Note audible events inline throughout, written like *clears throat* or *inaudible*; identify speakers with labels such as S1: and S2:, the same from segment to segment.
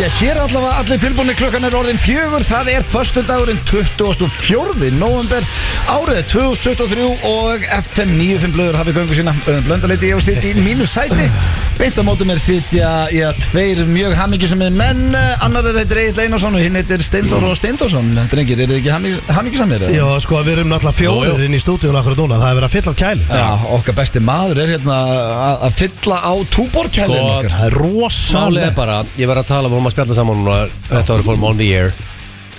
S1: Já, hér allavega allir tilbúinni klukkan er orðin fjögur Það er föstudagurinn 24. november árið 2023 og FM 95 blöður hafið göngu sína Öðum blöndaleiti ég og sitt í mínu sæti Beint á móti mér sitja já, tveir mjög hamingjusamir menn eh, Annar er heitir Egil Einarsson og hinn heitir Steindor og Steindorsson Drengir, eru þið ekki haming- hamingjusamir? eða?
S2: Já, sko, við erum náttúrulega
S1: Jú,
S2: fjórir
S1: jú.
S2: inn í stúdíun akkur núna Það er verið að fylla af kæli
S1: Já, okkar besti maður er hérna að- að fylla á túborkælinn
S3: Sko,
S1: okkar
S2: Það er
S3: Málið er
S2: rosalega
S3: bara, ég verð að tala, við vorum að spjalla saman núna Þetta var fórum on the air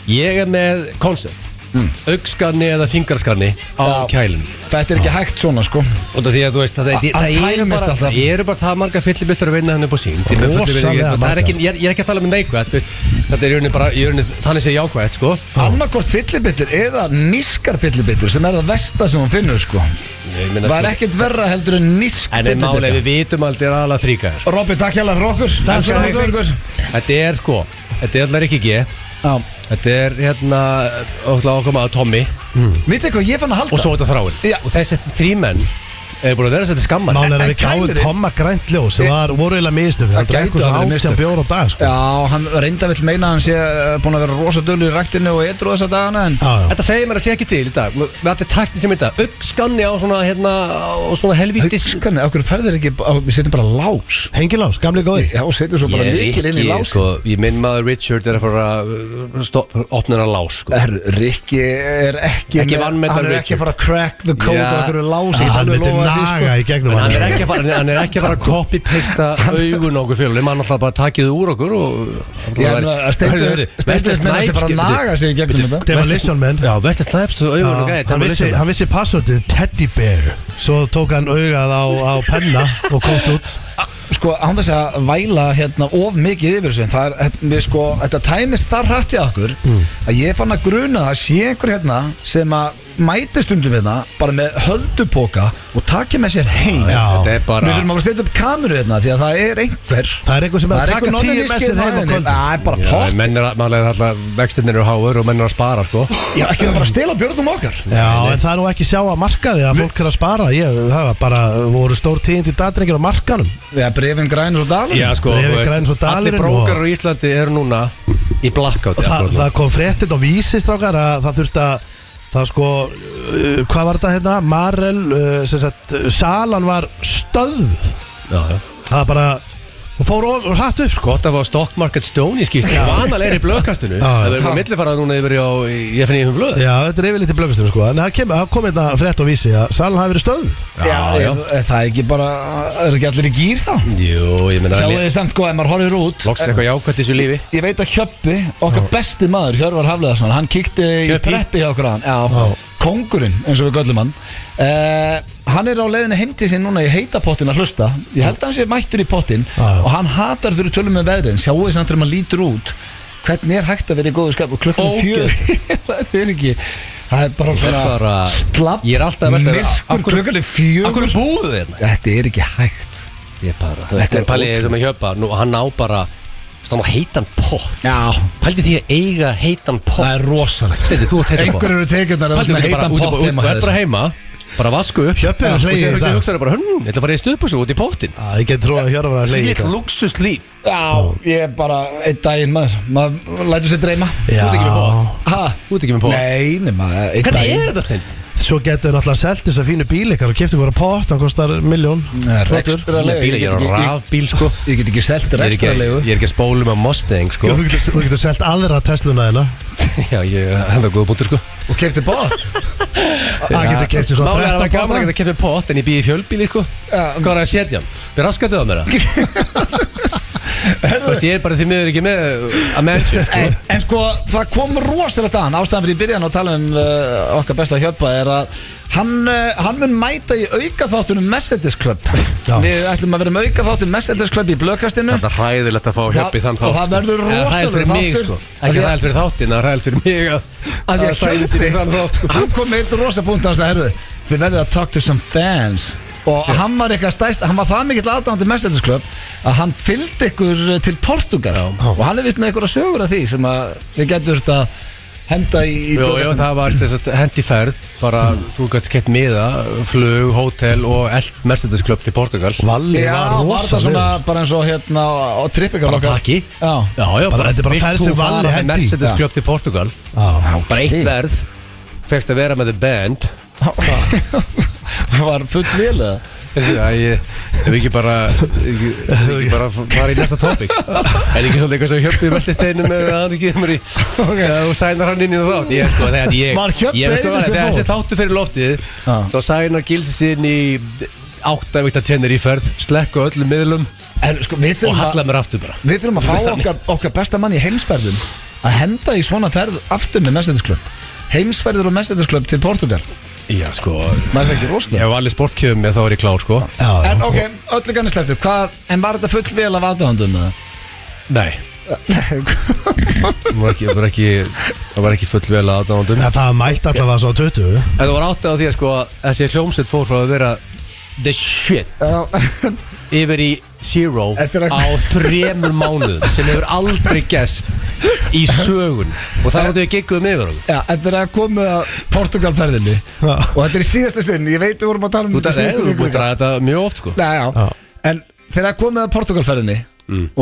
S3: Ég er með concept mm. Augskanni eða fingarskanni á
S1: Já.
S3: kælinu
S1: Þetta er ekki hægt svona sko
S3: Og það því að þú veist, það,
S1: Að-
S3: það,
S1: að
S3: það, er
S1: tærum mest
S3: bara,
S1: alltaf.
S3: það eru bara það marga fyllibittur að vinna hann upp á sín Ég með fullu virðingu,
S2: Rosalega
S3: það er ekki,
S2: margar.
S3: ég, er- ég er ekki að tala með neikvæð þú veist, Þetta er í rauninni bara, í rauninni, þannig sé jákvæð sko.
S1: Annarkort fyllibittur eða nískar fyllibittur sem er það versta sem hún finnur sko
S3: Ég meina,
S1: Var
S3: sko,
S1: ekkert verra heldur en nísk
S3: En en málið,
S1: fyllibittur
S3: við vitum aldrei aðalega þrýkaðar
S1: Robby, takk hjá fyrir okkur
S2: Takk fyrir
S1: Elskum
S2: okkur.
S1: ykkur.
S3: Þetta er sko, þetta er allar ekki G
S1: Já.
S3: Þetta er hérna, okkur að koma að Tommy
S1: Vitið hvað ég fann að halda
S3: Og svo er þetta þráin
S1: Já.
S3: Og þessi þrýmenn eru búin að vera að setja skammar
S2: Málið er
S1: En-
S2: að
S1: en
S2: við gáðum
S1: kælirinn-
S2: Tomma Græntljóð sem var voru eiginlega mistöf
S1: Það
S2: Það
S1: gætu
S2: drekkur
S1: að
S2: svo
S1: verið mistök.
S2: átján bjóður á dag, sko
S1: Já, hann reynda vill meina að hann sé eh, búinn að vera rosa dölur í ræktinu og etru þessa dagana en
S2: Já, já
S3: Þetta segir mér að sé ekki til í dag Við allir takti sem þetta Ögskanni á svona, hérna, á svona helvítis
S1: Haukskanni, okkur ferðir ekki á- Við setjum bara lás
S2: Hengilás, gamli góði
S1: Já, setjum svo bara líkil inn í lás
S3: sko, ég minn maður Richard er að fara að uh, stopp- opna hennar lás
S1: *laughs*
S3: sko.
S1: Herru, Rikki er ekki
S3: Ekki
S1: með-
S3: vanmetan
S1: Hann er ekki
S3: Richard.
S1: að fara að crack the code
S3: Já.
S1: og okkur lási
S2: Já, hann myndi
S1: sko.
S2: naga í gegnum
S3: En hann er
S2: hann
S3: ekki að fara, hann er ekki að fara að copy-pasta augun á okkur fjölulegum Hann alltaf bara takið þau úr okkur og
S1: Steindur meina sé bara að naga sig í gegnum þetta
S2: Demolition Man.
S3: Já, Vestir Snipes, þú augun og gæði
S2: hann vissi, hann vissi passvöldið Teddy Bear Svo tók hann augað á, á penna og komst út
S1: Sko, án þess að væla hérna of mikið yfir þessu en það er, þetta- við sko, þetta tæmist þar hrætti okkur að ég fann að gruna það að sé einhver hérna sem að mæti stundum hérna bara með höldupoka og taki með sér heim
S2: Já.
S3: Þetta er
S1: Við
S3: bara
S1: þurfum að setja upp kameru hérna því að það er einhver
S2: Það er einhver sem er að taka
S1: einhver hérna
S2: tíu
S1: nonni
S2: messir
S1: í
S2: heim á
S1: skeiðinu.
S2: kvöld
S1: Það er bara
S3: Já,
S1: pott
S3: menn er að, maður er alltaf, vextinnir eru háur og menn er að spara, sko
S1: Já, ekki það bara að stela björnum okkar
S2: Já, en það er nú ekki sjá að markaði að fólk er að spara ég, Það var bara, voru stór tíðind í dagdrengir á markanum
S1: Já, brefin græn og dalin
S3: Já, sko,
S2: Breiðablik
S3: þú veist,
S2: græns og
S3: allir
S2: dalurinn
S3: brókar
S2: og-
S3: á Íslandi eru núna í blackout
S2: Þa,
S3: akkurat núna.
S2: Það kom fréttind á vísi, strákar að það þurfti að það sko, uh, hvað var þetta hérna Marel, uh, sem sagt uh, salan var stöðuð
S3: Já, já.
S2: Það bara, hún fór of, hratt upp sko
S3: Gott að fá stock market stone í skýrstu Vanal er í blöðkastinu
S2: Já, já.
S3: Það verður millifarað núna yfir á Ég finn ég um blöð
S2: Já, þetta er yfirleitt í blöggastinu sko En það kem- það kom hérna frétt á vísi að salan hafi verið stöðuð
S1: Já, já. Er, það er ekki bara, er ekki allir í gýr þá?
S3: Jú, ég meina
S1: Sjáu þið samt sko, ef maður horfir út eh,
S3: Loks eitthvað jákvæmt í þessu lífi
S1: Ég veit að Hjöppi, okkar besti maður, Hjörvar Hafleðarsson Hann kíkti í
S3: Hjöppi?
S1: preppi hjá okkur hann Já,
S2: Já.
S1: kongurinn, eins og við göllum hann eh, Hann er á leiðinu heimtið sín núna í heita pottin að hlusta Ég held að hann sé mættur í pottin
S2: Já.
S1: Og hann hatar þurfi tölum um með veðrin Sjáu þið samt þegar maður lítur út Hvernig er hægt að vera í góðu skap Og klukkan er fjör *laughs* Það er ekki Það er bara svona
S3: bara,
S1: slapp
S3: Ég er alltaf að velta
S1: Myrkur klukkan er
S3: Akkur
S1: fjör
S3: búðu þið hérna
S1: Þetta er ekki hægt
S3: Ég bara
S1: Þetta
S3: Þetta
S1: er
S3: er palið
S1: ótrúlegt.
S3: sem að hjöpa Nú, hann á bara Þannig að heitan pott
S1: Já,
S3: Paldið því að eiga heitan pott
S1: það er rosalegt
S3: Þetta er þú átt heitan pott.
S1: Einhverjur eru tekjurnar
S3: Pældi
S1: með
S3: þetta bara
S1: heitan
S3: út í
S1: pott heima
S3: bara- út- þú
S1: hjá
S3: ert
S1: þér.
S3: bara heima bara vasku upp
S2: Hjöppi er að
S3: og
S2: hlegja í
S3: sér
S2: dag.
S3: hugsaður bara hrm, ég ætla að fara í stuðbússu út í póttin
S2: Að ég get tróð að Hjörvar var að hlegi
S3: Líkt luxus líf
S1: Já, ég er bara einn daginn maður Maður lætur sér dreyma
S2: Já,
S3: ert ekki með bók. Ha, út ekki með pó
S1: Nei, nema einn
S3: Hvernig
S1: daginn
S3: er þetta stein?
S2: svo getur þau náttúrulega selt þess að fínu bíl ykkar og kefti ykkur að pott, hann kostar miljón
S1: Nei, rekstrarlega,
S3: Bíla, ég er á
S1: get ekki-
S3: rafbíl sko
S1: ég- Ég get ekki selt
S3: Ég er ekki,
S1: rekstrarlegu
S3: ég er ekki að spólu með Mustang sko
S2: Já, þú getur, þú getur selt aðra Tesluna þeirna
S3: *laughs* Já, ég, það er góð bútur sko
S1: Og kefti bóð
S2: Það getur keft í svona
S3: Málega
S2: 13
S3: er það gaman að
S2: báta
S3: geta kemur pott en ég býði í fjölbíli sko
S1: Já.
S3: Hvað er að setja hann? Við raskatið á mér *laughs* það Þú veist, ég er bara því miður ekki með uh, að mention sko
S1: en, en sko, það kom rosalegt að hann Ástæðan fyrir ég byrjaði nú að tala um uh, okkar besta hjöpa er að hann, uh, hann mun mæta í aukaþáttunum Mercedes Club
S2: Já.
S1: Við ætlum að vera með aukaþáttun Mercedes Club í blökastinu
S3: Þetta er hræðilegt að fá
S1: hjöpp í þann þátt, sko. En það er hræðilegt fyrir
S3: fyrir
S1: mig,
S3: mig
S1: sko.
S3: sko
S1: Af því
S3: Ekki
S1: að-
S3: hræðilegt fyrir þáttin, það er hræðilegt fyrir mig að
S1: að
S3: að
S1: ég kjöpti
S3: hræðilegt fyrir þann þátt sko.
S1: *laughs* hann kom með eitt rosa punkt hans að herðu við verðum að talk to some fans og hann var eitthvað stæst hann var það mikill aðdáðandi Mercedes Club að hann eh, fylgdi ykkur til Portugal og hann er vist með ykkur að sögur af því sem að við getum þetta henda í, í
S3: Jó, já,
S1: bjóðkastinu?
S3: það var sem sagt, hendi ferð bara, þú gæst kett miða flug, hótel og allt Mercedes Club til Portugal
S2: Valli
S1: Já,
S2: var
S1: var það svona
S2: rosalega
S1: bara eins og hérna á trippingar
S3: bara pakki
S1: Já. *laughs*
S3: já, já,
S2: Bara- þetta er bara
S3: vilt
S2: ferð
S3: þú
S2: sem
S3: fara
S2: Valli
S3: með
S2: henti.
S3: Mercedes
S1: Já.
S3: Club til Portugal bara eitt
S1: Shit.
S3: verð fegst að vera með the band
S1: Var full vel eða?
S3: Já, ég, ef ekki bara ef ekki bara fara í næsta tópik er ekki svolítið eitthvað sem hjöpti vellisteinu með að hann ekki kemur í og sænar hann inn í þátt ég sko, þegar ég,
S2: Var Hjöbbi
S3: ég sko,
S2: eini sem
S3: þegar
S2: fór?
S3: þessi þáttu fyrir loftið
S1: Já.
S3: þá sænar gilsi sín í áttavíkta tennir í ferð slekku öllum miðlum
S1: En sko, við
S3: og
S1: þurfum,
S3: hallar
S1: að,
S3: mér aftur bara
S1: við þurfum að fá okkar, okkar besta mann í heimsferðum að henda í svona ferð aftur með mestendisklub Heimsferður og mestendisklub til Portugal
S3: já sko,
S1: Maður er það ekki
S3: ég
S1: rosalega
S3: hef alveg sportkjöfum ég þá er ég klár sko
S2: Já,
S1: En
S2: já.
S1: ok, öllu ganni sleftur Hvað, en var þetta full vel af aðdáðandum eða?
S3: nei, það var ekki, það var ekki, það var ekki full vel aðdáðandum
S2: Ja, Það mætti allavega svo 20
S3: En það var áttið á því að sko að þessi hljómsveit fór frá að vera the
S1: *laughs*
S3: shit
S1: Já,
S3: yfir í zero
S1: Þetta er að-
S3: á þremur mánuðum sem hefur aldrei gest í sögun og það var því að gigguðum yfir hann
S1: Já, þetta er að koma að Portugalferðinni
S2: Já.
S1: Og þetta er í síðasta sinn, ég veit við vorum að tala um
S3: Þú
S1: þetta í
S3: veist að
S1: síðustu
S3: þú er
S1: viku
S3: búin að
S1: líka.
S3: draga þetta mjög oft sko
S1: Nei, já.
S2: Já.
S1: En þegar það komið að Portugalferðinni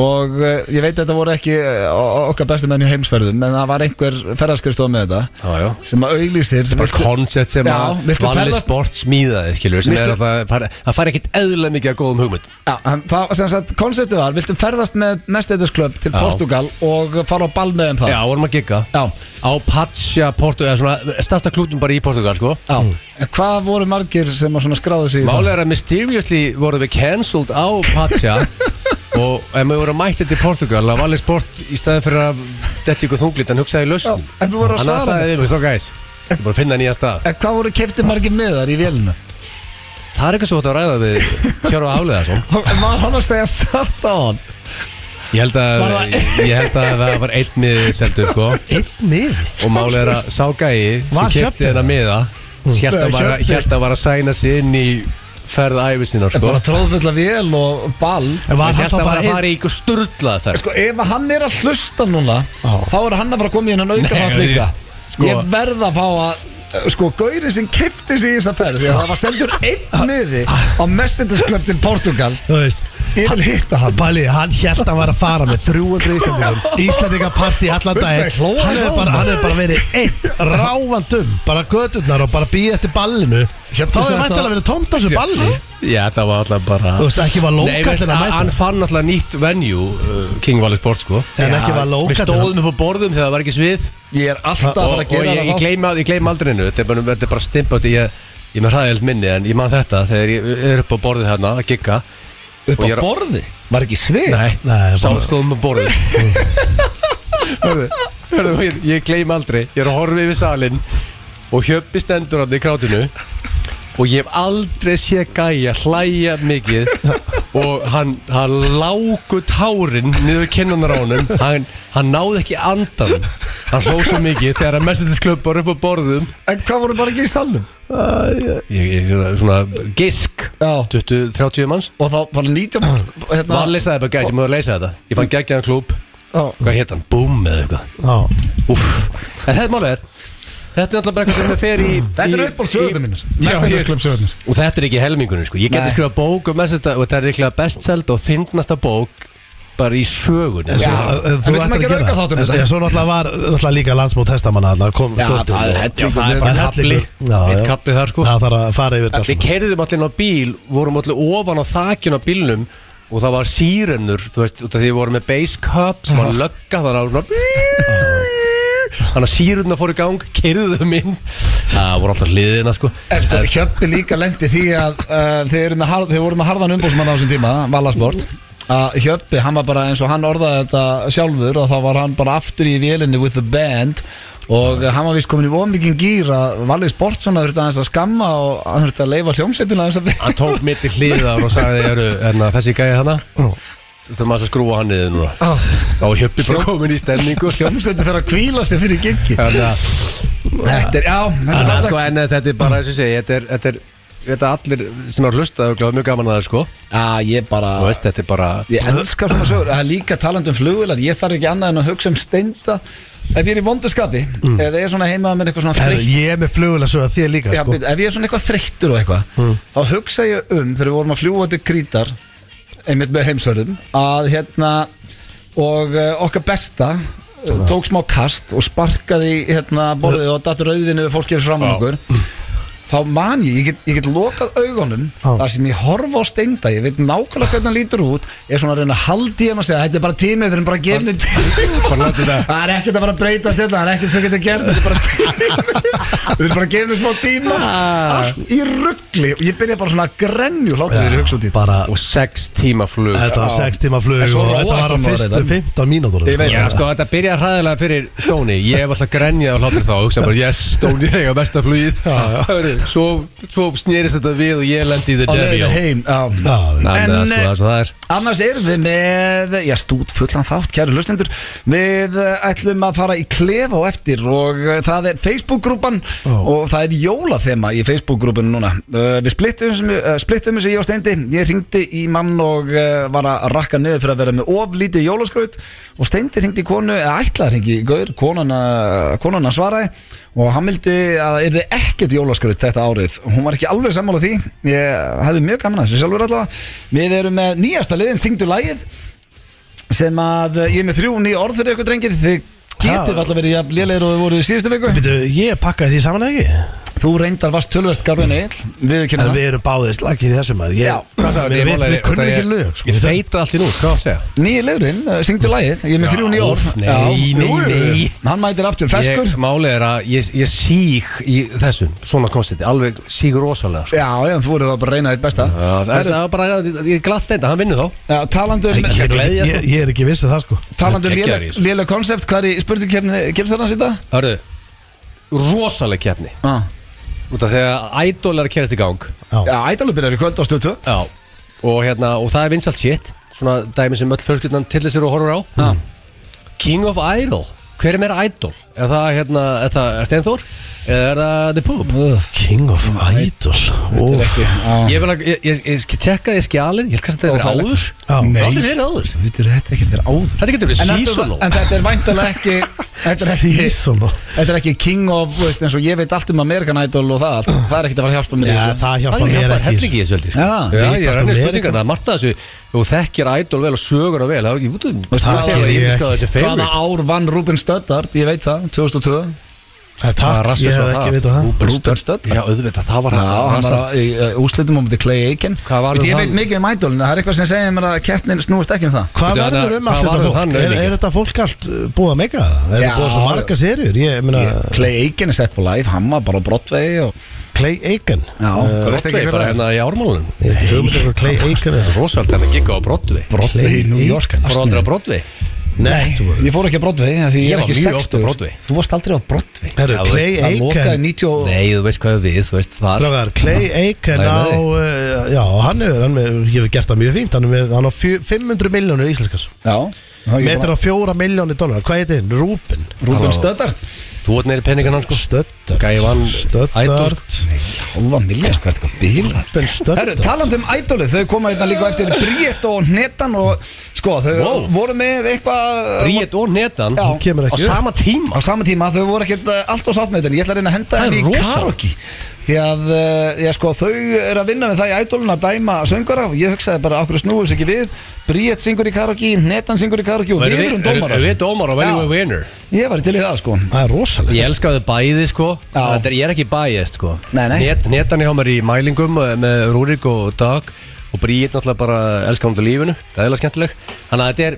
S1: og uh, ég veit að þetta voru ekki uh, okkar bestu menn í heimsferðum en það var einhver ferðarskristof með þetta
S3: Já, já
S1: sem að auglýsir sem
S3: Bara koncept sem
S1: Já,
S3: að
S1: viltu
S3: valli
S1: ferðast-
S3: sport smíðaði skilur sem er
S1: Viltu-
S3: að það fari- það fari ekkit eðla mikið að góðum hugmynd
S1: Já, en það var sem sagt, konceptið var, viltu ferðast með Mercedes Club til
S3: Já.
S1: Portugal og fara á ball með þeim það
S3: Já, vorum að gigga
S1: Já.
S3: Á Patsja, Portugal, svona stasta klútum bara í Portugal sko
S1: Já. En hvað voru margir sem að svona skráðu sig í
S3: Málið er að mysteriously vorum við cancelled á
S1: *laughs*
S3: Patja og ef við vorum mættið til Portugal að valið sport í staðin fyrir að detti ykkur þunglit en hugsaði lausn
S1: Já, en þú voru að svara
S3: staðið við mig, svo gæs Ég er bara að finna nýja stað
S1: En hvað voru kefti margir með þar í
S3: *laughs*
S1: vélina?
S3: Það er eitthvað svo að ræða við Hjörfa Afleðarsson
S1: En maður hann að segja satt á hann
S3: ég held, að,
S1: Var það-
S3: ég held að það var einn miðið seldur sko
S2: Einn miði
S3: og málið er að sá gæi
S2: Var
S3: sem kefti
S2: Hjöbbi?
S1: hérna?
S3: þennan miða
S1: Hm.
S3: held að
S2: Nei,
S3: var að-
S2: Hjöbbi.
S3: hélt að var að sæna sig inn í ferð æfisinnar sko
S1: Bara tróðfulla vél og ball
S2: En var hann þá
S3: Hjöld að var
S2: bara
S3: að
S2: einn
S3: fara í ykkur sturlað ferð
S1: Sko ef hann er að hlusta núna
S2: Já.
S1: Þá er hann að fara að koma í hennan aukanátt
S3: Nei,
S1: líka
S3: sko-
S1: Ég verð að fá að uh, Sko gaurið sem kefti sig í þessa ferð Því að það var sendur einn miði Á Messenders Club til Portugal
S2: Þú veist
S1: Ég vil hitta hann.
S2: Bæli, hann held að hann var að fara með 300 Íslandingar Íslandingaparti allan
S1: Veistu hvað
S2: dag
S1: ég hló að
S2: Hann
S1: þessu
S2: hefur
S1: áðan?
S2: bara, hann hefur bara verið einn ráfandum Bara gödurnar og bara býð eftir ballinu Þá
S1: Hjöfn,
S2: hefur
S1: þú sagðist
S2: mættilega
S1: að-
S2: verið tómt á þessu balli
S3: Já, það var alltaf bara
S2: Þú veist, ekki var
S3: Nei, veist,
S2: lókallin að
S3: hann
S2: mæta
S3: fann alltaf nýtt venue uh, King Valley Sport, sko
S2: En ekki var
S3: Við
S2: lókallin að
S3: stóðum upp á borðum þegar það var ekki svið
S1: Ég er alltaf að
S3: Og,
S1: fara að
S3: og
S1: gera
S3: ég, ég
S1: það
S3: gleymi ég gleym aldrei hennu Þetta er bara, þetta er bara stimpað Ég, ég er með hræðild minni En ég man þetta Þegar ég er upp á borðið hérna að gigga
S1: Upp
S3: og
S1: á
S3: ég er-
S1: borði Var ekki svið
S3: Nei,
S2: Nei,
S3: sátt
S2: bara-
S3: stóðum upp á borðum *laughs* Hörðu, hörðu Ég, ég gleym aldrei Ég er að horfa yfir salin Og hjöppi stendur hann í krátinu Og ég hef aldrei séð gæja hlæja mikið Og hann, hann lágut hárin niður kinnunar á honum hann, hann náði ekki andan Hann hló svo mikið þegar að messendisklöpp var upp á borðum
S1: En hvað voru bara ekki í salnum?
S3: Ég, ég svona, svona gisk
S1: Já
S3: 20-30 manns
S1: Og þá bara 19 hérna,
S3: Var leysaði bara gæja sem mögur leysa þetta Ég fann geggjaðan klúb
S1: Já.
S3: Hvað hétt hann? Boom eða eitthvað
S2: Já,
S3: Úff En þetta málið er Þetta er alltaf bara eitthvað sem það fer í
S1: Þetta er
S3: í-
S1: upp á sögurnar
S3: í-
S1: mínus
S3: ég-
S1: Messenders Club sögurnar
S3: Og þetta er ekki helmingunum sko Ég
S1: Nei.
S3: geti skrifað bók um messenda Og þetta er líklega bestseld og fyndnasta bók Bara í sögunni
S1: Já.
S2: Svo, uh, uh,
S1: En
S2: þú
S1: við ætlum
S2: ættir
S1: ekki
S2: að
S1: að
S2: gera
S1: auka þátt um
S2: það
S1: þetta.
S2: En svo náttúrulega var náttúrulega líka landsmót hestamanna þarna kom
S1: Já,
S2: stórt
S1: það
S2: inn
S1: er hellingur.
S2: og- Það er bara
S3: kapli
S2: hellingur. Já,
S3: Eitt
S2: já.
S3: kapli þar sko
S2: Það þarf að fara yfir þetta
S3: Við
S2: allt saman.
S3: kerðum allir inn á bíl Vorum allir ofan á þakjun á bílnum Og það var sírennur Þú veist, út af því við vorum með base cup Sem var lögga þar á svona Þannig að sírennur fór í gang Kerðum inn Það voru alltaf hliðina sko
S1: En sko, Hjöppi líka lendi því að uh, þeir, eru með harð, þeir voru með harðan umbúsmann á þessum tíma, Valasport að Hjöppi, hann var bara eins og hann orðaði þetta sjálfur og þá var hann bara aftur í vélinni with the band og hann var vist komin í ómikinn gýr að Valið Sport svona þurfti aðeins að skamma og hann þurfti að leifa hljómsveitina aðeins að
S3: Hann tók mitt í hliðar og sagði eru, erna, Þessi gæði hana Það maður að skrúa hann niður núna Þá var hjöppi bara komin í stemningu
S1: hljómsveitin þarf að kvíla sig fyrir giggi
S3: Þannig að
S1: Þetta er, já, þetta
S3: Þannig
S1: er
S3: að sko
S1: fallegt.
S3: en þetta er bara þess að segja Þetta er, þetta er, þetta er allir sem er hlustað og gláð mjög gaman að það sko
S1: Já, ég bara
S3: Þú veist þetta er bara
S1: Ég elska svona sögur Það er líka talandi um flugvilar Ég þarf ekki annað en að hugsa um steinda ef ég er í vondaskapi mm. eða ég er svona heima með eitthvað svona
S2: Herru,
S1: þreytt
S2: Ég er með flugul að sögja þér líka
S1: Já,
S2: sko.
S1: byrju, ef ég er svona eitthvað þreyttur og eitthvað
S3: Mm.
S1: þá hugsa ég um þegar við vorum að fljúa til krítar einmitt með heimsverðum að hérna og uh, okkar besta uh, tók smá kast og sparkaði í, hérna borðið og datur auðvinu við fólk gefur fram á okkur
S3: Mm.
S1: þá man ég, ég get, ég get lokað augunum
S2: Já.
S1: það sem ég horfa á steinda ég veit nákvæmlega hvernig hann lítur út ég er svona að reyna að haldi hann og segja þetta er bara tími þeir eru bara að gefa *laughs* henni tími það er ekkert að bara breytast þetta það er ekkert sem getur gert þetta er bara *laughs* tími þeir eru bara að gefa henni smá tíma allt í ruggli og ég byrja bara svona að grenju hlátur þegar ég hugsa út í
S2: bara,
S3: Og sex tíma flug
S2: Þetta var
S1: Já.
S2: 6 tíma flug
S1: En svo
S2: og
S1: róast
S2: þetta var á
S1: hann
S2: fyrstu
S1: orðið, en-
S2: 15 mínútur
S1: Ég veit
S3: Já, sko, þetta byrjaði hræðilega fyrir Stóni Ég hef alltaf grenjað á hlátur þá og hugsaði bara, yes, Stóni er eiga besta flugið Hörru, Svo, svo snýrist þetta við og ég lendi í the
S1: á
S3: derby
S1: leiðinu
S3: Nei,
S1: heim já.
S2: Já,
S3: það er
S1: En,
S3: sko, það er svo það er
S1: Annars erum við með, já stút fullan þátt, kæru hlustendur Við eh, ætlum að fara í klefa á eftir og eh, það er Facebook-grúpan
S2: Ó.
S1: og það er jólathema í Facebook-grúpinu núna uh, Við splittum, uh, splittum þessu ég og Steindi, ég ringdi í mann og uh, var að rakka niður fyrir að vera með of lítið jólaskraut og Steindi ringdi í konu, eða ætlaði að ringi í gaur, konuna, konuna svaraði og hann vildi að það yrði ekkert jólaskraut þetta árið hún var ekki alveg sammála því ég hefði mjög gaman að þessu sjálfur allavega við erum með nýjasta liðin, syngdu lægið sem að eh, ég er með þrjú nýja orð fyrir ykkur drengir þið getið
S2: Ha.
S1: alltaf verið jafn lélegir og þið voruð í síðustu viku
S2: Býtu, ég pakkaði því saman ekki
S1: þú reyndar vast tölverst garfin eil við
S2: En
S1: kynna
S2: við erum báðið slagir í þessum maður Ég-
S1: Já,
S3: Hvað sagði,
S2: Við-
S3: ég
S2: Við
S3: málaði-
S2: við kunnum
S3: þetta
S2: ekki
S3: ég-
S2: lög sko.
S3: Ég feit allt í nú, hvað að segja?
S1: nýja liðurinn, eh, syngdu lægið ég er með
S3: Já,
S1: þrjú nýja orð
S3: úff, nei,
S1: Já,
S3: nei,
S1: jú, jú.
S3: nei.
S1: hann mætir aftur feskur
S3: Ég, málið er að ég, ég síg í þessum, svona konstiti, alveg síg rosalega sko.
S1: já, já, þú voruð að bara reyna þitt besta
S3: Já, Það er- það var bara, ég er glatt þetta, hann vinnur þá
S1: já, talandu
S2: Ég-
S1: um
S2: ég- ég- Ég er ekki vissið það sko
S1: talandu um
S3: Þetta er
S1: léleg-
S3: geggjaður í þessu.
S1: léleg konsept hvað er í spurningkefni gilsarans í dag?
S3: Hörru, rosalega keppni
S1: Ah.
S3: Út af þegar ædol er að kerast í gang
S1: Já, ædalur byrjar í kvöld á stötu
S3: Já Og hérna, og það er vinsalt shit Svona dæmi sem öll fjölskyldan tillir sér og horfur á
S1: Já.
S3: King of Idol Hver er meira Idol? Er það hérna, er það er Steinþór? Eða er það The Poob?
S2: King of Idol Úff.
S1: Ég-
S3: Ég vil að, ég, ég, ég tjekkaði skjalið Ég held kannski að þetta er áður
S2: Já.
S3: Það er aldrei verið áður
S1: Þetta er ekkert verið áður
S3: Þetta getur verið
S1: En, ertu-
S3: seasonal
S1: en þetta er væntalega ekki Þetta er ekki,
S2: Season og-
S1: þetta er ekki king of þú veist, eins og ég veit allt um American Idol og það allt. Það er ekkert að fara að hjálpa mér í
S2: Já,
S1: þessu.
S2: það
S3: Það
S2: hjálpa
S3: er
S2: mér
S3: hjálpað
S2: ekki sko.
S3: hellingi í þessu heldur
S1: Já,
S3: ég
S2: veitast
S3: er ennir
S2: Amerika.
S3: spurningar Það er margt að þessu Þú þekkir Idol vel og sögur og vel Það er ekki út um
S2: Það
S3: Það
S2: geri
S3: er
S2: ég
S3: ekki
S2: ekki.
S3: að þessi
S1: Hvaða
S3: favorite
S1: ár vann Ruben Stöddard Ég veit það, 2002
S2: Eh,
S3: Það er
S2: Takk, ég
S3: rassis á
S2: hef ekki vitað það
S1: Ruben Stöddard
S3: Já, auðvitað, það var
S1: Já,
S3: það
S1: hann var að- í uh, úrslitum á mútið Clay Aiken
S3: Hvað var
S1: Veit, Ég
S3: það-
S1: veit mikið um Idol en það er eitthvað sem segir mér að keppnin snúist ekki um það
S2: Hvað
S3: Veitu,
S2: verður
S3: þetta-
S2: um allt
S3: hvað
S2: þetta
S3: verður
S2: fólk?
S3: þannig
S2: Er,
S3: lengi?
S2: er þetta fólk allt uh, búið að meika það? Er
S1: Já.
S2: þetta búið svo marga serjur? Ég meina,
S1: Clay Aiken er sett på live, hann var bara á Broadway og, Eh,
S2: Clay Aiken
S1: Já,
S3: Það
S1: hvað
S3: er
S1: veist ekki
S3: bara
S1: hver það er
S3: hérna í ármálunum
S2: Ég hef ekki hugmynd um hvað Clay Aiken er
S3: Rósald hann hérna að gigga á Broadway
S1: Broadway í New York hann.
S3: Fór aldrei á Broadway
S2: Nei, þú
S1: hérna- Ég fór ekki að Broadway af því
S3: Ég
S1: ég er
S3: var
S1: ekki
S3: mjög oft á
S1: 60
S3: Broadway.
S1: Þú varst aldrei á Broadway
S2: Herru,
S3: Já, þú
S2: Clay
S1: Það lokaði
S2: Aiken
S1: 90 og
S3: Nei, þú veist hvað er við, þú veist það
S2: Strágar, Clay Aiken
S3: Nei,
S2: á
S3: nei.
S2: uh, Já, hann hefur, hann hefur ég hef gert það mjög fínt Hann er með- hann á fjö- 500 miljónir íslenskars
S1: Já
S2: Metir á 4 miljónir dólar Hvað heitir hinn? Rúben
S1: Rúben
S3: Halló.
S1: Stöðard
S3: Þú vat neyri penningan hans sko
S2: Stöddart
S3: Gæi vann Idol.
S2: Stöddart
S1: Hálfa milljón, hvað er þetta bíla?
S2: Rúben
S1: Herru,
S2: Stöddart
S1: talandi um ædolið, þau koma hérna líka á eftir Bríett og Netan og sko, þau
S3: Wow.
S1: voru með eitthvað
S3: Ríet og Netan
S1: Já.
S3: á
S2: Hún kemur ekki upp.
S3: sama
S1: á
S3: tíma
S1: sama tíma, þau voru ekkert eh, allt og sátt með þetta en ég ætla að reyna að henda
S3: Það er
S1: þeim í
S3: rosa.
S1: karaoke því að, eh, já sko, þau eru að vinna með það í ædolun að dæma söngara og ég hugsaði bara, okkur snúið þessu ekki við Bríett syngur í karaoke, Netan syngur í karaoke og við erum dómarar
S3: Við dómar og veljum
S1: Já.
S3: við winner
S1: Ég var til í það, sko
S2: Það er rosalega
S3: Ég elska þau bæði sko
S1: Já.
S3: Þetta er, ég er ekki bæðist sko
S1: Nei, nei.
S3: Net, Netan er hjá mér í mælingum eh, með Rúrik og Dag Og Bríet náttúrulega bara elskar hún til lífinu Það er eða skemmtileg Þannig að þetta er,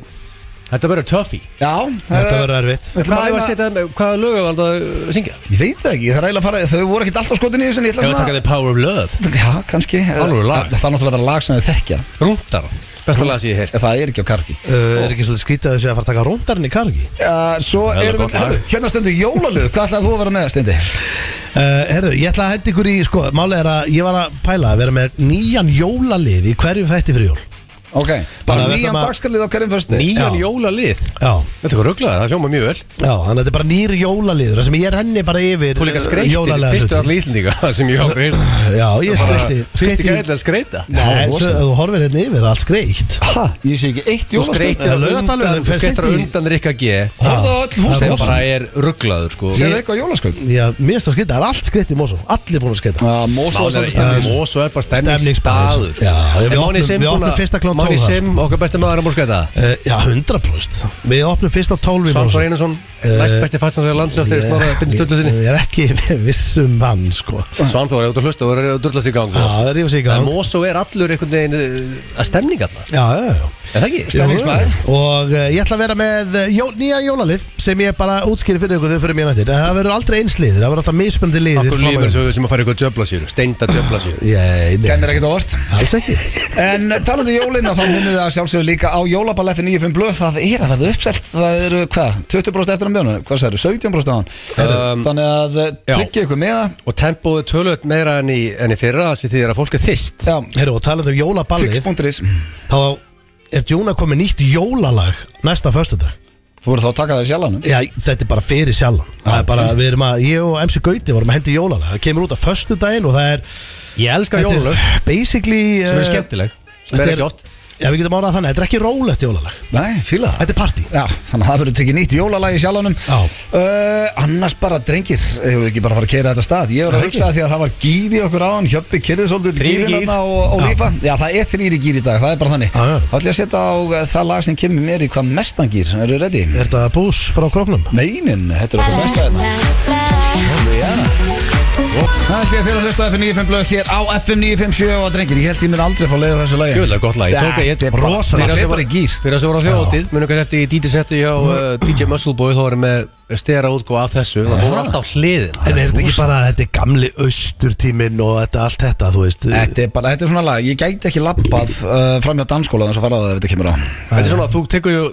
S3: þetta verður töffi
S1: Já,
S2: Þetta
S1: eh,
S2: verður erfitt
S1: við ætlum að
S3: Hvað er að
S1: reyna-
S3: setja, hvaða lög var þetta að eh, syngja?
S1: Ég veit það ekki, það er eiginlega að fara Þau voru ekkert alltaf skotin í þessu en ég ætla
S3: Ég var að
S1: svona-
S3: taka The Power of Love
S1: Já, kannski Eh,
S3: Alvöru lag.
S1: Það, það er náttúrulega að vera lag sem þau þekkja
S3: Rúndar Besta lag sem ég hef heyrt
S1: Ef það er ekki á karki
S2: Uh, Er ekki svolítið skrítið að þessi að fara að taka rúndarinn í kargi?
S1: uh, Svo
S3: Það er
S1: erum
S3: gott
S1: við
S3: lag.
S1: Herðu, Hérna stendur jólalöð Hvað ætlaði þú að vera með, Steindi?
S2: Uh, herru, ég ætla að henda ykkur í, sko, málið er að ég var að pæla að vera með nýjan jólalið í hverjum þætti fyrir jól
S1: Ok,
S2: Bara
S1: bara
S2: við
S1: nýjan
S2: ætlum að-
S1: dagskalið á hverjum fyrstu
S3: Nýjan
S2: Já.
S3: jólalið
S2: Já,
S3: Þetta er rugglaður, það hljóma mjög vel
S2: já, þannig að þetta er bara nýr jólaliður Það sem ég renni bara yfir
S3: Þú líka
S2: eh,
S3: skreytir,
S2: jólalega
S3: fyrstu
S2: hluti.
S3: allir íslendinga það *laughs* sem ég aldrei heyrði.
S2: Já, ég skreyti
S3: Fyrstu gæðið að skreita
S2: Nei, svo ef þú horfir hérna yfir, það er allt skreitt
S1: Hæ, ég sé ekki eitt
S3: Þú
S1: jólaskvöld
S3: skreytir
S2: Það er laugardalurinn,
S3: undan,
S2: fer
S3: skreytir
S2: seint í-
S3: undan Rikka G
S1: Horfðu á öll hús á
S3: sem
S1: Mosó.
S3: bara er rugglaður sko
S1: Sér það eitthvað jólaskvöld?
S2: Já, mér finnst það skreitt, það er allt skreitt í Mosó Allir búin að skreita
S1: Já, Mósa var svolítið
S3: Málega,
S1: stemming
S3: Mós og er bara
S2: Stemningsstaður.
S3: stemningsstaður
S2: Já, við
S3: En Máni
S2: opnum-
S3: Sim
S2: við
S3: búin
S2: opnum
S3: að-
S2: fyrsta klokkan
S3: Máni
S2: 12 þar,
S3: Sim, okkar besti maður er búin að skreita
S2: Eh, Já, 100% Við opnum fyrst á 12 í Mosó
S3: Svansvar Einarsson, næst besti fastnansæðar landsinn eftir snorra bindi
S2: ég,
S3: dullu sinni
S2: ég er ekki *laughs* viss um hann, sko
S3: Svanþór, ef þú hlusta, þú eru að dullast Ah. í gang sko.
S2: Já, það er yfir sig í
S3: En
S2: gang
S3: Mós og er allur einhvern veginn uh, að stemninga þarna
S2: Já, já, já
S3: Er það ekki?
S2: Jú, jú. Og uh, ég ætla að vera með eh, jó, nýja jólalið sem ég bara útskýri fyrir ykkur þau fyrir mér nættir hérna En það verður aldrei einsliðir, það verður alltaf mismunandi liðir
S3: Akkur lífur sem, sem að fara eitthvað djöfla sér Steinda djöfla sér
S2: Ég, nei,
S1: Kennir ekkert á orð
S2: alls ekki
S1: En talandi um jólin að þá minnum við að sjálfsögur líka á jólaball eftir 95 blöð Það er að verða uppselt, það eru hvað? 20% eftir að mjónu, hvað sér, 17% á hann
S3: Um,
S1: Þannig að eh,
S3: já.
S1: tryggja ykkur með það
S3: Og tempóðu tölvöld meira enn í, enn í fyrra Þessi því að fólk er þyst
S1: Já,
S2: Herru, og talandi um jólaballið,
S1: fix.is
S2: þá er Djúna komið nýtt jólalag næsta föstudag
S1: Þú voru þá að taka það sjálfanum
S2: Já, þetta er bara fyrir sjálf Það er bara, við erum að, ég og MC Gauti vorum að hendi jólalag Það kemur út á föstudaginn og það er
S3: Ég elska
S2: þetta er
S3: jólalög
S2: Basically eh,
S3: Sem er skemmtileg Sem
S2: þetta
S3: er
S2: er-
S3: ekki oft
S2: Já, við getum árað þannig, þetta er ekki rólegt jólalag
S1: Nei, fíla það
S2: Þetta er party
S1: Já, þannig að það verður tekið nýtt jólalagi sjálfanum
S2: Já.
S1: uh, Annars bara drengir Hefur við ekki bara að fara að keira þetta af stað Ég var að
S2: Já,
S1: hugsa það því að það var gýr í okkur áðan Hjöppi kyrði svolítið
S3: Þrír
S1: gírinn
S3: gír.
S1: þarna og, og
S2: Já.
S1: lífa Já, það er þrýri gýr í dag, það er bara þannig
S2: Já, já.
S1: Þá ætlum ég að setja á uh, það lag sem kemur mér í hvað mestan gýr Eru ready?
S2: Er þetta bús frá króknum?
S1: Neinin, þetta er okkur mesta hérna Það held ég að þér að hlusta á FM 95 blöð hér á FM 957 og drengir, ég held ég mér aldrei að fá leið á þessu lagi
S3: Gjöflega gott lag Ég tók að ég
S1: Þetta er bara-
S3: Fyrir
S1: Þetta
S3: að
S1: er
S3: sem
S1: bara
S3: var
S1: í gýr
S3: Fyrir að sem var á þjóðatið Munu kannski eftir í DJ seti hjá uh, DJ Muscleboy Þá erum með stera útgóð af þessu Það fór alltaf á hliðin
S2: En er þetta ekki bara, þetta er gamli austurtíminn og þetta allt þetta, þú veist
S1: Þetta er bara, þetta er svona lag, ég gæti ekki lappað uh, fram hjá dansskóla þannig að fara á það ef þetta kemur á
S3: Þetta er svona að þú tekur ju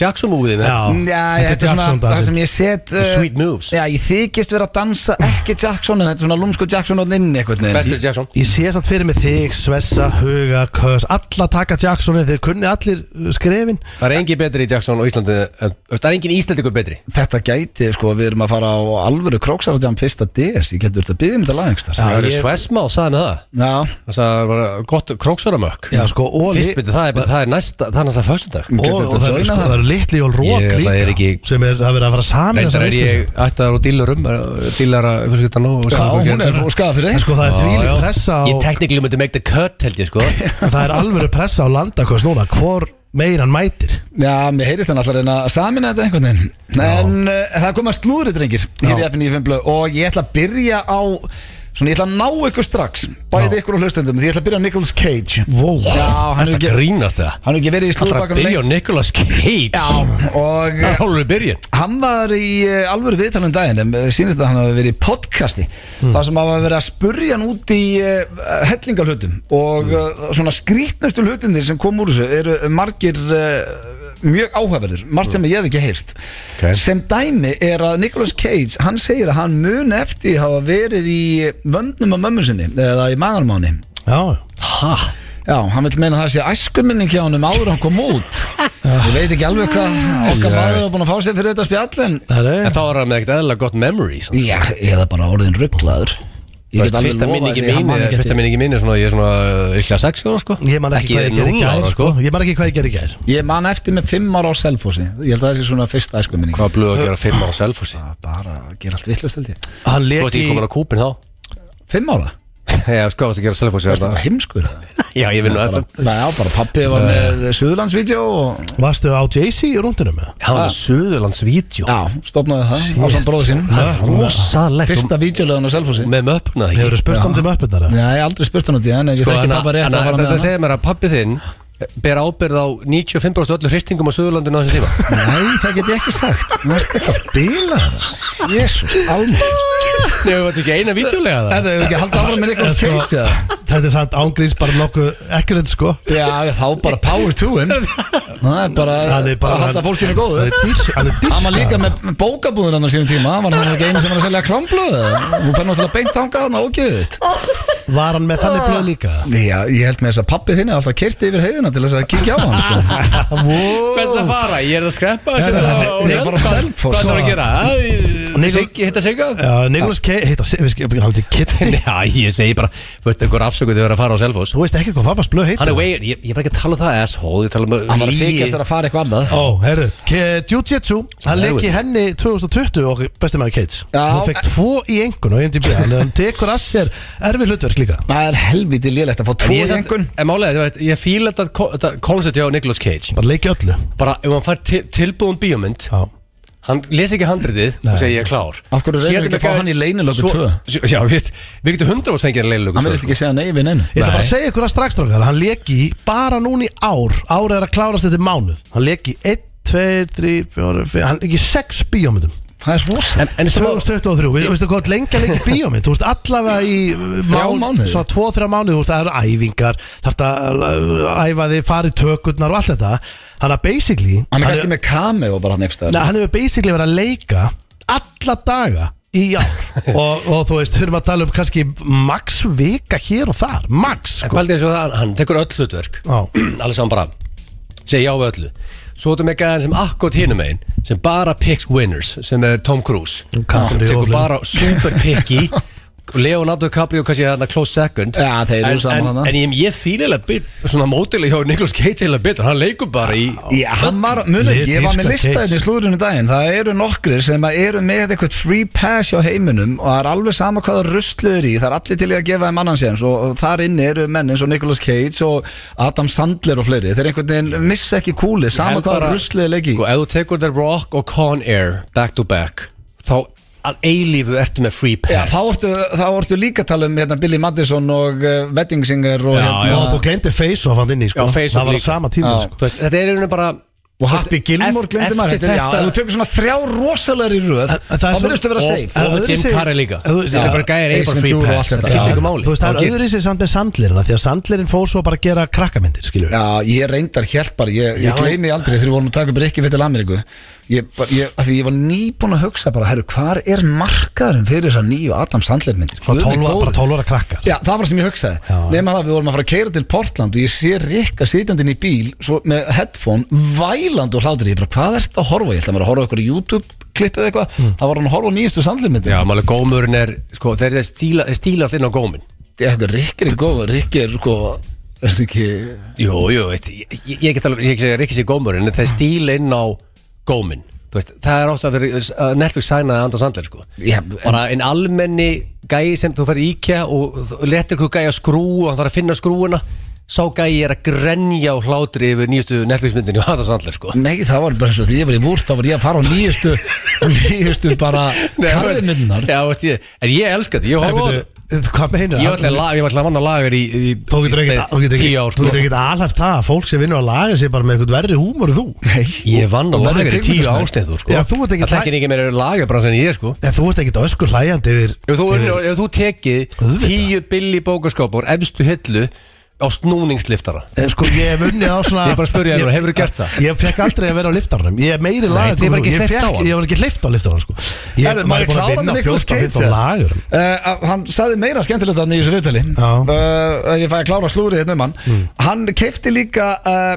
S3: Jackson movie
S2: Já,
S1: Já,
S2: þetta er Jackson
S1: það sem
S2: dansinn
S1: ég set uh,
S3: The sweet moves.
S1: Já, ég þykist vera að dansa ekki Jackson en þetta er svona lúmsku Jackson og inn einhvern veginn
S3: Bestur Jackson
S2: Ég sé samt fyrir mig þig, Svessa, Huga, Kös Alla taka Jacksoni, þeir kunni allir uh, skrefin
S3: Það er engin betri í Jackson og Íslandi en- Það er engin íslendikur betri
S1: Þetta gæti, sko, við erum að fara á alvöru króksarðjám fyrsta DS, ég getur þetta að byggja um þetta lag einhverstaðar
S2: Já,
S3: Það eru
S2: ég-
S3: Svesmál, sagði hann það
S1: Já,
S3: Það sagði hann var gott króksvaramökk
S2: Já, sko, og
S3: Fyrst
S2: li-
S3: byrju, það er, bara- það er næsta, það er næsta föstudag
S1: Getur
S2: Og,
S1: þetta
S2: og það eru
S1: joinað
S2: sko,
S1: það?
S2: það eru litli jól rók
S3: Ég-
S2: líka
S3: það er ekki-
S2: sem er að vera að fara saman
S3: Reyndar er ég ættaðar og dílar um Dílara, fyrir þetta nú og
S1: já
S3: Skagafjörn.
S1: hún er og skaða fyrir
S2: En
S1: eins
S2: sko það er
S3: Já, já.
S2: þvílík pressa á,
S3: Ég teknikli myndi make the cut held ég sko
S2: Það er alvöru pressa á landakost núna Hvor megin hann mætir
S1: Já, mér heyrist hann alltaf að reyna að samina þetta einhvern veginn En uh, það kom að slúðri drengir Hér í
S2: Já.
S1: FN95 blöð Og ég ætla að byrja á Svona, ég ætla að ná ykkur strax Bæði
S2: Já.
S1: ykkur á hlustendum Því ég ætla að byrja á Nicolas Cage
S2: Vó
S1: Já, hann
S3: Þetta
S1: hefur ekki,
S3: grínast það
S1: hann hefur ekki verið í
S3: Það er að
S1: slúðbakkanum
S3: byrja á Nicolas Cage Það
S1: lengi. Og
S3: er
S1: eh,
S3: hálfur byrjun
S1: hann var í eh, alvöru viðtalum daginn En eh, sýnist að hann hafi verið í podcasti Það sem hafa verið að spurja hann út í uh, Hellingalhutum Og mm. svona skrýtnustu hlutinir sem kom úr þessu Eru margir uh, mjög áhugaverðir Margt sem ég hef ekki heyrst
S3: Ok.
S1: sem dæmi er að Nicolas Cage hann segir að hann mun eftir því að hafa verið í vöndnum á mömmu sinni eða í maganmáni
S2: Já,
S3: Hæ?
S1: já, hann vil meina að það sé æskuminning hjá hann um áður en hann kom út ég veit ekki alveg hvað okkar maður er búin að fá sér fyrir þetta spjall en
S2: það
S3: En
S2: er
S3: þá er hann með ekkert eðla gott memories
S1: já, eða bara orðin rugglaður ég get alveg
S3: Fyrsta
S1: lofað
S3: minningi
S1: því að hann
S3: mín
S1: man
S3: er-
S1: ekki
S3: Fyrsta
S1: eftir
S3: minningi mín er svona Ég er svona ykla 6 ára sko
S2: Ég man ekki, hvað ég gerði í
S3: núll
S2: gær
S3: ára
S2: sko.
S3: sko
S2: Ég man ekki hvað ég gerði í gær
S1: ég man eftir með fimm ára á Selfossi ég held að það sé svona fyrsta æskuminning
S3: Hvað blöðu að gera 5 ára selfossi
S1: bara að gera allt vittlust held ég
S2: Hann
S3: Þú
S2: leik
S3: veist
S2: í
S3: ekki komin á kúpin þá *laughs*
S1: fimm ára,
S3: Já, sko, þú veist að gera
S1: það
S3: selfossi
S1: var heimskur það
S3: Já, ég vinn á FM
S1: *laughs* Já, bara pappi var með Suðurlandsvídeó og
S2: Varstu á Jay-Z í rúndunum með?
S3: Hann var með Suðurlandsvídjó
S1: Já, stopnaði það á samt bróðu sínum
S3: Rosalegt
S1: Fyrsta vídeolöðun á Selfossi
S3: Með möpna ekki
S2: Hefur þú spurt hann til möppunar?
S1: Já, ég hef aldrei spurt hann út í það En ég
S3: Sko,
S1: þekki
S3: þannig
S1: pappa
S3: að-
S1: rétt að
S3: þannig að
S1: fara með
S3: þetta
S1: hana
S3: segir mér að pappi þinn ber ábyrð á 95% öllu hristingum á Suðurlandinu á þessu tíma
S1: *laughs* Nei, það get ég ekki sagt Næst ekki að bila það Jésús, almur
S3: Nei, við varum ekki eina vítjulega
S1: sko-
S3: það
S1: Þetta hefur ekki haldið áfram með Nicholas Cage eða?
S2: Þetta er samt ángríns bara nokkuð ekkert sko
S1: Já, þá bara power to him Það er bara
S2: Hann er bara-
S1: að halda fólkinu góðu
S2: Hann er dýrs- hann er
S1: Hann var líka
S2: dyrka
S1: með með bókabúðun hann á sínum tíma Hann var hann ekki einu sem var að selja klámblöð Hún fær náttúrulega beint þangað hann á ógeðut
S2: Var hann með þannig blöð líka?
S1: Já, ég held með þess að pappi þinn er alltaf kerti yfir heiðina til þess að kíkja á hann sko.
S3: Hvernig að fara? Ég er að skreppa
S1: Nei,
S3: sem
S1: nei,
S3: það-
S1: nei,
S3: og
S1: nei,
S3: sel-
S1: bara
S3: hvað-
S1: Selfoss.
S3: Hvað þarf að gera?
S2: Nikol-
S3: Siggi- Hitta Sigga?
S2: Já, Nikolas K, heita, við skiljum hann til
S3: *laughs*
S2: Kitty
S3: Já, ég segi bara, veist einhver afsöku þegar að fara á Selfoss
S2: Þú veist ekki hvað pappans blöð heita
S3: Hann er way, ég, ég var ekki að tala um það asshole Ég tala um
S1: Hann var að
S3: lygi.
S1: þykjast þér að fara eitthvað annað
S2: Ó, heyrðu, K- Jiu-Jitsu, hann
S3: Herðu.
S2: leik í henni 2020 og besti maður Kates
S1: Já.
S2: Hún fekk tvo í engun og IMDb Þannig að hann tekur að sér erfið hlutverk líka
S1: Það er helviti lélegt að fá
S3: En
S1: tvo
S3: ég er samt-
S1: engun
S3: En málega, ég, ég fíla þetta ko- þetta koncept hjá Nicolas Cage
S2: Bara leik í öllu
S3: Bara ef hann fær til, tilbúin bíómynd
S2: Já,
S3: Hann lesi ekki handritið
S2: Nei.
S3: og segir ég er klár
S1: Af hverju reynir
S3: Síðan
S1: ekki að
S3: taka-
S1: fá hann í leynilöku
S3: Svo-
S1: tvö?
S3: svo- Já, við, við getum hundra ást fengið hann í leynilöku
S1: Hann
S3: tvö,
S1: verðist
S3: sko.
S1: ekki segja nei við neinu
S2: Ég ætla bara að
S3: Nei.
S2: segja ykkur að strax strákar Hann leik í bara núna í ár Ár er að klárast þetta í mánuð Hann leik í 1, 2, 3, 4, 5 Hann leik í 6 bíómyndum
S1: Það er rosa
S3: En, en svo,
S2: 2023 Við- Þú veistu hvað lengi að leik í bíómynd Þú veist allavega í
S1: mánuði.
S2: Svo 2-3 mánuð Þú veist það eru æfingar Þarft að uh, æfa þig Fari tökurnar og allt þetta Þannig að basically
S1: Hann er kannski með kame og bara hann ekki
S2: Nei,
S1: stæðar
S2: hann hefur basically verið að leika alla daga í ár og, og þú veist, höfum að tala um kannski max vika hér og þar max,
S3: en
S2: sko
S3: bældi eins og það, hann tekur öll hlutverk
S2: Já.
S3: *clears throat* Allir saman bara, segir já við öllu Svo ertu með gæðan sem akkot hinum einn Sem bara picks winners, sem er Tom Cruise Sem
S2: Caprio.
S3: tekur bara super
S1: *laughs*
S3: picky Leonardo DiCaprio, kannski er þarna close second
S1: Já, þeir eru
S3: En-
S1: saman
S3: En,
S1: þarna.
S3: en ég, ég fílilega bit, svona mótilega hjá Niklaus Cage heila bit Hann leikur bara í, í
S1: Já, hann var, munið,
S2: Lit
S1: ég var með
S2: Hitchcock
S1: lista
S2: Cage.
S1: hérna í slúðurinn í daginn Það eru nokkrir sem að eru með eitthvað free pass hjá heiminum og það er alveg sama hvaða rusluður í það er allir til í að gefa þeim annan séns og, og þar inni eru menn eins og Nicolas Cage og Adam Sandler og fleiri þeir einhvern veginn missa ekki kúli sama hvaða rusluður leggi
S3: Sko, ef þú tekur The Rock og Con Air back to back Þá að eilífu ertu með free
S1: Já,
S3: pass
S1: þá ortu, þá ortu líka að tala um hérna, Billy Madison og uh, Wedding Singer og,
S3: Já,
S1: hérna,
S2: og þú glemdi face-off hann inn í, sko
S3: Já, face-off
S2: það var á
S3: líka.
S2: sama tíma,
S1: Já.
S2: sko
S3: Þú veist, Þetta er einhvern bara
S1: og Happy Gilmore glemdi maður
S3: Eftir
S1: þetta, já,
S3: þetta
S1: ef Þú tekur svona þrjá rosalegri röð
S2: En- en það er
S1: þá
S2: svo-
S1: myndist að vera
S2: og-
S1: safe
S2: en-
S3: Og
S2: öðru
S3: Jim
S2: sig-
S3: Carrey líka
S2: Ef þú-
S3: Þetta er
S2: Já.
S3: bara
S1: Ace
S3: gæðir eða bara free
S1: Ventura og
S3: pass
S1: allt þetta.
S3: Þetta sko. skiptir ekki
S1: Já,
S3: máli
S2: þú veist, það
S3: Þá
S2: er
S3: get-
S2: öðru sér samt með sandlirina því að sandlirin fóð svo bara að gera krakkamyndir, skilju
S1: Já, ég reyndar hjælt bara, ég,
S3: Já.
S1: ég gleymi því aldrei þegar við vorum að taka upp Rikki fyrir til Ameríku ég, bara- ég, af Því ég var nýbúin að hugsa bara, herru, hvar er markaðurinn fyrir þessar nýju Adam Sandler myndir?
S2: Bara
S1: Guð minn
S2: 12
S1: góður.
S2: bara 12 ára krakkar
S1: Já, það var sem ég hugsaði
S2: Já.
S1: Nefna það, við vorum að fara að keira til Portland og ég sé Rikka sitjandi inn í bíl svo, með headphone, væland og hlátur ég bara, hvað ert að horfa? Ég held að maður að horfa á ykkur YouTube-klipp eða eitthvað það var hann að horfa á nýjastu
S3: Já,
S1: sandlirmyndir
S3: máli gómurinn er sko, Þeir eru stíla, þeir stíla allt inn á gómin
S1: Rikki er góð, Rikki er sko er þetta ekki,
S3: Jú, jú, veist, ég, ég, ég get alveg Ég get ekki sér gómurinn En þeir stíla inn á gómin Þú veist, það er ástæða fyrir uh, Netflix sænaði Andra Sandler sko.
S1: Já,
S3: bara en almenni gæi sem þú fer í IKEA og letur ykkur gæi að skrú og hann þarf að finna skrúuna sá gæi er að grenja og hlátri yfir nýjustu Netflix myndinu og Andra Sandler sko.
S1: Nei, það var bara eins og því ég var í vúrt þá var ég að fara á nýjustu nýjustu bara
S3: Nei,
S1: karðmyndunar
S3: Já, veist ég, en ég elska þetta, ég
S2: Nei,
S3: horfa á
S2: byrju,
S3: þetta
S2: hvað meina
S3: Ég ætla að la- ég ætla að vanna lagar í, í
S2: Þú getur
S3: í-
S2: ekkert- þú getur
S3: Tíu ár
S2: ekkert- þú
S3: sko.
S2: getur ekkert alhæft það að fólk sem vinnur að laga sér bara með eitthvað verri húmur þú
S3: Ég vann á
S1: Og verður
S3: lagar í tíu
S1: kvikmyndasmaður.
S3: ástæður sko.
S2: Já, þú ert ekkert
S3: Það tekir ekki meira lagarbransan en ég sko
S2: En þú ert ekkert öskur hlæjandi yfir
S3: Ef þú,
S2: yfir-
S3: ef þú tekið
S2: Auðvitað.
S3: tíu billi bókaskáp úr efstu hillu á snúningsliftara
S2: Eh, Sko ég hef unnið á svona
S3: *laughs* Ég er bara að spyrja þér, hefurðu gert það?
S2: Ég fekk aldrei að vera á liftarunum Ég er meiri
S3: Nei,
S2: lagar
S3: þið er bara ekki
S2: ég,
S3: hleypt á hann.
S2: ég var ekki hleyft á liftarunum sko. Ég
S1: Herðu,
S2: maður er búin að
S1: klárar
S2: vinna
S1: með Nicolas
S2: 14-15
S1: Cage,
S2: lagur
S1: eða? Eh, Hann sagði meira skemmtilegt þannig í þessu viðtali
S2: Já.
S1: uh, Ég fæ að klára slúrið hérna um hann Hann keipti líka uh,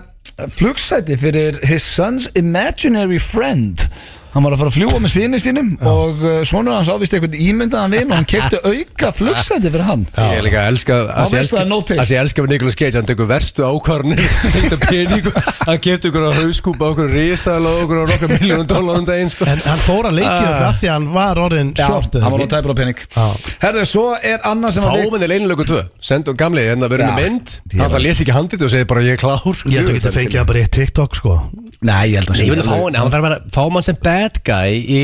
S1: flugsæti fyrir his son's imaginary friend Hann var að fara að fljúa með sinni sínum og uh, svonur hans ávist eitthvað ímyndaðan vin og hann keipti auka flugsæti fyrir hann
S3: Ég er líka að elska
S1: Þá
S3: að sé
S1: veistu
S3: elska-
S1: það er no taste.
S3: að sé elska við Nicolas Cage hann tekur verstu ákvarðanir *laughs* þetta peningu hann kefti okkur á hauskúpa okkur risaðal og okkur á nokkra miljónum dólar um daginn sko.
S2: En hann fór að leikja
S3: Ah.
S2: uh, það því að hann var orðin
S1: Já,
S2: short
S1: hann var á tæpur á pening
S2: Já.
S1: Herðu, svo er annað sem
S3: þá
S1: að-
S3: myndi leinilöku tvö send og gamli en það verður
S1: Já.
S3: með mynd hann það lesi ekki handið og segir bara ég er klár sko.
S2: Ég held að þú getur fengið að bara í eitt TikTok sko
S1: Nei, ég held að
S3: Nei, ég vil fá hann hann verður að vera- fá mann sem bad guy í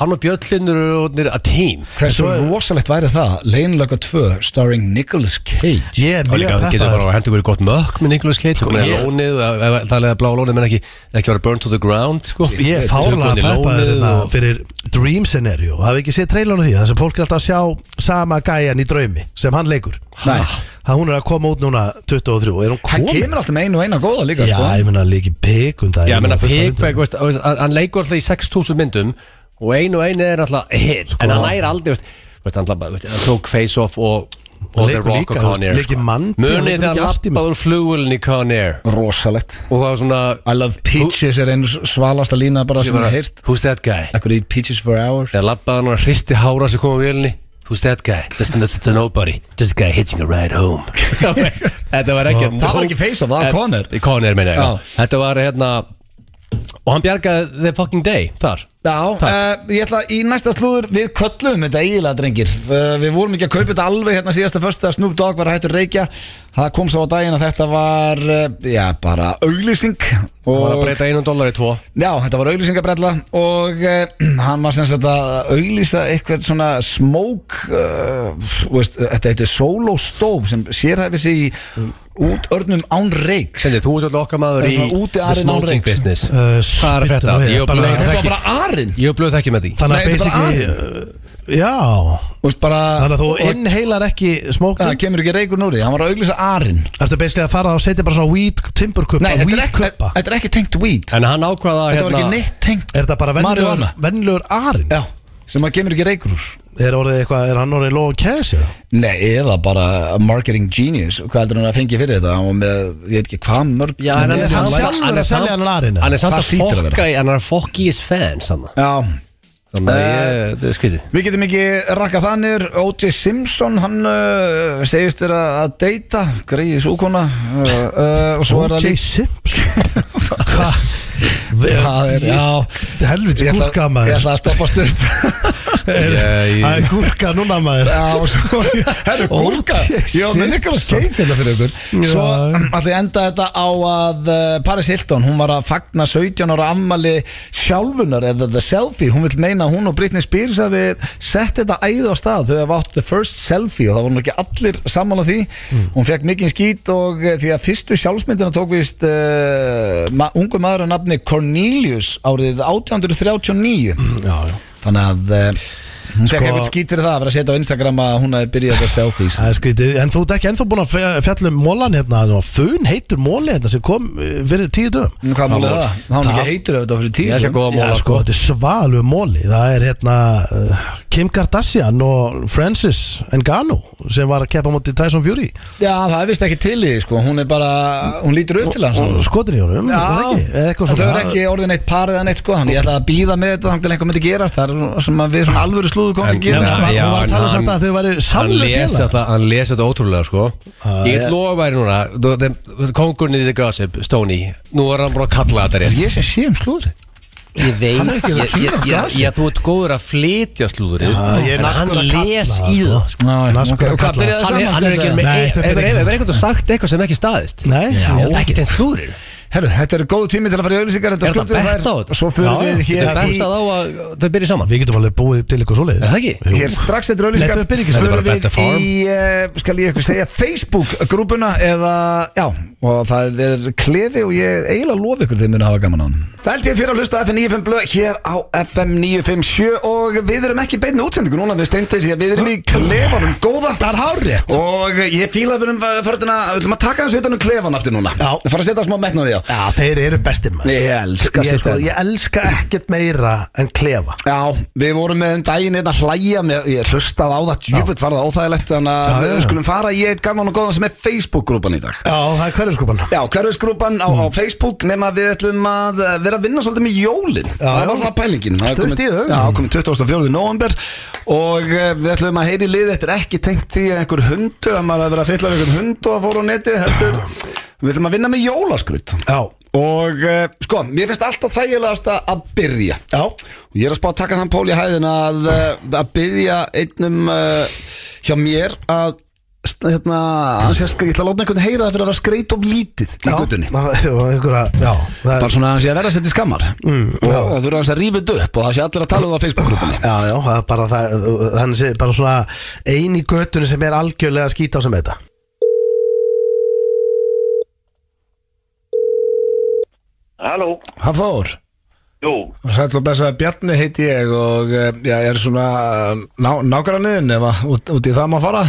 S3: Hann og Bjöllin eru orðnir að tím
S1: Hversu rosalegt væri það? Lane Laga 2 starring Nicolas Cage
S2: Ég er
S3: Og líka
S2: mjög
S3: það getur
S2: peppaður
S3: bara að hendur verið gott mökk með Nicolas Cage sko,
S2: ég-
S3: Lónið, ef- ef- það er leiða blá lónið menn ekki, ekki vera burned to the ground sko.
S2: Ég er fárlega
S3: Tökum í
S2: peppaður
S3: lónið
S2: hérna
S3: og-
S2: fyrir Dream Scenario Hafið ekki séð trailernu því Það sem fólk er alltaf að sjá sama gæjan í draumi sem hann leikur
S1: Nei.
S2: Það hún er að koma út núna 23 Er hún
S1: Hann
S2: komin?
S1: kemur alltaf með einu og eina góða líka
S2: Já,
S1: sko.
S2: ég meina líki pik um það
S3: Já,
S2: Ég meina,
S3: menna
S2: fyrsta myndin.
S3: Pigback, veist, veist, hann hann leikur alltaf í 6000 myndum og einu og einu er alltaf hit en
S2: Sko.
S3: hann næri aldrei, veist, veist, hann, labba- veist, hann tók Face Off og, og
S2: Hann
S3: The
S2: leikur
S3: Rock
S2: líka, þú
S3: og
S2: veist,
S3: Con Air sko.
S2: leikir Mandy, hann leikur
S3: munið þegar
S2: líka
S3: hann
S2: Aftermath.
S3: lappaður flugulinn í Con Air
S1: Rosalegt
S3: og það var svona
S1: I love peaches er einu svalasta lína bara sem ég hef heyrt
S3: Who's that guy?
S1: I could eat peaches for hours
S3: Þegar lappaði hann og hristi hára sem kom á vélni Who's that guy? That's, that's, that's a nobody This guy hitching a ride
S1: *laughs*
S3: home Þetta var ekki
S1: Það var ekki face-off, það var
S3: En-
S1: Conner.
S3: Conner meina ég
S1: Já.
S3: já. Þetta var hérna Og hann bjargaði the fucking day þar
S1: Já, uh, ég ætla í næsta slúður við köllum þetta eiginlega drengir uh, Við vorum ekki að kaupa þetta alveg hérna síðasta först að Snoop Dogg var hættur reykja Það kom svo á daginn að þetta var, uh, já, bara auglýsing
S3: Það var að
S1: og
S3: breyta einum dólar í tvo
S1: Já, þetta var auglýsingabrella og uh, *clears throat* hann var sem sagt að auglýsa eitthvað svona smoke uh, þú veist, þetta heitir solo stove sem sérhæfi sig í útörnum án reiks
S3: Sendi, þú ert alltaf okkar maður
S1: Það
S3: í
S1: er svona úti
S3: the
S1: arinn án
S3: smoking
S1: reyks.
S3: business
S2: Uh,
S3: Hvað er að frétta?
S2: spytum við,
S3: Ég er
S2: bara-
S3: blöð
S1: Þetta var
S3: þekki
S1: bara arinn
S3: Ég er blöð þekki með því
S2: Þannig að
S1: Nei, þetta er bara
S2: basically uh, Já
S1: Þú veist, bara,
S2: Þannig að þú
S1: og- og-
S2: inheilar ekki
S1: Það
S2: smókin
S1: kemur ekki reikur núri, hann var að auglýsa arinn
S2: Ertu basically að fara og setja bara svona weed timburkuppa
S1: Ah. Nei, þetta er,
S2: Weed
S1: ekki,
S2: kuppa
S1: þetta er ekki tengt weed
S3: En hann hérna, ákvaða
S1: Þetta var ekki neitt tengt
S2: hérna Er þetta bara venjulegur,
S1: Marihuana.
S2: venjulegur arinn?
S1: Já, sem að kemur ekki reikur úr
S2: Er, orðið eitthvað, er hann orðið loðan kæs?
S1: Nei, eða bara marketing genius Hvað heldur hann að fengi fyrir þetta? Hann var með, ég veit ekki hvað mörg
S3: Já, en
S2: Nei,
S3: hann er
S2: hann
S3: samt-
S2: sjálfur að
S3: hann er
S2: selja
S3: samt-
S2: hann arinn, eða?
S3: Hann er samt
S1: Það
S3: að
S1: hlýtur að vera.
S3: fokka í- Hann er að fokki í his fans hann.
S1: Já, Uh,
S3: Þannig að ég, það er skvítið
S1: Við getum ekki rakkað það niður O.J. Simpson, hann uh, segist vera að deyta, greiði súkona uh, uh, og svo er það
S2: O.J.
S1: líka *laughs*
S2: Simpson Hvað?
S1: Það er- já.
S2: Helviti
S1: Ég ætla-
S2: gúrka
S1: Ég
S2: maður
S1: ætla að stoppa stund
S2: Er-
S3: Ég-
S2: Það er gúrka núna maður
S1: Já, og svo Herru, gúrka
S2: O.J.
S1: Ég var með Nicolas Cage hérna fyrir ykkur Svo
S2: Já.
S1: allir enda þetta á að uh, Paris Hilton, hún var að fagna 17 ára afmæli sjálfunar eða The Selfie, hún vil meina að hún og Britney Spears að við sett þetta æðu á stað þau hafa átt The First Selfie og það voru nú ekki allir sammála því hún fekk mikinn skít og uh, því að fyrstu sjálfsmyndina tók vist uh, ma ungu maður að nafni Cornelius árið 1839
S2: Já, já
S1: Þannig að eh, hún fekk
S2: Sko-
S1: eitthvað skýt fyrir það að vera að setja á Instagram að hún hefði byrjað að sko. selfies
S2: Það er skrítið, en þú ert ekki ennþá búin að fe- fjalla um mólan hérna, það var fun heitur móli hérna sem kom eh, fyrir tíu dögum
S1: Nú, Hvað mál er það? Það var
S2: Það-
S1: ekki heitur auðvitað fyrir tíu
S3: Ég sé góða
S2: Já,
S3: móla
S2: sko, þetta er svalu móli, það er hérna eh, Kim Kardashian og Francis Ngannou sem var að keppa móti Tyson Fury
S1: Já, það er vist ekki til í því sko Hún er bara, hún lítur upp til hans
S2: og skotin í honum, var það ekki? Eða eitthvað
S1: en þau
S2: svona.
S1: eru ekki orðin eitt par eða neitt sko Þannig ég ætla að býða með þetta þannig til einhver myndi gerast Það er svona við svona alvöru slúðu komum
S3: En-
S1: að gera
S2: Nei,
S3: Já,
S2: hann,
S3: já,
S2: hann var að tala um
S3: en
S2: samt
S3: hann-
S2: að þau væri
S3: Hann
S2: samlega
S3: lesi
S2: félag
S3: þetta- hann lesi þetta ótrúlega sko
S2: Ah,
S3: Ég
S2: ja.
S3: lofa þér núna þú- þeim- Kongurinn í The Gossip, Stoney Nú er hann bara að kalla þetta rétt
S1: Ég sem sé um slúður
S3: Ég veit
S1: Hann er ekki að
S3: ég-
S1: kynna
S3: ég- ég-
S1: glasið.
S3: ég- Þú ert góður að flytja slúður
S2: ég er
S3: En hann
S2: naskur að kalla
S3: les
S2: það,
S3: í
S2: sko.
S3: það sko.
S1: Ná,
S2: Naskur
S1: ok,
S2: að
S1: og
S2: kalla.
S1: hvað byrjaði
S3: Hann er- hann er ekki
S1: saman
S3: með
S2: Nei,
S3: Ef
S2: þetta er
S3: ef-
S2: ekki
S3: ef- ef
S2: satt.
S3: einhvern sagt eitthvað sem ekki staðist
S2: Nei,
S1: Já.
S2: ég
S3: Það
S2: held
S3: er
S2: ekki.
S3: ekki tengt slúður
S1: Herru, þetta eru góð tími til að fara í auðlýsingar
S3: Er þetta bett á þetta?
S1: Svo fyrir
S2: Já,
S1: við
S2: já,
S1: hér
S2: þetta
S1: í-
S3: Bæmstað á að þau byrja saman
S2: Við getum alveg búið til eitthvað svoleiðis
S3: Er það ekki?
S2: Jú.
S1: Hér strax þetta
S2: Nei,
S1: rauðlýskap
S2: þetta er bara
S3: Þetta er bara
S1: við
S3: Better Farm.
S1: í, uh, skal ég eitthvað segja, Facebook-grúpuna eða, já, og það er klefi og ég eiginlega lofi ykkur þeim muni hafa gaman á hann. Það held ég þér að hlusta á FM 95 blöð hér á FM 957 og við erum ekki í beinni útsendingu núna við steindir því að við erum í klefanum góða.
S2: Það er hárrétt
S1: Og ég fíla að við erum eh, farin að, við ætlum að taka hans utan um klefan aftur núna.
S2: Já.
S1: Fara að setja smá metna því á.
S2: Já, þeir eru bestir maður
S1: Ég elska að
S2: ég, sko,
S1: setja
S2: ég elska ekkert meira en klefa
S1: Já, við vorum með um daginn einn að hlæja með, ég hlustaði á það djúfitt var það óþægilegt þannig
S2: Já,
S1: að
S2: já,
S1: við
S2: já.
S1: skulum fara í eitt gaman og góðan sem er Facebook-grúpan í dag
S2: Já, það er hverjuskopan
S1: Já, hverfisgrúpan á,
S2: Mm.
S1: á Facebook nema við ætlum að eh, vera að vinna svolítið með jólin Það
S2: já.
S1: var svona pælingin Það er
S2: Stutt
S1: komið-
S2: í þau.
S1: Já, komið 24. november og eh, við ætlum að heyri lið Þetta er ekki tengt því að einhver hundur að maður er að vera að fylla af einhver hund og að fóra á neti heldur, Við ætlum að vinna með jólaskrut
S2: Já,
S1: Og eh, sko, mér finnst alltaf þægilegast að byrja
S2: já
S1: Og Ég er að spá að taka þann pól í hæðin eh, að, eh, að byggja einnum uh, hjá mér að hérna, hann sé að ég ætla að láta einhvern heyra það fyrir að vera skreit of lítið í guttunni
S2: Einhverja, já það
S4: Bara
S2: er,
S4: svona að hann sé að verða setið skammar
S2: Mm,
S4: og það þurfa hans að rífa þetta upp og það sé allir að tala um það á Facebook-grúpunni
S2: Já, já, það er bara það Þannig sé bara svona ein í göttunni sem er algjörlega að skýta á sem þetta
S5: Halló,
S1: Hafþór
S5: jú,
S1: Sæll og blessaði Bjarni heiti ég og eh, já, ég er svona eh, ná, nágranniðin ef að út, út í það maður fara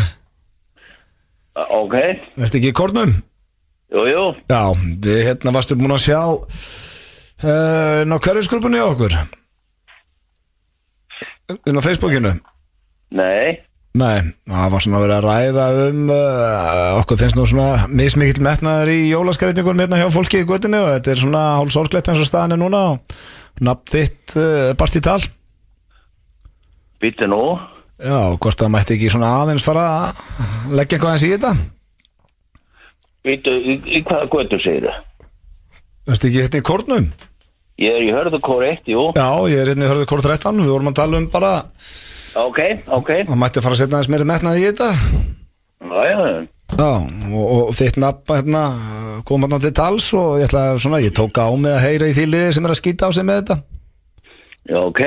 S5: ok,
S1: Veist ekki í kornum?
S5: jú, jú,
S1: Já, við hérna varstu búin að sjá uh, ná hverjusgrúpunni á okkur inn á Facebookinu
S5: nei,
S1: Nei, það var svona að vera að ræða um uh, okkur finnst nú svona mismikill metnaður í jólaskreitingum hérna hjá fólki í göttinu og þetta er svona hálfsorglegt eins og staðan er núna og nafn þitt uh, barst í tal
S5: býttu nú,
S1: Já, hvort það mætti ekki svona aðeins fara að leggja eitthvað eins í þetta
S5: býttu, í, í hvaða götu segir það?
S1: Veistu ekki hérna í kórnum?
S5: Ég er í hörðukór 1, jú,
S1: Já, ég er hérna í hörðu kór 13 við vorum að tala um bara
S5: ok, ok,
S1: Það mætti fara að setja aðeins meira metnaði í þetta
S5: já, já, já.
S1: Já, og, og þitt nafn hérna, kom hérna til tals og ég ætla að svona, ég tók á mig að heyra í því liði sem er að skýta á sig með þetta
S5: já, ok,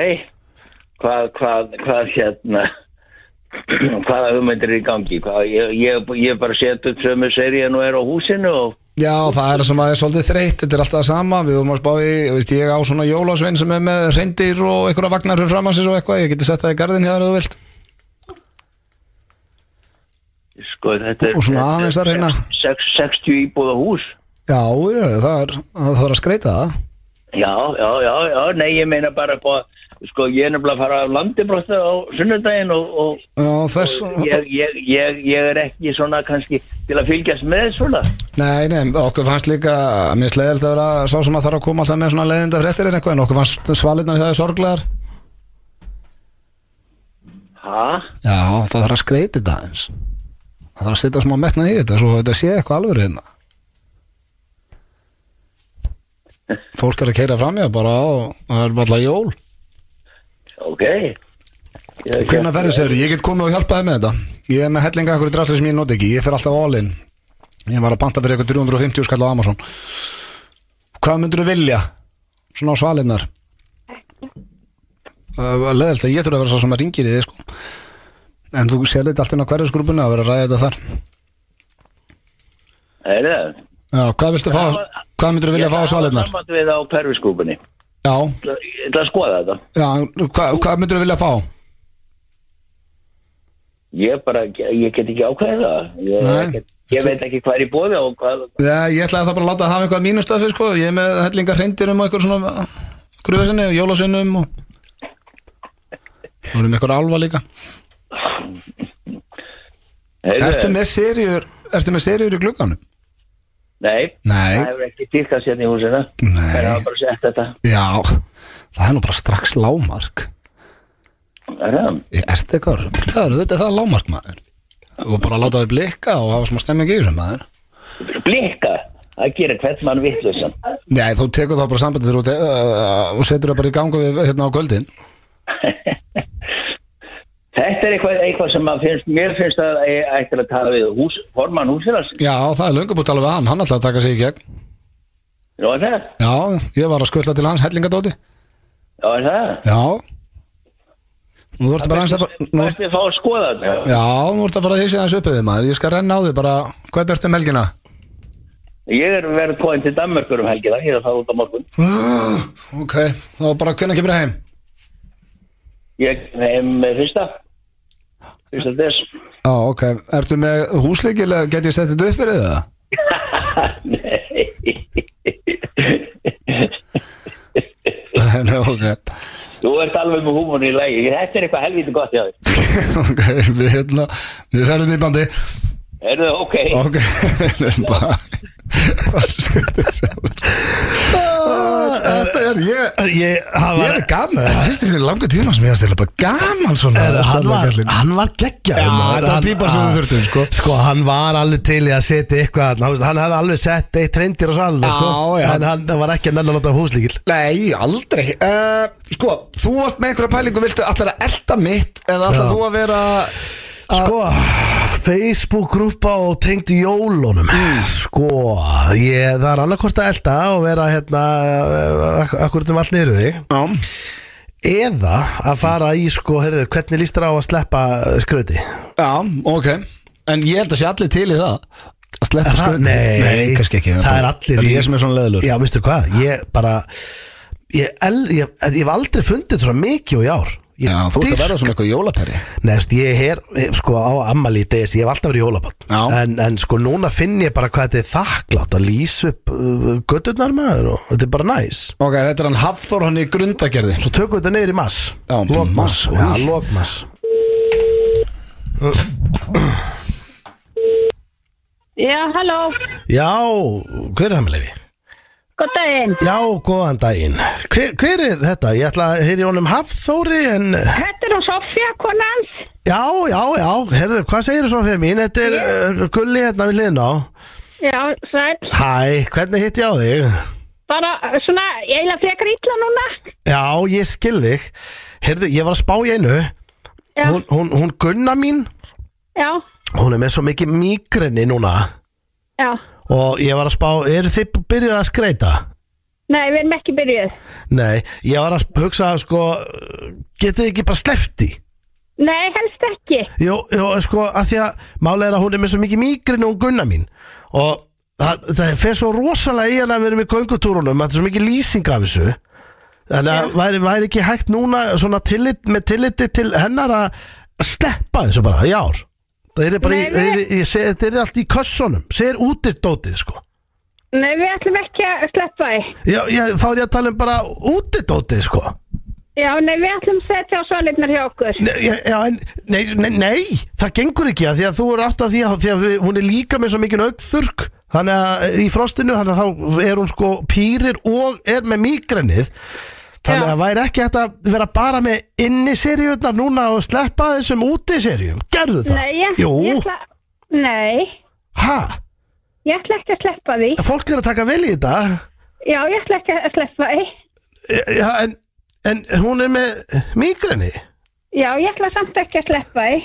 S5: hvað, hvað, hvað hérna, *clears throat* hvaða hugmyndir er í gangi, hvað, ég, ég, ég bara set upp sömu serían og er á húsinu og,
S1: Já, það er sem að er svolítið þreytt, þetta er alltaf það sama við vorum að spá í, veist, ég á svona jólásvinn sem er með reyndir og einhverja vagnar fyrir framansins og eitthvað, ég geti sett það í garðin hérna ef þú vilt
S5: sko, þetta er,
S1: Og svona
S5: þetta er
S1: aðeins hérna. að reyna.
S5: sex- 60 íbúða hús,
S1: Já, já, það er, það er að skreita það
S5: já, já, já, já, nei, ég meina bara, bá, sko, ég er nefnilega að fara af landi brottu á sunnudaginn og, og,
S1: Já, þess
S5: ég, ég, ég, ég er ekki svona kannski til að fylgjast með svona
S1: Nei, nei, okkur fannst líka mér slegilegt að vera sá sem að þarf að koma alltaf með svona leiðinda fréttir en eitthvað en okkur fannst svalirnar það er sorglegar
S5: Hæ?
S1: Já, það þarf að skreita þetta eins Það þarf að setja smá metnað í þetta svo þetta sé eitthvað alveg hérna Fólk er að keira framjá bara á það er bara jól
S5: Ok
S1: Hvernig verður sér, ég get komið og hjálpaði með þetta Ég er með hellinga einhverju drasli sem ég noti ekki Ég fer alltaf all in Ég var að panta fyrir eitthvað 350 skall á Amazon Hvað myndirðu vilja? Svona á svalinnar Leðilt að ég þurfa að vera svo sem að ringir í þig sko. En þú sér þetta allt inn á hverjusgrúpunni að vera að ræða þetta þar
S5: Er það?
S1: Já, hvað viltu fá, hvað myndur vilja fá á svalinnar?
S5: Ég er við á perfiskúpunni
S1: Já,
S5: Ég ætla að skoða þetta
S1: já, hvað, hvað myndur vilja fá?
S5: Ég bara, ég get ekki ákveðið það Ég,
S1: Nei.
S5: get, ég veit ekki hvað er í bóði og hvað
S1: Já, ég ætlaði það bara að láta að hafa eitthvað mínustöfi, sko, ég er með hellinga hreindirum og eitthvað svona grufasinni og jólasinum og Nú erum ykkur álfa líka
S5: Heyrðu,
S1: Ertu með seriur, ertu með seriur í glugganum?
S5: Nei,
S1: Nei.
S5: það hefur ekki tíkast hérna í húsina
S1: Nei.
S5: Það er bara að setja þetta
S1: Já, það er nú bara strax lámark
S5: Er það?
S1: Ertu eitthvað ruglaður, þetta er það lámark maður og bara láta þau blikka og hafa smá stemming í þessum maður
S5: Blika Það gerir hvern mann vittlössan
S1: Nei, þú tekur það bara sambandi þér og, te- uh, og setur það bara í ganga við hérna á kvöldin
S5: Þetta er eitthvað, eitthvað sem að finnst, mér finnst að ég ætti að tala við hús, formann húsirans
S1: Já, það er löngum búið að tala við hann, hann ætlaði að taka sig í gegn
S5: Já, er það?
S1: Já, ég var að skutla til hans hellingadóti
S5: Já, er það?
S1: Já Nú þú ertu bara hans að fara- nú,
S5: Hvernig fá að skoða þetta?
S1: Já, nú ertu að fara að hýsja þessu uppið þig, maður Ég skal renna á þig bara, hvað ertu um helgina? *sighs*
S5: Ég er verið kóin til Danmarkur um helgina, ég er að fara út á morgun.
S1: Ok, þá bara hvernig kemur það heim?
S5: Ég heim eh, fyrsta. Fyrsta þess.
S1: Já, ok, ertu með húsleik eða get ég sett þetta upp fyrir *laughs* það?
S5: Nei.
S1: Nei, ok *laughs*
S5: Þú ert alveg með húmónu í lægi. Þetta er eitthvað helvítið gott hjá þér.
S1: Ok, við hérna Við ferðum í bandi
S5: Er það ok?
S4: *laughs*
S1: Ok, við erum bara Skuldið sjálf Þetta er ég
S2: Ég, hann
S1: Ég
S2: var,
S1: er gaman, það er fyrst í sér langa tíma sem ég að stila bara gaman svona
S2: er, hann var,
S1: spjallakallinn.
S2: hann var geggja
S1: Já, þetta var típan sem við þurftum, sko.
S2: Sko, hann var alveg til í að setja eitthvað þarna, þú veist, Hann hefði alveg sett eitt reyndir og svalina sko.
S1: Já, já.
S2: En hann hann var ekki að nennan nota húslíkil
S1: Nei, aldrei uh, Sko, þú varst með einhverja pælingu viltu allar að elda mitt eða allar
S2: Já.
S1: þú að vera
S2: Sko, Facebook-grúpa og tengd jólunum
S4: Mm.
S2: Sko, ég, það er annarkvort að elda og vera hérna ak- akkurat um allt niður þig
S1: Já,
S2: eða að fara í sko, heyrðu, hvernig líst þér á að sleppa eh, skrauti?
S4: Já, ok En ég held að sé allir til í það Að sleppa
S2: Er það-
S4: skröndi
S2: Nei,
S4: kannski ekki
S2: Það er allir
S4: Það
S2: í-
S4: er ég sem er svona leðilur
S2: Já, veistu hvað, ég bara ég, el, ég, ég hef aldrei fundið svo mikið og í ár ég,
S4: Já, þú ert að
S2: dýrka-
S4: verða svona eitthvað jólaperri
S2: Nei, veist, ég er eh, sko á ammali í DS, ég hef alltaf verið jólabann
S4: Já.
S2: en, en sko núna finn ég bara hvað þetta er þakklátt að lýsa upp uh, götturnar maður og þetta er bara næs
S4: Ok, þetta er hann Hafþór hann í grundagerði
S2: Svo tökum við þetta neyður í mass
S4: Já,
S2: Lókmass
S4: mass,
S2: Já,
S4: új.
S2: lókmass
S6: Já, halló,
S2: Já, hver er það með leifi?
S6: góð daginn.
S2: Já, góðan daginn hver, hver er þetta? Ég ætla að heyri honum Hafþóri en
S6: Þetta er hún Sofía, kona hans.
S2: Já, já, já, herðu, hvað segir þú svo fyrir mín? Þetta er uh, gulli hérna við liðna á
S6: Já, sæl.
S2: Hæ, hvernig hitt ég á þig?
S6: Bara uh, svona, ég eiginlega frekar illa núna.
S2: Já, ég skil þig Herðu, ég var að spá í einu
S6: Já,
S2: hún, hún, hún Gunna mín
S6: já,
S2: hún er með svo mikið migrini núna
S6: já.
S2: og ég var að spá, eru þið byrjuð að skreita?
S6: Nei, við erum ekki byrjuð.
S2: Nei, ég var að hugsa sko, getið þið ekki bara slefti?
S6: Nei, helst ekki.
S2: Jó, jó, sko, að því að málega er að hún er með svo mikið migrini hún Gunna mín og það, það fer svo rosalega í hana að vera með göngutúrunum að það er svo mikið lýsing af þessu þannig að væri, væri ekki hægt núna svona tillit, með tilliti til hennar að sleppa þessu bara í ár það er bara,
S6: Nei,
S2: í,
S6: nei.
S2: í, í, í, þetta er allt í kössunum segir útitt dótið sko
S6: Nei, við ætlum ekki að sleppa því.
S2: Já, já, þá er ég að tala um bara útidótið, sko.
S6: Já, nei, við ætlum að setja á svolitnar hjá okkur.
S2: Nei, já, já, en, nei, nei, nei, það gengur ekki að því að þú er átt að því að, því að við, hún er líka með svo mikið augþurk þannig að eh, í frostinu, þannig að þá er hún sko pýrir og er með mígrennið þannig að
S6: Já.
S2: það væri ekki hægt að vera bara með inni seríurnar núna og sleppa þessum úti seríum, gerðu það?
S6: Nei, ég,
S2: Jú,
S6: ég ætla... Nei,
S2: hæ?
S6: ég ætla ekki að sleppa því.
S2: Fólk er að taka vel í þetta
S6: Já, ég ætla ekki að sleppa því.
S2: já, en, en hún er með mígrennið
S6: Já, ég ætla samt ekki að sleppa því.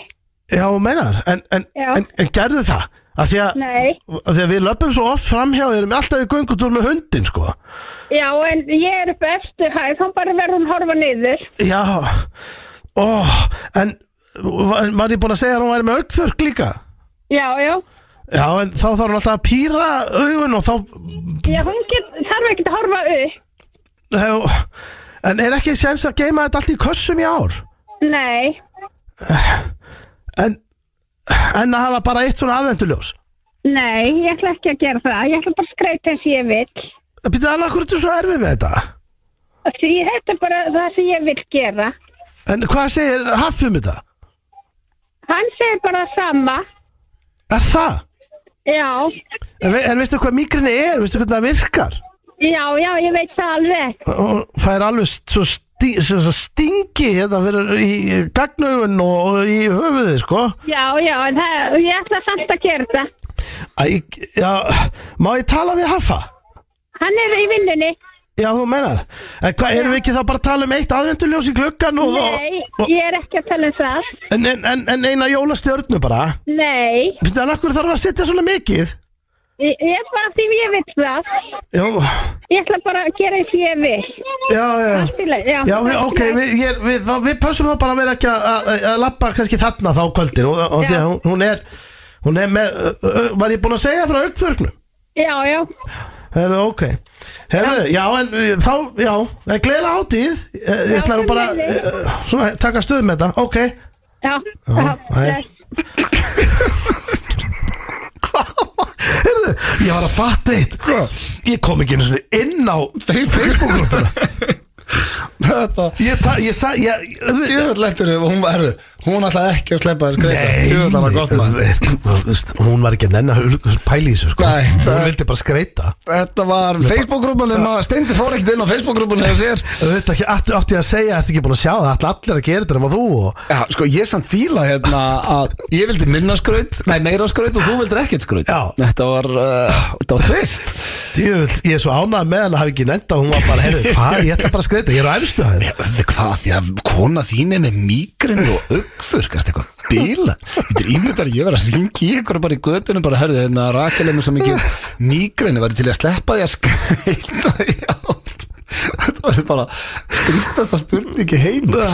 S2: Já, þú meinar, en, en,
S6: Já.
S2: en, en gerðu það að því að,
S6: Nei.
S2: að því að við löpum svo oft framhjá við erum alltaf í göngutúr með hundin sko
S6: Já, en ég er upp efstu hæð, þá bara verður hún horfa niður.
S2: Já, ó en var, var ég búin að segja að hún væri með augþörk líka
S6: Já, já.
S2: Já, en þá þarf hún alltaf að pýra augun og þá
S6: Já, hún get, þarf ekki að horfa upp.
S2: hef, en er ekki séns að geima þetta allt í kössum í ár
S6: Nei,
S2: en, en að hafa bara eitt svona aðvenduljós
S6: nei, ég ætla ekki að gera það. Ég ætla bara að skreita eins og ég vil.
S2: Býttu alveg hvernig þú svo erfið með þetta
S6: Því þetta er bara það sem ég vil gera.
S2: En hvað segir Hafið um þetta?
S6: Hann segir bara það sama.
S2: Er það?
S6: Já,
S2: En, ve- en veistu hvað migrini er? Veistu hvernig það virkar?
S6: já, já, ég veit það alveg.
S2: Hún fær alveg st- svo stí, svo svo stingi hérna fyrir í gagnaugun og í höfuðið, sko.
S6: Já, já, en það, ég ætla samt að gera það.
S2: Æ, ég- já, má ég tala við Hafa?
S6: Hann er í vinnunni.
S2: Já, þú menar. En hvað, erum við ekki þá bara að tala um eitt aðvenduljós í klukkan og...
S6: Nei,
S2: og, og
S6: ég er ekki að tala um það.
S2: en, en, en, en eina jólastjörnu bara.
S6: Nei,
S2: Býttu, en akkur þarf að setja svona mikið?
S6: ég, ég er bara því ég vil það.
S2: Já,
S6: Ég ætla bara að gera eins og ég vil.
S2: já, já.
S6: Allt í lagi, Já,
S2: Já, við,
S6: allt í
S2: ok,
S6: lagi.
S2: við, ég, við, þá, við pössum þá bara að vera ekki að- að að lappa kannski þarna þá kvöldin og, og því
S6: Já.
S2: að hún, hún er, hún er með, ö, ö, var ég búin að segja frá augþörknum?
S6: Já, já,
S2: Herðu, ok, herðu, já, en ö, þá, já, en gleðilega hátíð, ég, ég
S6: Já,
S2: ætla nú bara,
S6: sömuleiðis.
S2: ö, svona, taka stöð með þetta, ok.
S6: já. já,
S2: hæ.
S6: bless.
S2: Herðu, ég var að fatta eitt, ég kom ekki einu svona inn á Facebook-grúpuna,
S1: þetta
S2: ég, ta- ég, sa- ég, ég,
S1: Djöðlættur, hún, herðu, hún ætlaði ekki að sleppa þér skreita Djöðlættur var gott maður
S2: maður Hún var ekki að nenn að pæla í þessu sko
S1: Nei,
S2: Hún
S1: það-
S2: vildi bara skreita
S1: Þetta var Facebook-grúpunum að Steindi fór ekkert inn á Facebook-grúpunum þegar sér
S2: Þetta ekki, átti átti ég að segja, ertu ekki búin að sjá það ætla Allir að gera þetta nema þú og
S1: Já, sko, ég samt fíla hérna að ég vildi minna skraut, nei meira skraut og þú vildir ekkert skraut
S2: Já.
S1: Þetta var, uh, þetta var tvist
S2: Djöfull, ég er svo ánægð með hann að hafa ekki nefnda Hún var bara, heyrðu, hvað, ég ætla bara að skreita Ég er á efstu hæð
S1: Þetta hvað, því að kona þín er með mígrinn og augn langþurkast eitthvað bíla Þetta er ímyndar ég var að syngi ykkur bara í götunum bara herðu hérna rakilega með svo mikið migræni var til í að sleppa því að skreita því átt Þetta var bara skrýstasta spurningi heim uh,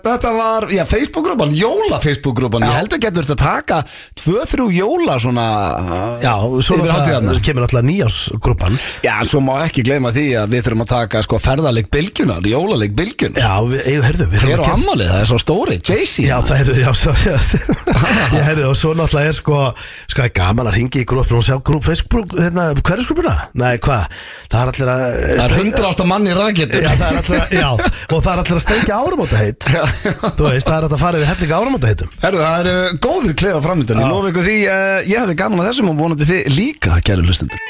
S1: Þetta var, já, Facebook-grúpan, jóla-Facebook-grúpan Ég held að getur þetta að taka tvö-þrjú jóla svona eh,
S2: Já, svo
S1: yfir hátíðarnar
S2: náttúrulega kemur náttúrulega nýjásgrúpan
S1: Já, svo má ekki gleyma því að við þurfum að taka sko ferðarleik bylgjunar, jólaleg bylgjun
S2: Já, við, ei, heyrðu, við
S1: Hver á
S2: þurfum að
S1: ammalið, það er svo stóri, Jay-Z
S2: Já, það eru, já, svo, já, svo, *laughs* ég heyrðu, og svo náttúrulega er sko, sko það er gaman að ringi í grúpur og sjá grúp, Facebook, hérna, hverjusgrúpuna? Nei, hvað, það er allir að...
S1: Það er hundra ásta manni
S2: Já,
S1: rækjettur
S2: það er allir að, já, og það er allir að steikja áramótaheit, þú veist, það er allir að fara yfir hellinga áramótaheitum.
S1: Herru, það er uh, góður klefa framöndan Ég lofa ykkur því, uh, ég hefði gaman að þessum og vonandi þið líka, kæru hlustendur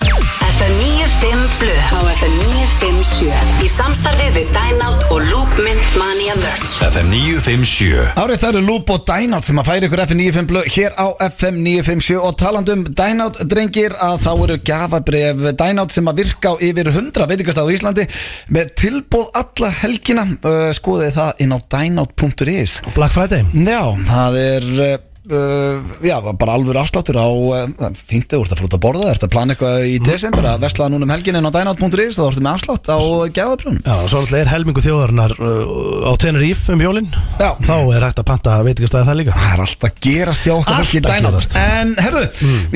S7: FM 95 Blu á FM 957 í samstarfið við Dynout og Loop Mint Mania Merch
S8: FM 957
S1: Árið það eru Loop og Dynout sem að færi ykkur FM 95 blöð hér á FM 957 og taland um Dynout drengir að þá eru gafabref Dynout sem að virka á yfir 100 veitingastað á Íslandi með tilbóð alla helgina uh, skoðið það inn á dynout.is
S2: Black Friday.
S1: Já, það er uh, uh, já, bara alvöru afsláttur á uh, fíntið úr þetta flóta að borða þetta plana eitthvað í desember að vesla núna um helgin inn á dynout.is þá ertu með afslátt á eh, gæðabrjón
S2: Já, og svo náttúrulega er helmingu þjóðarinnar uh, á Tenerife um jólinn,
S1: Já.
S2: þá er hægt að panta veitingastæði það líka.
S1: Það er alltaf gerast hjá okkar
S2: Allt
S1: fólki í
S2: að
S1: dynout
S2: gerast. Mm.
S1: En herðu,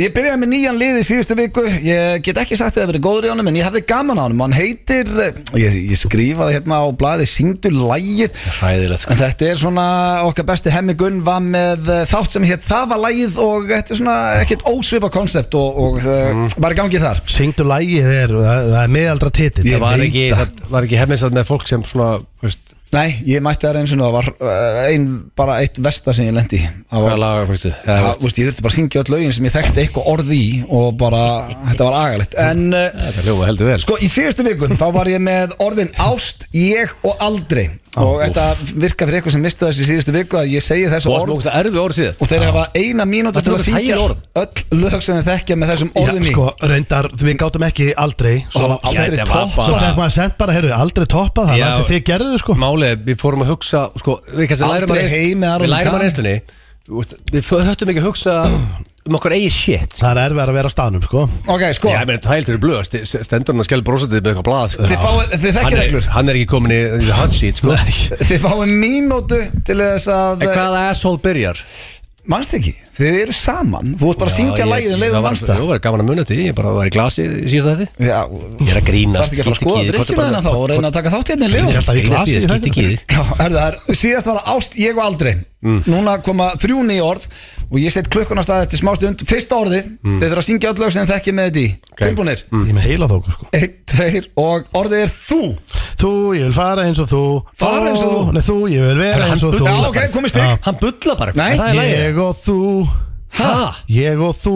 S1: ég byrjaði með nýjan lið í síðustu viku Ég get ekki sagt að það verið góður í honum en ég hefði gaman á honum Hann heitir, uh, ég, ég skrifaði hérna á blaði Syngdu lægið
S3: Hræðilegt sko.
S1: En þetta er svona okkar besti Hemmi Gunn var með eh, þátt sem hétt Það var lægið og þetta er svona ekkert ósvipa konsept og, og mm. var í gangi þar
S2: Syngdu lægið er, það það er meðaldra titill
S3: Það var ekki,
S2: það
S3: það var ekki hefnisað með fólk sem svona, veist,
S1: Nei, ég mætti það eins og það var eh, ein, bara eitt versta sem ég lendi í. Það
S3: hvaða
S1: var
S3: laga fólkstu
S1: Það, veist, ég þurfti bara að syngja öll lögin sem ég þekkti eitthvað orð í og bara, þetta var agalegt en eh,
S3: Þetta hljóma heldur vel
S1: Sko í síðustu vikum þá var ég með orðin ást, ég og aldrei og þetta virka fyrir eitthvað sem mistu þessu í síðustu viku að ég segi þessu
S3: Þú varst
S1: orð
S3: mjög erfið orð síðan
S1: og þeir hafa eina mínútu
S3: Þetta
S1: til
S3: eru
S1: að
S3: þægileg
S1: syngja
S3: orð.
S1: öll lög sem þeir þekkja með þessum
S2: Já,
S1: orðum í
S2: sko, reyndar, við gátum ekki aldrei Svo,
S1: það var
S2: svo,
S1: aldrei
S3: Þetta var
S1: topp,
S3: bara-
S2: svo fekk maður sent bara, heyrðu, aldrei toppað það
S3: Já.
S2: Það sem þið gerðu, sko
S3: Málið, er, við fórum að hugsa sko, við kannski
S1: Aldrei
S3: lærum að reynst-
S1: heim með Aron
S3: Við lærum
S1: Kahn.
S3: að reynslunni Þú veist, Við fö- höftum ekki að hugsa um okkar eigi shit
S2: Það er erfið að vera á staðnum, sko
S1: Ok, sko,
S3: Já, menn, það heldur er blöð st- st- Stendur hann að skell brosandi með eitthvað blað sko.
S1: Þið fáið- þið þekkið
S3: Hann er-
S1: reglur.
S3: Hann er ekki komin í í the hot
S1: *laughs*
S3: seat sko. En
S1: þið fáið mínútu til þess að
S3: hvaða asshole byrjar?
S1: mannst ekki, þið eru saman þú ert bara að syngja um lægið en leiðum mannst
S3: Jú,
S1: það
S3: var gaman að muna þetta Ég bara var í glasi síðast þetta
S1: Já,
S3: Ég er að
S1: það er
S3: grínast
S1: ekki að fara að skoða drikkjurðina þá og reyna að taka þátt hérna í
S2: Ég held
S1: leiðum
S2: að í glasi,
S3: Ég
S2: þetta.
S3: skýtti ekki í því
S1: Já, herðu, það er, síðast var það ást, ég og aldrei Núna koma þrjú nýja orð og ég set klukkuna af stað eftir smá stund Fyrsta orðið, þið þurfa að syngja öll lög sem þið þekkið með þetta í Tilbúnir,
S2: Ég er með heila þóku, sko
S1: einn, tveir og orðið er þú
S2: Þú, ég vil fara eins og þú
S1: Fara eins og þú?
S2: Ó, Nei, þú, ég vil vera
S3: Hörru, hann
S2: eins og þú
S1: Já, ok, komið stygg
S3: Hann bulla bara
S1: Nei.
S3: Það er lægið
S2: Ég og þú
S3: Hæ?
S2: Ég og þú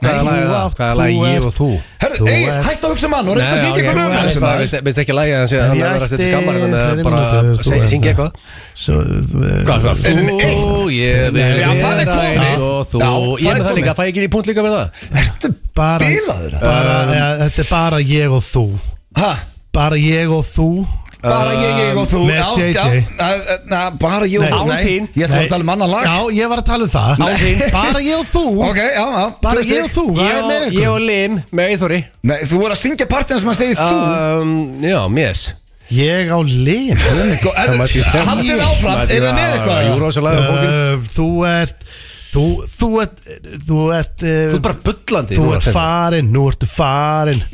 S3: Hvað er
S2: Þú
S3: lagið það?
S2: átt,
S3: Hvað er lagið ég
S2: ert-
S3: og þú?
S1: Herðu,
S2: Þú
S1: Egil,
S2: ert-
S1: hættu að hugsa mann og reynda að
S3: Nei,
S1: syngja
S3: já,
S1: eitthvað lög
S3: ég-
S2: með.
S3: Þú veist, það veist ekki lagið hans
S2: En
S3: Hann
S2: ég
S3: er að setja
S2: ætti
S3: skammar En eh,
S2: fleiri
S3: bara
S2: mínútur, þú
S3: segja,
S2: ert
S3: syngja
S2: það.
S3: eitthvað
S2: Svo, eh,
S3: Hvað svo?
S1: En eitt.
S3: ég vil
S1: Já, það er
S3: vera
S1: komið.
S3: eins og þú
S1: Já,
S3: Ég
S1: það er
S3: er með það
S1: komið.
S3: líka, fæ ég ekki í punkt líka með það
S1: Ertu
S2: bara,
S1: bilaður?
S2: bara,
S3: Um.
S2: ja, þetta er bara ég og þú
S1: Hæ?
S2: bara ég og þú
S1: Bara ég, ég og þú
S2: Um, með
S1: Já,
S2: JJ.
S1: já, na, na, Bara ég og
S2: Nei.
S1: þú
S3: Án þín.
S1: Ég ætla
S2: Nei.
S1: að tala um annan lag
S2: já, ég var að tala um það
S3: Án þín.
S2: bara ég og þú
S3: *laughs*
S1: Ok, já, já
S2: bara
S1: tvö
S2: ég og
S1: stygg.
S2: þú, hvað
S3: Ég
S2: er með
S3: og- Ég
S2: ykkur?
S3: og Lim með Íþóri
S1: Nei, þú voru að syngja partina sem að segja þú
S2: Ah.
S3: Um, Já, mjess
S2: ég á lin
S3: *laughs*
S1: Sko, er- Haldið áfram, er þið með eitthvað?
S3: Júrósalega bókin
S2: uh, þú ert þú, þú ert þú ert,
S3: Þú
S2: uh,
S3: er bara bullandi
S2: þú ert farin, nú ertu farin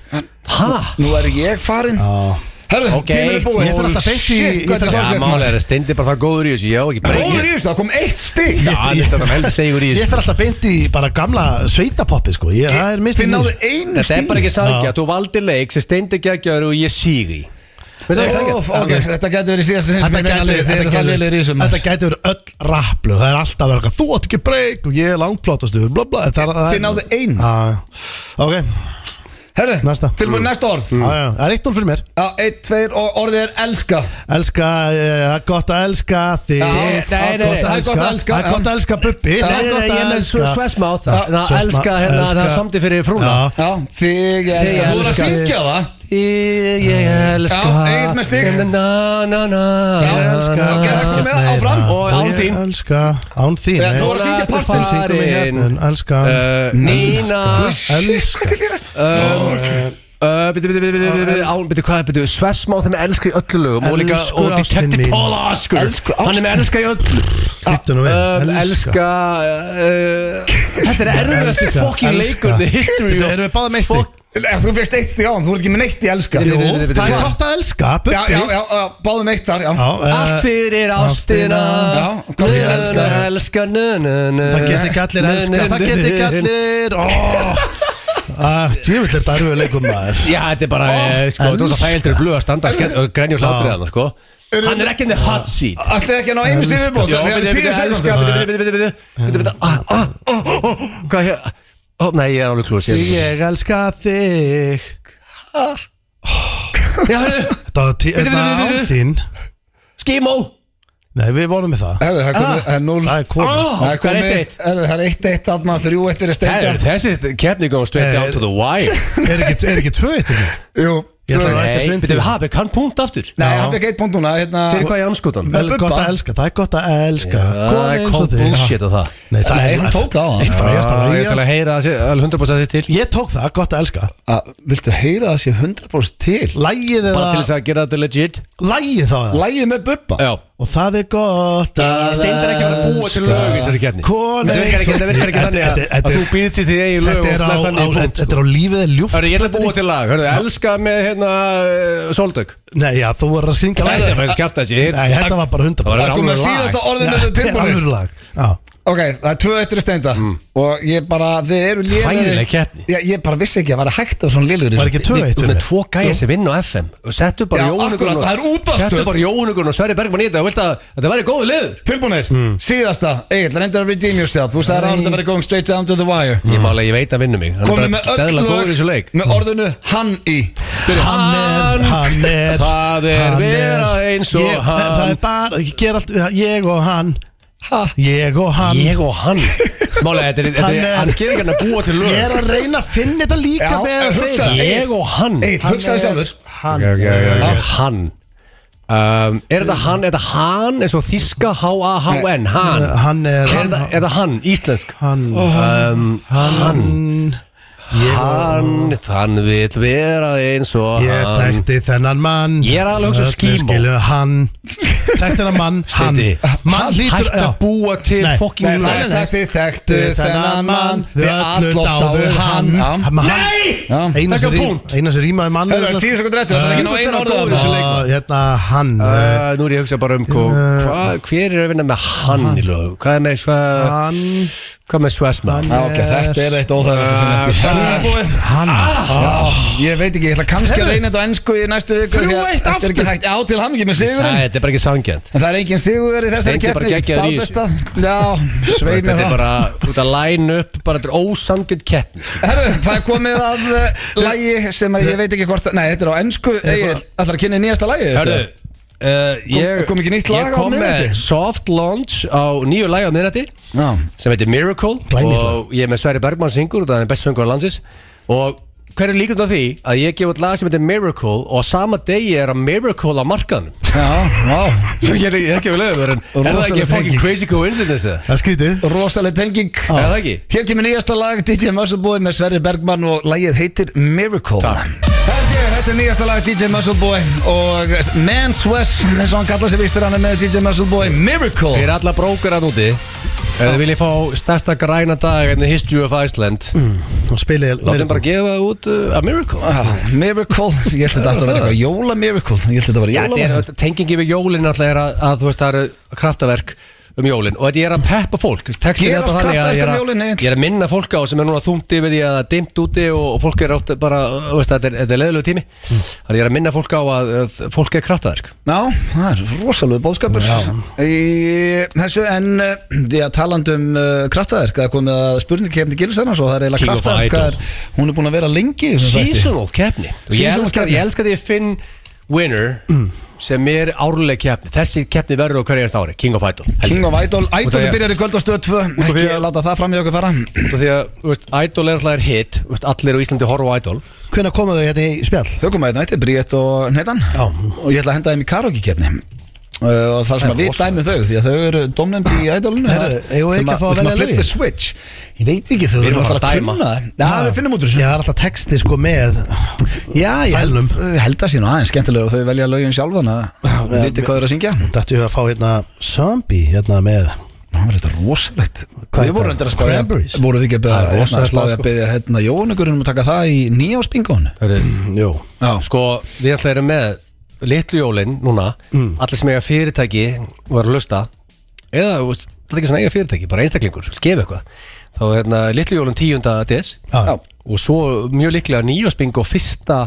S3: Hæ?
S1: Nú er ég farin
S2: Ah.
S1: Herðu,
S3: Ok.
S1: tíminn er búin
S2: Ég fer alltaf beint í-
S1: Shit,
S2: í
S1: hvað þetta
S2: þessa-
S1: er sorglegt,
S3: Já,
S1: maður.
S3: málega er að steindi bara það góður í þessu Já, ekki bara
S1: Góður í þessu, það kom eitt stig
S3: Já, hann er þetta veldig segur í
S2: ég fer
S3: þessu
S2: alltaf beint í bara gamla sveitapoppi sko, ég, það er mistið
S1: Þið náðu
S2: nýs.
S1: einu
S3: Þetta er bara
S1: stig
S3: ekki sangja, þú valdi leik sem steindi geggjaður og ég síg í Veist það ekki
S1: Ó,
S3: sangja?
S1: ok, Þetta getur verið síðast sem
S2: Þetta gæti- þetta gæti- þetta gæti verið öll rapplu Það er alltaf verið eitthvað, Þú átt ekki breyk og ég er langflátastur bla, bla, það, er- það er-
S3: Mm.
S1: Þið náðu einu.
S2: Já, já. Ok
S1: Herðu,
S2: Næsta.
S1: tilbúin næsta orð
S2: Já, já, Það er eitt núl fyrir mér
S1: Já, eitt, tveir og orðið er elska
S2: Elska, eh, það er gott að elska þig
S1: Já,
S2: Það
S1: nei,
S2: er
S3: nei,
S1: það
S2: gott að
S1: er gott að elska,
S2: elska Það er gott að elska bubbi
S1: Nei,
S2: Það er gott
S3: ég
S2: að
S3: með svo
S2: elska
S3: svesmáð
S1: Já,
S3: Það
S2: svesmáð,
S3: elska hérna,
S2: elska.
S3: það er samti fyrir frúna
S2: Já.
S1: Já, þig ég
S3: Þig
S1: elska Þú voru að
S3: elska.
S1: syngja það
S3: Ég, ég elska
S1: Já, Egill með stig.
S3: Na, na, na, na
S1: Já,
S2: Ég elska
S1: ok, það kom með það áfram.
S2: Nei,
S3: Og án
S2: ég
S3: þín.
S2: Elska, án þín
S1: Já,
S2: nei.
S1: þú voru að syngja
S3: Láttu
S1: partinn
S3: fara.
S2: Syngur mig
S3: Farin.
S2: hjartun, Elska
S3: Uh, Nína Uh,
S2: Elska
S3: Bitti, bitti, bitti Án, bitti, hvað, bitti Svesmáð þeim elska í öllu lögum Og líka,
S2: Elsku
S3: og
S2: ástin
S3: Detective
S2: mín.
S3: Paul Oscar
S2: Elsku
S3: Hann er með elska í öllu
S2: Hittu nú
S3: Um,
S2: við
S3: elska uh, Þetta er erfiðastu
S2: Elska,
S3: fucking
S2: elska.
S3: leikur The history
S2: Þetta erum við báða meistig
S3: Fuck.
S1: Ef Þú fegst eitt stig á hann, þú voru ekki með neitt í elska
S3: Nei, nei, nei, nei, nei,
S2: Það er
S3: Hvað?
S2: gott að elska
S1: Já, já,
S2: Bubbi eh,
S1: já, já, báðum eitt þar, já
S3: Allt fyrir ástina
S1: Já, hvað er ég að elska?
S3: Nö, nö, elska nö, nö, nö.
S2: Það get ekki allir
S3: Nö,
S2: elska
S3: nö,
S2: Það
S3: nö,
S2: get ekki
S3: nö.
S2: allir
S3: *laughs*
S2: Ah, Djöfull er þetta erfið leikum maður
S3: Já, þetta er bara, eh, sko, þú veist að
S2: elska.
S3: þægildur er blöð að standa skemmt- og grænjur hlátrið hann, sko Hann er ekki in the hot seat
S1: Ætlaði ekki að ná einu stig
S2: Elska.
S1: viðbót
S3: Jó,
S1: Þegar við
S3: byrju, byrju,
S1: tíu
S3: elska,
S1: sekundum
S3: byrju, byrju, byrju, byrju, byrju, byrju, ah, ah, ó, ó, ó, Hvað er hér? Ó, Nei, ég er alveg klúr Já,
S2: Ég elska þig
S3: hörru,
S2: Þetta var tí-
S3: Bíddu,
S2: þetta
S3: bíddu,
S2: var
S3: bíddu.
S2: án þín
S3: skímó
S2: Nei, við vorum með það
S1: Herðu, það er komið- það er núl
S2: Það er komið
S3: Hvað Ah. er eitt eitt?
S1: Herðu, það er eitt eitt þarna, þrjú eitt verið
S3: Herru,
S1: steingar
S3: Þessi keppni góðum straight down to the wire
S2: Er ekki- er ekki tvö eitt í því?
S1: Jú,
S2: Ég ætla
S1: tvö-
S2: að rækja
S3: Nei,
S2: svindið
S3: betur við hafi kann punkt aftur
S1: Nei, hann fekk eitt punkt núna, hérna
S3: Fyrir hvað ég anskotan?
S2: Vel
S1: Bubba.
S2: gott að elska, það er gott að elska Kona
S3: Það er
S2: eins
S3: kom
S2: og þig
S3: bullshit á það
S2: Nei, það
S1: Nei,
S2: er
S1: hann tók það á hann.
S2: Eitt frá
S3: Já,
S2: hérstað
S3: Ég ætla að heyra það sé- alveg 100% þitt til
S2: Ég tók það, gott að elska
S1: Að- Ah, Viltu heyra það sé 100% til?
S2: Lægið
S3: Bara
S2: eða
S3: til þess að gera þetta legit
S2: Lægið þá það
S1: Lægið með Bubba
S3: Já
S2: Og það er gott að elska
S3: Steindar ekki að vera búa til lög í þessari keppni
S2: Kona
S3: Þetta virkar Sko. ekki- þetta virkar ekki þannig að-
S2: Þetta-
S3: að þú
S2: þetta-
S3: býr til því eigin lög
S2: Þetta er
S3: og
S2: á-
S3: með þannig í
S2: á-
S3: punkt, sko.
S2: þetta er á lífið er ljúft
S3: Hörru, ég ætla að búa til lag Hörru, elska með hérna uh, Sóldök
S2: Nei, já, þú voru að syngja
S3: Þetta er
S2: lagið.
S3: bara skjátt að
S2: Nei,
S3: sé
S2: þetta var bara hundra
S3: Það var
S1: Það kom að
S3: Alveg lag.
S1: síðasta orðin þessu tilbúinu
S2: Alveg lag Já,
S1: Ok, það er tvö eittur í steinda Og ég bara, þið eru lélegir
S3: Mm. Hræðileg keppni.
S1: Já, Ég bara vissi ekki að vera hægt á svona lélegir
S2: Var ekki tvö eitt
S3: Þú
S2: fyrir
S3: með
S2: þig?
S3: tvo gæja sem vinn á FM og settu bara
S1: Já,
S3: Jóhannugun
S1: akkurat, það er útvarpsstöð.
S3: settu bara Jóhannugun og Sverri Bergman í þetta og vilt að þetta væri góðu liður
S1: Tilbúinir,
S3: Mm.
S1: síðasta Egil, reyndur að redeem yourself Þú sagði ráðan að vera going straight down to the wire
S3: Ég mála, ég veit að vinnu mig Mm. Hann
S1: Komið
S3: er
S1: með
S3: bara
S1: öll
S3: dæðla góður í
S1: lög
S3: þessu leik Mm.
S1: Með orðinu hann í Byrja.
S2: Hann er, hann er
S3: Það er
S2: hann
S3: vera eins og
S2: ég,
S3: hann.
S2: Það er bara, ég ger allt Ég og hann Ég og hann
S3: Ég og
S2: *laughs*
S3: hann Mála, þetta er, þetta
S2: Hann
S3: er,
S2: er-
S3: hann gerir ekki hann að búa til
S2: Ég
S3: lög
S2: er að reyna að finna þetta líka
S1: Já,
S2: með
S1: en
S2: að segja
S1: hugsaðu,
S2: það.
S3: Ég og hann
S1: Egil, hugsaði
S2: Hann er-
S1: sjálfur Ah,
S2: Hann
S3: Já, Hann um, Er þetta hann, er þetta hann eins og þíska H-A-H-N, hann
S2: Hann er
S3: Er þetta- er þetta hann, íslensk
S2: Hann
S3: um, Hann
S2: Ég og
S3: Hann, hann vil vera eins og
S2: Ég
S3: hann
S2: þekkti þennan mann
S3: Ég er alveg að hugsa
S2: Öllu
S3: skímó.
S2: skilu hann Þekkti þennan mann Hann
S3: Steindi,
S2: Mann hlýtur
S3: Hætt að
S2: já.
S3: búa til
S2: Nei,
S3: fucking
S1: Nei, það er
S3: lög
S1: sagt þið þekktu þennan mann
S2: Þið öllu dáðu hann
S3: Nei!
S2: Eina
S3: Þetta
S2: sem
S3: er
S2: rím-
S3: punkt.
S2: eina sem rýmaði mann
S1: Það er tíu sekund réttu, það er ekki ná einu orðið á
S3: Góður í
S1: þessu
S3: þessu
S1: leik
S3: leik.
S2: Og hérna hann eh,
S3: Uh, nú er ég að hugsa bara um hvað,
S2: Uh,
S3: hva, hver er að vinna með hann í lög, hvað er með sva,
S2: Hann
S3: hvað með Svesma
S2: Ah,
S1: Já, ok, þetta er eitt óþægilegasta sem þetta er Ah. Tilbúið.
S2: Hann
S1: Já, Ég veit ekki, ég ætla kannski að reyna þetta á ennsku í næstu viku
S3: Ah. Þrjú
S1: því að
S3: eitt
S1: Þetta er ekki
S3: aftur.
S1: hægt á til hamingi með
S3: Sæ,
S1: sigurinn
S3: þetta er bara ekki sangjant
S1: En það er engin sigur í þessari
S3: Steindi er bara
S1: keppni
S3: geggjaður í
S1: staðfesta. Já, sveit
S3: þetta
S1: með
S3: er
S1: það
S3: bara út að line up bara þetta er ósangjant keppni sko. skilur.
S1: Herru, það er komið að uh, lægi sem að ég veit ekki hvort að, Nei, þetta er á ennsku Egil, ætlar að kynna nýjasta lægi
S3: Hörðu Uh, ég,
S1: kom ekki nýtt lag
S3: ég
S1: á
S3: kom
S1: miðnætti?
S3: með soft launch á nýju lag á miðnætti
S1: Já.
S3: sem heitir Miracle
S2: Glænýtt
S3: og ég er með Sverri Bergmann syngur og það er best söngur á landsins og hver er líkund á því að ég gef út lag sem heitir Miracle og á sama degi er að Miracle á markanum
S1: Já, já
S3: *laughs* ég er ég er ekki að vilja vera en er það
S2: Rosaleg
S3: ekki fucking
S2: tenging.
S3: crazy coincidence eða?
S2: Það er skrítið
S1: Rosaleg tenging
S3: er það ekki?
S1: Hér kemur nýjasta lag DJ Muscleboy með Sverri Bergmann og lægið heitir Miracle Takk Þetta er nýjasta lag DJ Muscleboy og Mans West eins og hann kallar sig vístur hann er með DJ Muscleboy Miracle
S3: Fyrir alla brókar að úti ef þið viljið fá stærsta græna dag in the history of Iceland
S1: Mm.
S2: Og spilið
S3: látum bara gefa út uh, a Miracle
S1: Já, Ah, Miracle, ég held þetta átti að vera eitthvað Jóla Miracle, ég held þetta að vera
S3: Já,
S1: jóla
S3: þetta er tengingi við jólin alltaf er að, að þú veist það eru kraftaverk um jólin og þetta ég er að peppa fólk textin er
S1: Gerast
S3: þetta þannig að ég er
S1: kraftaverk um jólin, Egill.
S3: að- ég er að minna fólk á sem er núna þungti við því að það er dimmt úti og, og fólk er átt bara, þú veist, þetta er, þetta er leðilegu tími
S1: Mm.
S3: þannig að ég er að minna fólk á að, að fólk er kraftaverk
S1: Já, það er rosalega bóðskapur í þessu en eh, því að talandi um uh, kraftaverk það er komið að spurningi kemdi gilsarnas og það er eiginlega
S3: King of
S1: kraftaverk
S3: Idol.
S1: hvað er- hún er búin að vera lengi í þessum þætti.
S3: Seasonal keppni Og Ég
S1: Seasonal
S3: elska,
S1: keppni.
S3: ég elska því að finn winner sem er árleg keppni Þessi keppni verður á hverjast ári King of Idol heldur.
S1: King of Idol,
S3: Út af
S1: Idol
S3: því að-
S1: byrjar í kvöldastöð 2
S3: af því
S1: ekki
S3: að-
S1: að láta það fram í okkur fara
S3: út af Því að þú veist, Idol er alltaf er hit þú veist, Allir á Íslandi horfa á Idol
S2: Hvenær koma þau hérna í spjall?
S1: Þau koma einn nætti, Bríett og Neitan
S2: Já.
S1: og ég ætla að henda þeim í karaoke kefni og það sem að við dæmum þau því að þau eru domnend í ædolinu
S2: Herru, eigum við ekki að fá að velja
S1: flip
S2: lögin?
S1: the switch Ég veit ekki þau
S3: Við erum
S1: eru
S3: bara að dæma.
S1: kunna það. Já, við finnum út úr
S2: Já,
S1: þessu
S2: það er alltaf texti sko með
S1: Já, ég
S2: Fælnum.
S1: held, held að sé nú aðeins skemmtilega og þau velja lögin sjálfan að
S2: Já,
S1: viti hvað þau eru að syngja
S2: Dættu að fá hérna Zombie hérna með
S1: Það var þetta rosalegt
S2: Hvað er
S1: Við vorum
S2: það?
S1: reyndar að spája
S2: Cranberries?
S1: Vorum við ekki að
S3: Það er
S1: beða
S3: rosalegt,
S1: spája
S3: sko.
S1: að beða hérna Jónugurinn um að taka það í nýjáspingun
S2: Jó
S1: Já,
S3: Sko, við alltaf erum með Litlu jólin núna Allir sem eiga fyrirtæki og eru að lusta Eða, þú veist, þetta er ekki svona eiga fyrirtæki Bara einstaklingur, vil gefa eitthvað Þá er hérna, litlu jólin 10. des
S2: Já.
S3: Og svo mjög líklega nýjarsbing og fyrsta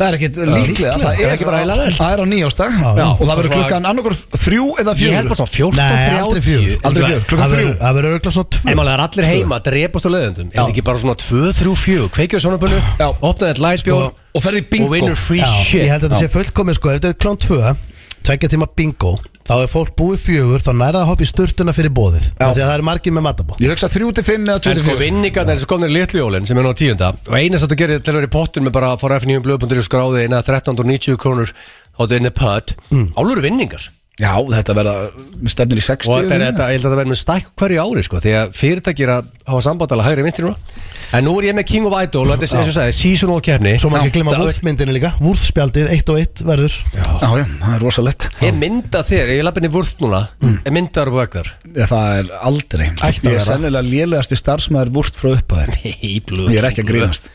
S1: það er ekkit líklega
S3: líklega.
S1: Það
S3: Er
S1: er
S3: ekki bara eiginlega
S1: Það er á nýjástag
S2: já.
S1: og það verður
S3: Svona-
S1: klukkan annarkur þrjú eða
S3: Ég held
S1: fjögur
S3: bara svona 14,
S2: Nei, aldrei fjögur.
S1: Aldrei fjögur, klukkan
S2: Það
S1: þrjú
S2: verður- það verður auðvitað svo tvö
S3: En maður er allir heima, drepast á leðendum Er þetta ekki bara svona 2, 3, 4 Kveikjur sjónabunnu, opnar þetta læsbjóð
S1: Sko, og ferð í bingo.
S3: Og vinnur free
S2: Já,
S3: shit
S2: Ég held að þetta sé fullkomið sko Ef þetta er klán 2 Tvekja tíma bingo Þá er fólk búið fjögur Þá nærða að hoppa í sturtuna fyrir bóðið Af Því að það eru margir með matabó
S1: Ég hugsa þrjú til fimm eða tvö
S3: En
S1: til
S3: sko
S1: fjögur
S3: vinningarnir sem komnir litljóðlinn sem er nú á tíunda og einast að þú gerir til að vera í pottun með bara að fara F9 blöðbundur í skráði eina 1390 krónur þá þetta er inni pött
S1: Mm.
S3: álur vinningar
S1: Já, þetta verða stefnir í 60
S3: og þetta er,
S1: núna.
S3: þetta, ég held að þetta verður með stæk hverju ári sko því að fyrirtækir að hafa sambandala hægri vinstri núna en nú er ég með King of Idol og þetta er eins og sagði seasonal kefni
S2: Svo maður ekki glemma
S3: Það-
S2: vúrfmyndinu líka Vúrfspjaldið 1 og 1 verður
S1: Já, já, það er rosalett
S3: Ég mynda þér, ég lappinni vörð núna ég mynda þar og vekk þar
S1: Það er aldrei
S2: Ætti að
S1: Ég er
S2: vera.
S1: sennilega lélegasti starfsmæður vúrt frá upphæðin
S3: Ég
S1: Ég er ekki að grínast.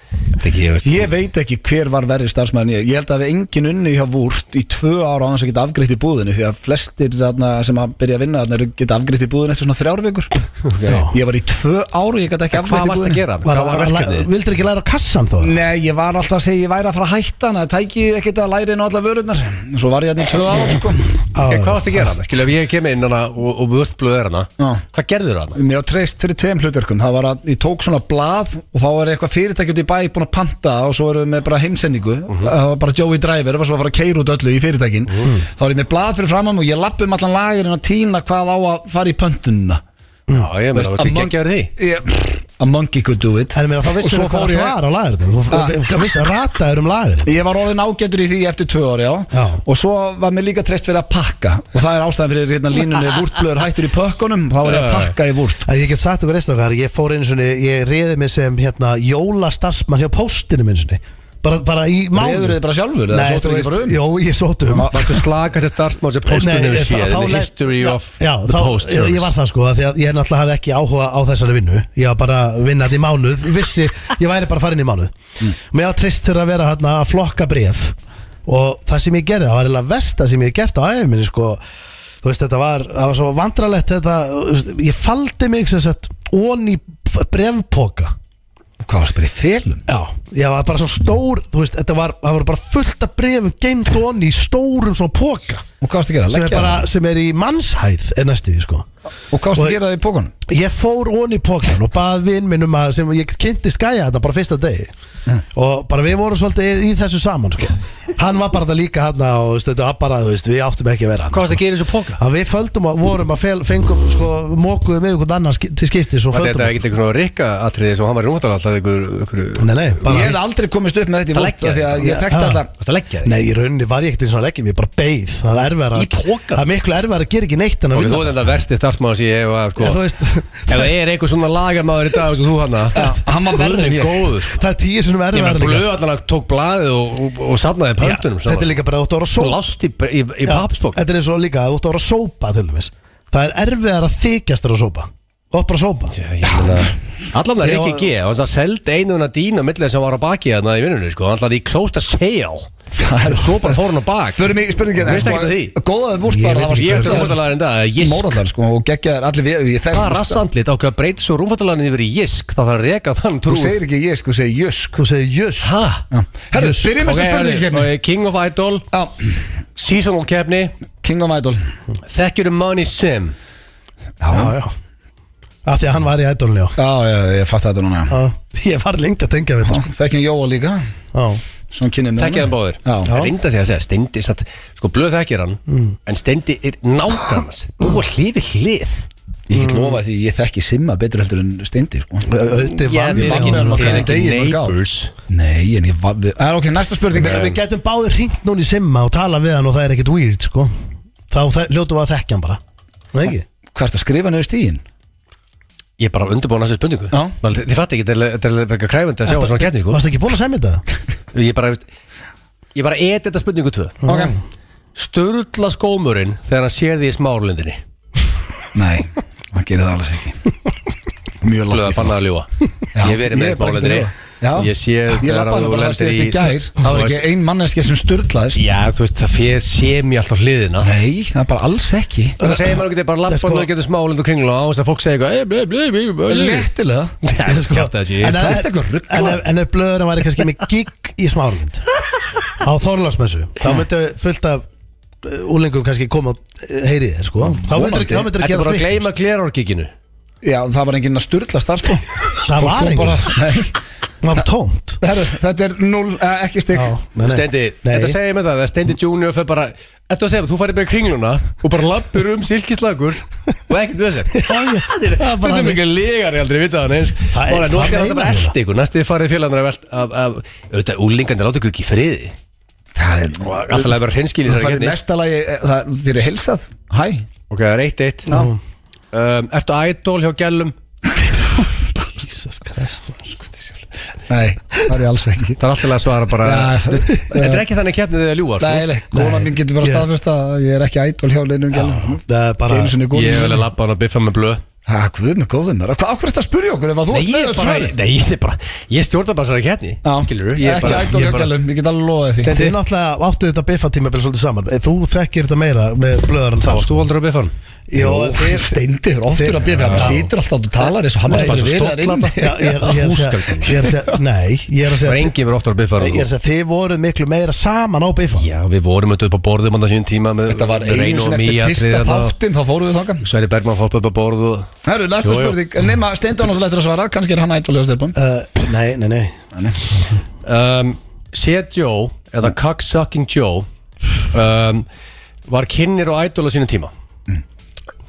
S3: Ekki, ég veist
S1: Ég veit ekki hver var verri starfsmæðin ég Ég held að við engin unni hjá vúrt í tvö ára á þess að geta afgriðt í búðinu því að flestir þarna, sem að byrja að vinna þarna, eru- geta afgriðt í búðinu eftir svona þrjár vikur Ég var í tvö ára og ég gæti ekki
S3: Hvað
S1: afgriðt í
S3: varst að
S1: búðinu
S3: gera?
S2: Var-
S3: Hvað var
S2: var-
S3: verkefnið?
S2: Vildir ekki læra á kassan þó?
S1: Nei, ég var alltaf að segja ég væri að fara að hætta hana tæki ekkert að læri inn á alla vörurnar Svo var ég hérna í tvö ára sko.
S2: Á,
S3: Ég, hvað varst að gera hana? Skilja, ef ég kem inn hana og, og vörðblöð er hana
S1: Já.
S3: Hvað gerður hana?
S1: Mér var treyst fyrir tveim hlutverkum Það var að ég tók svona blað og þá er eitthvað fyrirtæki út í bæ búin að panta það og svo erum við með bara heimsendingu
S2: Mhm.
S1: Það var bara Joey Driver, það var svo að fara að keira út öllu í fyrirtækin Þá er ég með blað fyrir framam og ég lappi um allan lagurinn að týna hvað á að fara í pöntununa
S3: Já, ég meina,
S1: Veist,
S3: það var ekki
S1: among-
S3: að gera því
S1: Ég- A monkey could do it
S2: En mér að þá
S1: Og
S2: vissir
S1: svo
S2: þú hvað
S1: fór ég-
S2: það var á lagurinn Þú
S1: Ah.
S2: þú vissir að rata er um lagurinn
S1: Ég var orðin ágættur í því eftir tvö ári, já.
S2: Já.
S1: Og svo var mér líka treyst fyrir að pakka Og það er ástæðan fyrir hérna
S2: *laughs*
S1: línunni Vúrtblöður hættur í pökkunum Þá var ég að pakka í vúrt
S2: Að ég get sagt okkur reistur okkar, ég fór einu sinni, ég reði mig sem hérna jólastarfsmann hjá póstinum einu sinni Bara, bara í mánu
S1: Réður þið bara sjálfur? eða
S2: Nei,
S1: sóttuð
S2: þú
S1: þið ekki
S2: veist,
S1: bara um?
S2: jó, ég sótt um
S3: Varstu slakast að starfsmáð sem postunum
S2: Nei, eh,
S3: við
S2: þá-
S3: séð
S2: þá
S3: in The
S2: le-
S3: history
S2: já,
S3: of
S2: já,
S3: the
S2: þá-
S3: post
S2: ég, ég var það sko, af því að ég náttúrulega hafði ekki áhuga á þessari vinnu Ég var bara að vinna þetta í mánuð Vissi, ég væri bara farin í mánuð
S3: Mm.
S2: Mér var trist fyrir að vera hérna að flokka bref Og það sem ég gerði, það var eiginlega versta sem ég hef gert á æfum minni sko Þú veist, þetta var, það var svo vandralegt þetta þú veist, Ég faldi mig sem sagt ón í brefpoka
S1: Hvað varst bara í felum?
S2: Já, ég var bara svona stór, þú veist, þetta var, það var bara fullt af brefum geimt onni í stórum svona póka
S1: Og hvað varst að gera?
S2: sem er,
S1: Leggja
S2: bara,
S1: það?
S2: sem er í mannshæð er næstu því sko
S1: Og hvað varst
S2: og-
S1: að gera það í pökkunum?
S2: ég fór onni í pókan og bað vinn minn um að sem ég kynnti skæja þetta bara fyrsta degi
S1: Mm.
S2: og bara við vorum svolítið í, í þessu saman sko hann var bara það líka hann og þú veist, þetta var bara þú veist, við áttum ekki að vera
S3: Hvað
S2: hann
S3: varst að gera í þessu póka?
S2: að við földum að vorum að fel, fengum sko mókuðum með einhvern annan ski- til skiptis og
S3: Var
S2: földum
S3: þetta ekkert einhvern svona rikka atriði sem hann var í núntal alltaf einhver einhver-
S2: nei, nei, bara
S1: Ég hef aldrei komist upp með þetta í
S3: Það
S1: vúrt
S3: leggja
S1: Því að
S3: þig.
S1: ég þekkti
S2: Já.
S1: alltaf
S3: Varstu að leggja þig?
S2: Nei, í rauninni var ég ekkert eins og að leggjum, ég bara beið Það er erfæra
S3: Í poka?
S2: Það er miklu erfæra að gera ekki neitt en að
S3: Ok, Þú
S2: vinna
S3: er þetta versti starfsmáð sem ég hef
S2: Já,
S3: sko
S2: þú veist,
S3: Ef það er einhver svona lagamaður í dag eins og þú hana
S1: hann var verri en ég.
S3: góður sko.
S2: það er tíu sinum
S3: Ég
S2: erfæra
S3: með blöð allan að tók blaðið og, og, og safnaði
S2: Já,
S3: pöntunum saman.
S2: Þetta er líka bara að þú ert að vera að
S3: Þú
S2: sópa
S3: lást í, í, í
S2: Já,
S3: pappspók
S2: Þetta er eins og líka að þú ert að vera að sópa til dæmis Það er erfiðar að þykjast þér að sópa Þú ert bara að sópa
S3: Allan það er hérna ekki G og það seldi einu hana dýna millir sem var á baki þarna í vinnunni sko, allan í close to sale
S1: Það er
S3: Svo bara fór hann á bak
S1: Förum í spurningin
S3: Veist ekkert af því?
S1: Góðaði vúrt bara
S2: Ég veit
S1: það var
S3: Ég veit að
S1: spurningin
S3: rúmfattalagin dag Jisk
S1: Móraðar sko og geggjaðar allir við Ég þekki
S3: Hvað rassandlit ákveð að breyta svo rúmfattalagin yfir í jisk Það þarf að reka þann
S1: Þú
S3: trúð
S1: segir ekki jösk, þú segir jösk
S2: Þú segir jöss
S3: Hæ?
S1: Herru, byrjum
S3: Ok,
S1: þessi spurningi
S3: herri,
S1: kemni
S3: ok, King of Idol
S1: Já,
S3: Seasonal kefni
S1: King of Idol
S3: Þekkjur um Money Sim
S2: Já, já Af því að hann var í ædolunni, já
S1: Já, já, ég fatt þetta núna já.
S2: Já. Ég var lengt að tengja við þetta sko.
S1: Þekkin Jóa líka
S2: Já,
S1: Svo hann kynni
S3: Þekkja hann báður
S1: Já, Mm.
S3: Reynda sig að segja Steindi satt Sko blöð þekkir hann En Steindi er nákvæmast Búa hlifi hlið
S1: ég get lofað því ég þekki Simma betur heldur en Steindi sko.
S2: auðvitað
S3: Já,
S2: vann
S3: þið er
S1: vann
S3: ekki,
S1: hann
S3: þið er
S1: nokkra
S3: ekki
S1: degi í mörg ár.
S3: neighbors
S1: Nei, en ég var við Það er ok, næsta spurning
S2: Við getum báðir hringt núna í simma og tala við hann og það er ekkert weird, sko Þá þe- hljótum við að þekkja hann bara Nei, ekki?
S1: Hvað ertu að skrifa niður stíðin?
S3: Ég er bara undirbúin að þessu spurningu
S1: Já.
S3: Val- Þið þið fattu ekki, þetta er- þetta er verið kræfandi að sjá svona kefni sko.
S2: Varstu ekki búin að semja þetta?
S3: Ég bara Ég bara et þetta spurningu tvö
S1: Ok
S3: Sturla skómurinn þegar hann sér því í smárlindinni
S1: Nei, hann gerir það alveg ekki Mjög
S3: Blöða
S1: langt í
S3: fann að ljúa Ég hef verið
S1: ég
S3: með
S1: er bara ekki að
S3: smárlindinni
S1: ljúga. Já.
S3: Ég sé
S1: Ég
S3: þegar
S1: lappaði
S3: þú
S1: bara að
S3: lendir
S1: stíðast í gær Það var
S3: Þú
S1: ekki
S3: veist-
S1: ein manneskja sem sturlaðist
S3: Já, þú veist, það fyrir sé mér alltaf hliðina
S1: Nei, það er bara alls ekki
S3: Það segir maður ekki bara lappa
S2: Sko-
S3: og þú getur smálind og kringla á þess að fólk segir eitthvað "Eh, "Ey, blei, blei, blei, blei, blei."
S1: Léttilega
S3: Já,
S2: *laughs* Sko,
S3: kjafta þessi.
S2: en ef-
S1: Þú ert eitthvað ruglað.
S2: en ef- En ef blöðurinn væri kannski með gig í smáralind Á Þorláksmessu Þá myndi fullt af úlengum kannski koma og heyri þér, sko Þá myndir
S1: Vonandi.
S2: þú að
S3: Þetta er
S2: gera
S3: bara að gleyma
S2: stvitt
S3: glerorkikinu
S1: Já, það var enginn að sturla
S3: *laughs*
S1: starfsfólk
S2: Það var
S1: bara,
S2: engin,
S1: Nei,
S2: það var tómt
S1: herru, þetta er null, eh, ekki stig
S2: Já, nei, nei.
S3: Stendi,
S2: Nei. *laughs*
S3: þetta segir mér það að Stendi Junior fyrir bara Þetta að segja, þú farið bara í kringluna og bara lappir um silkislagur og ekkert við þessi
S2: *laughs* Það er bara
S3: Þessi
S2: þannig.
S3: mikið legar ég aldrei vita hann eins
S2: Það er-
S3: Bara nú
S2: það
S3: skal þetta
S2: meinar
S3: bara
S2: ég
S3: eldi ykkur Næstu þið farið félagarnir af velt af, af, Auðvitað, úlingandi láta ykkur ekki í friði
S1: Það er
S3: Og alltaf að vera hreinskil í
S1: Það
S3: þessari
S1: færi
S3: getni
S1: næsta lagi, eh, það, þér er heilsað Hæ
S3: Ok, það er eitt eitt um, Ertu idol hjá gælum?
S2: Jesus Christ
S3: sko,
S2: maður.
S1: Nei, það er ég alls ekki
S3: Það er alltaf að svara bara
S1: Já, það-
S3: Þetta er
S1: *laughs*
S3: ekki þannig kjarnið þegar ljúa sko.
S1: Dæli, kona mín getur bara
S2: ég-
S1: staðfest að ég er ekki ædol hjá leinum gælum
S2: Það er bara
S1: Geinu sinni góðum
S3: Ég vil að labba hann að biffa með blöð
S1: Ha, guð með góðum þar Hvað okkur er þetta að spyrja okkur ef að þú
S3: Nei,
S1: ert
S3: ég
S1: með
S3: er
S1: öll
S3: bara,
S1: svörin?
S3: nei, ég er bara Ég stjórna bara þessari kjarni
S1: Já,
S3: Skilur, ég er
S1: Ekki
S3: bara
S1: ædol hjá
S3: ég er bara-
S1: gælum, ég get alveg loðið því
S2: Þið náttúrulega áttu þetta biffa tímabil svolítið saman Eh, Þú þekkir þetta meira með blöðar en
S3: Þá
S2: það
S3: varst þú aldrei að biffa hann
S2: Jó, þið-
S1: Steindi er oftur að byrja Hann situr alltaf og talar eins og hann
S2: Nei,
S1: er bara hérna.
S2: ég-
S1: verið þar inni.
S2: Já, ég er- ég er að segja-
S3: Húsgögn.
S2: ég er að segja Nei, ég er að
S3: Það var
S2: segja
S3: enginn verið oftar að biffa
S2: Ég er
S3: hann sko.
S2: að segja, þið voruð miklu meira saman á biffa
S3: Já, við vorum auðvitað upp á borðum andan sín tíma með
S1: Þetta var
S3: með Reino
S1: einu
S3: og
S1: sinni
S3: Mía,
S1: eftir fyrsta
S3: tryðja það.
S1: þáttinn Þá fóruð við þangað
S3: Sverri Bergman fór upp á borð og
S1: Herru, næsta
S3: Jú, jú.
S1: spurning Nefna Steindi á náttúrulega eftir að svara Kannski er hann ædol hjá Stefán
S2: uh, Nei, nei, nei
S3: um, Seth Joe eða Cocksucking Joe um, var kynir og ædol á sínum tíma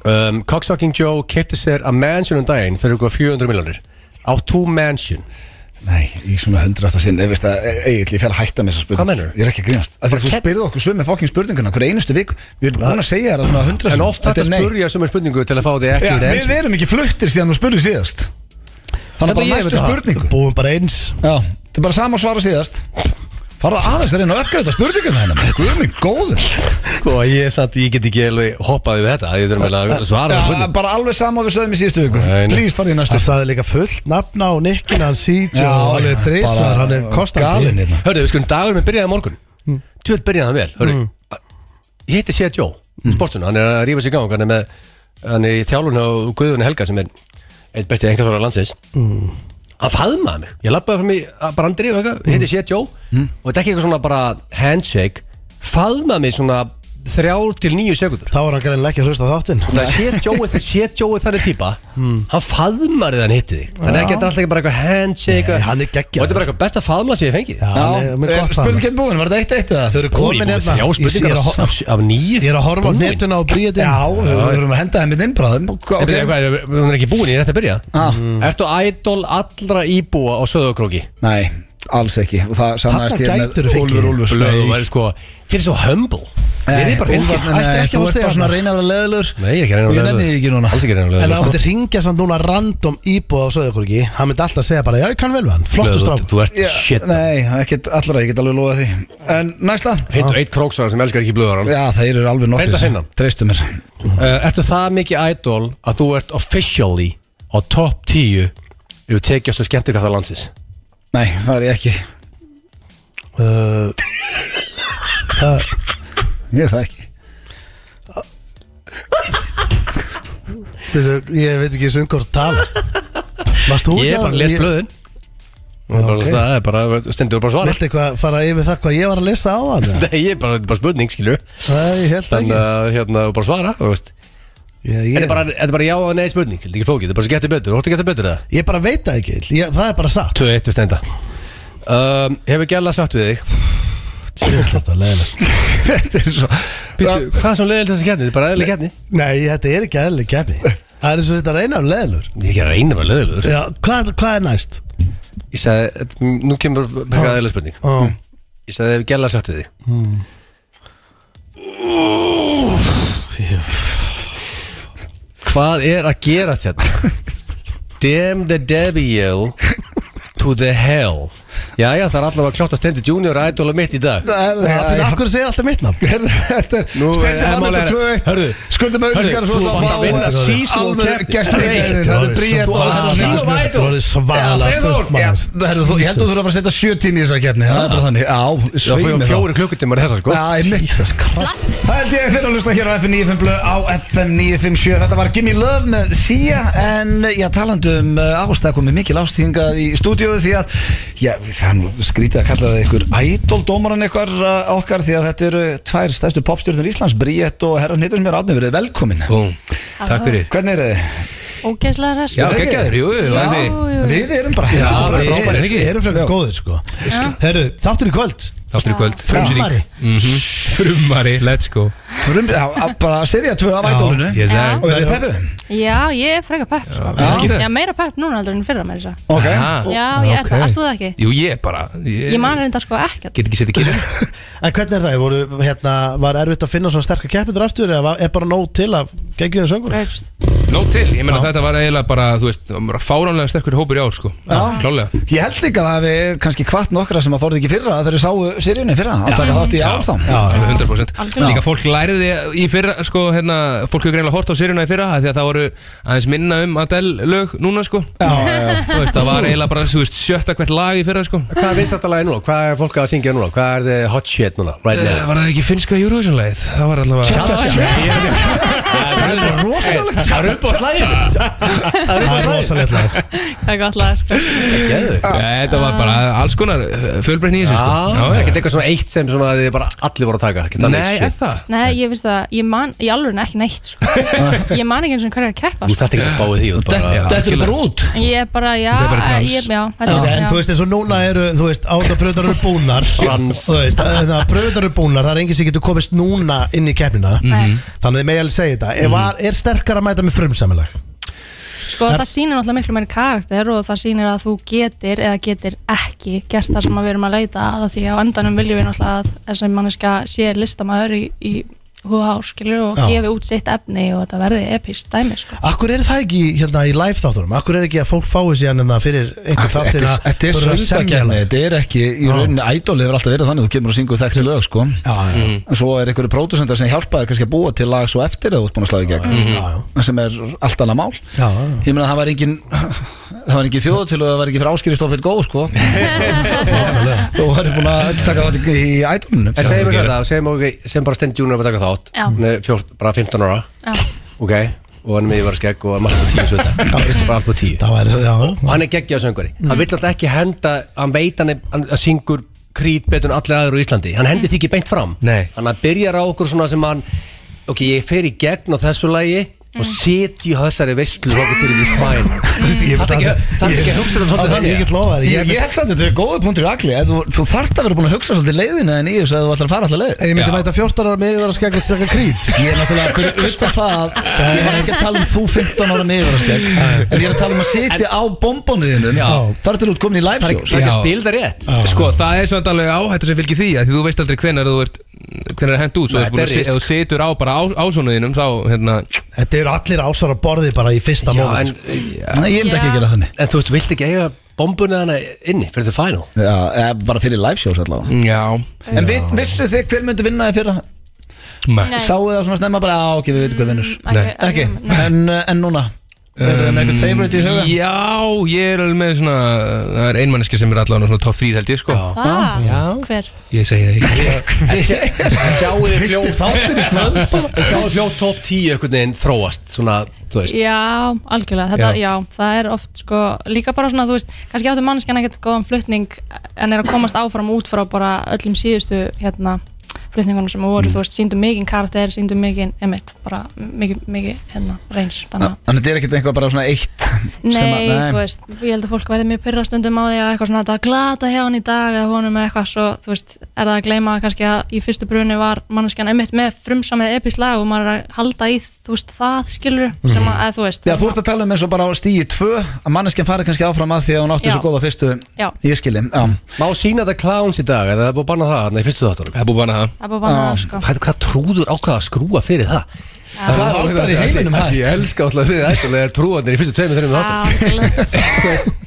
S3: um, Cocksucking Joe kefti sér að mansion um daginn fyrir ykkur 400 miljonir á tú mansion
S1: Nei, í svona hundrasta sinn Ég veist að, Egil, ég fer að hætta með þessa spurning
S3: Hvað meinarðu?
S1: Ég er ekki að grínast Af því að Þú
S3: kenn-
S1: spyrðu okkur sömu fokking spurninguna Hver einustu vik Við erum búin að segja þér að svona hundrasta
S3: en oft þetta spurja sem er spurningu til að fá því
S1: Já,
S3: ekki í það
S1: við
S3: enn.
S1: erum ekki fluttir síðan þú spurðið síðast Þannig
S3: Þetta
S1: bara
S3: ég veit
S1: næstu
S3: það.
S1: spurningu
S2: Búum bara eins
S1: Já, þetta er bara sama svara síðast Farða aðeins að reyna að öfgreita spurninguna hennar Guð minn góður
S3: sko, ég, satt, ég get ekki alveg hoppaði við þetta ég þurfum eiginlega að svara þessu
S1: Já,
S3: spurningu
S1: bara alveg sama og við sögum í síðustu viku
S3: Nei, nei.
S1: Please farði í næstu
S2: Það saði líka fullt nafna á nikkina Hann sítjó
S1: Já, já,
S2: og alveg þrísvar
S1: bara
S2: Hann er kostandi
S1: galinn hérna.
S3: Hörðu, við skulum dagur með byrjaði á morgun mm. Tjóð byrjaði hann vel Hörðu,
S2: Mm.
S3: ég hitti Seth Joe mm. Sportuna, hann er að rífa sér gang Hann er, með, hann er í þjálun á Guðunni Helga sem er eitt besti engaþóra landsins mm. Hann faðmaði mig Ég lappaði fram í að brandri og eitthvað
S2: Mm.
S3: Hitti Seth Joe Og þetta er ekki eitthvað svona bara handshake Faðmaði mig svona þrjár til níu sekundur
S2: Þá er hann greinlega ekki að hlusta á þáttinn
S3: Það er Seth Joe, þegar Seth Joe er þannig típa
S2: Mm.
S3: Hann faðmar þegar hann hitti þig Hann er ekki alltaf ekki bara eitthvað handshake
S2: Nei, hann er
S3: Og
S2: geggjaður.
S3: þetta er bara eitthvað besta faðma sem ég hef fengið
S2: Já, hann er með
S1: Já, Eh,
S2: gott
S1: spurning
S2: saman
S1: henni búin, var þetta eitt eitt eða?
S2: Þau eru komin
S3: Búin,
S2: hérna
S3: þrjá
S2: Ég- ég er
S3: spurningar
S2: að
S3: af,
S2: hor-
S3: af, af nýju
S2: Ég er að horfa á
S3: Búin.
S2: netuna og bríða
S1: Já,
S2: þetta
S1: við verðum að henda þeim hérna inn bráðum
S3: Nei, byrja,
S1: okay.
S3: hvað, er- Hún er ekki búin, ég er eftir að byrja Mm.
S1: Ah.
S3: Ertu idol allra íbúa á Söðokróki?
S1: Nei, alls ekki Og það sannaðist
S2: Þarna
S1: ég
S2: gætirðu
S1: með
S2: fengið.
S1: Úlfur Úlfur
S3: Blöðu væri sko Þið er svo humble Þið er bara finnskir
S1: Nei,
S2: Ættir ekki að
S1: þú
S2: fá
S1: ert
S2: stig
S1: bara svona
S2: þarna.
S1: að reyna að vera leðilur
S3: Nei, ég er ekki að reyna að
S1: Ég
S3: vera
S1: nenni
S3: leiðilegur.
S1: því ekki núna
S3: Alls ekki að reyna að vera
S2: En ef hann
S3: leiðilegur,
S2: myndi ringja samt núna random íbúð á Söðakorgi Hann myndi alltaf segja bara Já, ég kann vel við hann Flottu
S3: Blöðu,
S2: strák
S3: þú ert
S1: Já,
S3: shit
S1: Nei, ekkert allra, ég get alveg lofa því En næsta
S3: Findu eitt króksvara sem elskar ekki blöðaran
S1: Já, þeir eru alveg nokkri
S3: Reyndu að finna hann.
S1: Treystu mér
S3: Eh, Ertu það mikið idol að þú ert officially á top 10 yfir tekjast og skemmtir hvað það landsins
S1: Nei, það er ég ekki
S2: Uh, Það-
S1: Ég er það ekki
S2: Veitu, Ég veit ekki sem hvort tala Varst þú
S3: Ég er bara að lesa blöðin Það er bara-
S2: ok.
S3: það er bara, stendur bara svara
S2: Viltu eitthvað fara yfir það hvað ég var að lesa á hann? eða?
S3: Nei, *laughs* ég er bara, þetta er bara spurning, skilju
S2: Nei, ég held
S3: Þannig
S2: ekki
S3: að, hérna, þú bara svara, þú veist
S2: ég,
S3: Þetta er
S2: ég,
S3: bara, þetta er bara já og nei spurning, skilju, ekki flókið Þetta er bara svo getur betur, þú ætti að geta betur það
S2: ég bara veit það ekki ég, Það er bara
S3: *laughs*
S2: satt
S3: 2-1 við stenda um, Hefur Gjalla sagt við *laughs* þig
S2: Þetta er leiðilegt.
S1: Þetta er svo
S3: Býttu, Hvað er svona leiðilt þessi kefni? Þetta er bara eðlileg kefni
S2: Nei, þetta er ekki eðlileg kefni Það er eins og þetta reyna um leðilur
S3: Ég er ekki að reyna að vera leiðilegur
S2: Já, hvað, hvað er næst?
S3: Ég sagði, þetta- nú kemur bara eðlileg spurning
S1: Hm.
S2: Oh.
S3: Ég sagði, hefur Gjalla sagt við þig
S1: Hmm.
S3: Hvað er að gera þetta? Damn the devil to the hell Jæja, það er allavega kljótt að stendur junior idol að mitt í dag
S1: Það
S2: Það er
S1: er
S2: akkur segir alltaf mitt nafn
S1: Herðu, þetta er
S3: Nú,
S1: Steindi
S3: eh,
S1: vann
S3: mál
S1: þetta 2-1
S3: er- Hörðu,
S1: Skuldum auðvitskar og
S3: hörðu, þú
S1: svo
S3: varst að vinna season
S1: Alveg
S3: keppni.
S1: gæst
S3: Nei,
S1: Það eru
S2: Þú
S1: bríðet og það eru
S2: varst að-
S1: nýjum
S2: Þetta er orðið svaðalega
S3: Já,
S2: fullt
S3: Steindór.
S2: maður
S1: Herðu, þú- Ég held að þú þurfa að fara að setja 7 tími í þessa keppni Það er bara þannig Já,
S3: Það fyrir um
S1: sveimi þá
S3: fjóri klukkutímar í þessa sko
S1: Já, einmitt Það held ég þeirra að lusta hér á FM 95 blöð á FM 957 Þetta var Gimme Love með Sia en já, talandi um ástæða komið mikil ástíðingað í stúdíóðu því að já, það er nú skrítið að kalla það ykkur ædoldómaran ykkur uh, okkar því að þetta eru tvær stærstu popstjörnur Íslands Bríett og herran hittur sem er átni verið velkomin
S3: Búm, takk fyrir
S1: Hvernig er þið?
S9: Ógeðslega ræst
S3: Já,
S1: það ekki?
S3: geggjaður, jú, jú,
S9: Já,
S3: æði.
S9: jú, jú.
S1: Við erum bara
S2: Já,
S1: hérna bara-
S3: bara
S2: við
S3: frábærir, ekki?
S2: erum frekar góðir sko Herru, þáttur í kvöld
S10: Þáttur í kvöld
S2: Frumari.
S10: Mhm. Frumari, let's go
S1: frum- já, að bara serið að tvö af ædolunu
S10: Ég sagði
S1: Og við peppuðum
S9: Já, ég er frekar pepp sko.
S10: Já.
S9: Já, meira pepp núna heldur en fyrra með þess að
S1: Ok
S10: Ah,
S9: Já, ég er
S10: ok.
S9: það, ert þú það ekki?
S10: Jú, ég bara Ég,
S9: Ég man reynda sko ekkert
S10: Get ekki setið kynni
S2: En hvernig er það? Voru, hérna, var erfitt að finna svona sterkar keppindur aftur eða var- er bara nóg til að geggjum þeim söngur?
S9: Veist.
S10: Nóg til, ég meina þetta var eiginlega bara Þú veist, það var fáránlega sterkur hópur í ár sko Klálega
S1: Ég held líka að við kannski kvart nokkra sem að þorði ekki fyrra þegar þau sáu sirjunni fyrra að taka þátt í ár þá
S2: Já,
S10: 100%
S9: Algjörlega.
S10: Líka fólk læriði í fyrra sko, hérna, Fólk hefur greinlega hort á sérjuna í fyrra af Því að það voru aðeins minna um Adele lög núna sko já, já. Veist, Það var eiginlega bara þú veist, sjötta hvert lag í fyrra sko
S3: *laughs* Hvað er vinsættalega núna? Hvað er fólk að syngja núna? Hvað er þið hot shit núna? Right
S10: Eh, *laughs*
S3: now
S10: Var það ekki finnska Eurovision-lagið? Það var allavega
S3: Það er rosalegt Það er upp á slæðinu Það er
S2: það er
S3: upp á slæðinu
S2: rosalega
S9: Það er gott lag sko.
S10: Nei, Þetta var bara alls konar eh, fjölbreytni í þessu
S3: Já,
S10: sko
S3: ekkert eitthvað svona eitt sem svona að þið bara allir voru að taka Ekkert þannig
S10: Nei,
S3: shit.
S10: er það?
S9: Nei, ég finnst það, ég man í alveg ekki neitt sko. Ég man ekki eins og hverju er að keppa
S3: Þú
S9: sko.
S3: þarft ekki að spáði því þú ert bara-
S10: Já,
S1: Þetta er
S10: algjörlega.
S1: bara út
S9: En Ég er bara, já,
S10: Þetta er bara
S9: eh,
S10: trans.
S9: ég, já, þetta
S2: En,
S9: er-
S2: en
S9: já.
S2: þú veist eins og núna eru, þú veist, áttabröðar eru búnar
S3: Frans.
S2: Þú veist, þannig að bröðar eru búnar, það er enginn sem getur komist núna inn í keppnina
S9: Mm-hmm. Nei.
S2: Þannig að þið megi alveg segja þetta
S3: Mm-hmm.
S2: er, var, er sterkar að mæta með frumsamilag?
S9: Sko það sýnir náttúrulega miklu meiri karakter og það sýnir að þú getir eða getir ekki gert það sem að við erum að leita að af því að á endanum viljum við náttúrulega að þessi manneska sé listamæður í, í húðhár skilur og
S2: Já.
S9: gefi út sitt efni og þetta verði epist dæmi sko.
S2: Akkur er það ekki hérna í live þáttunum? Akkur er ekki að fólk fái síðan en það fyrir einhver þátt til að
S1: Þetta er
S2: fyrir hérna. að semja
S1: söndakenni,
S2: lag?
S1: þetta er ekki í rauninni ædolið er alltaf verið þannig, þú kemur og syngur þekkti lög sko
S2: Já, já, já,
S1: En svo er einhverju pródusendar sem hjálpa þér kannski að búa til lag svo eftir að þú ert búin að slaga í gegn
S3: Mm-hmm.
S2: já, já.
S1: sem er allt annað mál
S2: Já, já.
S1: Ég meina það var engin það var engin þjóðu til og það var ekki fyrir áskýri stólfið góð sko *laughs* Þú væri búin að taka þátt í í ædolinu
S3: En segjum við þetta, segjum okkur Segjum bara Stend Júnur að taka þátt
S9: Já.
S3: Hún er fjórt- bara 15 ára
S9: Já.
S3: Ok Og hann er með yfir skegg og hann er alltaf tíu sötta Bara alltaf tíu
S2: það væri já, já.
S3: og hann er geggjað söngvari hann vill alltaf ekki henda, hann veit hann, er, hann hann syngur krít betur en allir aður á Íslandi hann hendi því ekki beint fram
S10: Nei.
S3: hann byrjar á okkur svona sem hann ok, ég fer í gegn á þessu lagi og setji á þessari veistlu og okkur til því fæn
S2: Mm.
S3: það er ekki það er ekki að hugsa
S2: Ég-
S3: þetta svolítið
S2: ég
S3: þannig
S2: get lofa þér
S1: Ég,
S2: ég,
S1: ég held samt að þetta er góða punktur í allir þú, þú þarft að vera búin að hugsa svolítið leiðina en í þessu að þú ætlar að fara alltaf leið
S2: ég myndi
S10: Já.
S2: mæta 14 ára með yfir að skegja stakka krít
S1: Ég er náttúrulega fyrir utan það að Ég var ekki að tala um þú 15 ára niður skegg, En ég er að tala um að sitja á bombónuðinum Þar til út komin í live
S3: það er
S1: shows
S3: ekki- það er ekki
S10: Já.
S3: að spila það rétt
S10: Sko, það er samt alveg áhættur sem fylgir því að því þú veist aldrei hvenar þú ert hvenar er hend út svo
S3: Nei,
S10: þú ert búin
S3: þetta
S10: að
S3: er
S10: se-
S3: risk.
S10: ef þú situr á bara ásónuðinum þá hérna
S2: Þetta eru allir ásar á borði bara í fyrsta
S3: já,
S2: móment
S3: en,
S2: sko.
S1: Nei, ég myndi ekki að gera þannig
S3: en þú veist, þú vilt ekki eiga bombuna hana inni fyrir the final
S1: Já, eða bara fyrir live shows allavega
S10: Já
S1: En við, vissu þið hver myndi vinna í fyrra?
S10: Nei.
S9: Nei. Mm,
S1: Sáu það svona snemma bara, á, ok, við veitum hvað vinnur
S9: Ekki-
S1: Ekki,
S9: Nei.
S1: en, eh, en núna Erum við með einhvern favorite í huga?
S10: Já, ég er alveg með svona Það er einmanniski sem er allavega svona top 3 held ég sko
S9: Það? Hver?
S10: Ég segi það ekki
S3: Sjáu þið fljótt þáttir í kvöld Sjáu þið fljótt top 10 einhvern veginn þróast Svona, þú veist
S9: Já, algjörlega, þetta,
S10: Já.
S9: já. það er oft sko, líka bara svona, þú veist, kannski áttu mannskjana ekkert góðan flutning en er að komast áfram út frá bara öllum síðustu hérna, flutningunum sem
S1: Mm.
S9: voru, þú veist, síndum mikið karakter, síndum mikið, emitt, bara mikið, mikið, hérna, reyns, þannig að
S1: Þannig þetta er ekkert eitthvað bara svona eitt Ah, sem að-
S9: Nei, þú veist, ég held að fólk verði mjög pyrra stundum á því að eitthvað svona þetta var glata hjá hann í dag eða honum eða eitthvað svo, þú veist, er það að gleyma kannski að í fyrstu brunni var manneskjan einmitt með frumsamið epislag og maður er að halda í, þú veist, það skilur
S1: Mhm.
S9: sem að, eða, þú veist,
S1: Já, þú ert að tala um eins og bara á stíi 2 að manneskinn fari kannski áfram að því að hún átti
S9: Já.
S1: svo góða fyrstu
S9: Já.
S1: Ég skilji, já
S3: Má sína þetta clowns í dag Eða það er búið að banna það Nei, fyrstu þáttunum
S10: Það er búið bara það
S9: það er bara bannað, sko
S3: Hvað, hvað trúður ákvað að skrúa fyrir það? Það
S1: er alls staðar í heiminum
S3: hægt Ég elska alltaf við ætlulega trúanir í fyrstu tveimur, þreimur þáttum
S9: Algjörlega.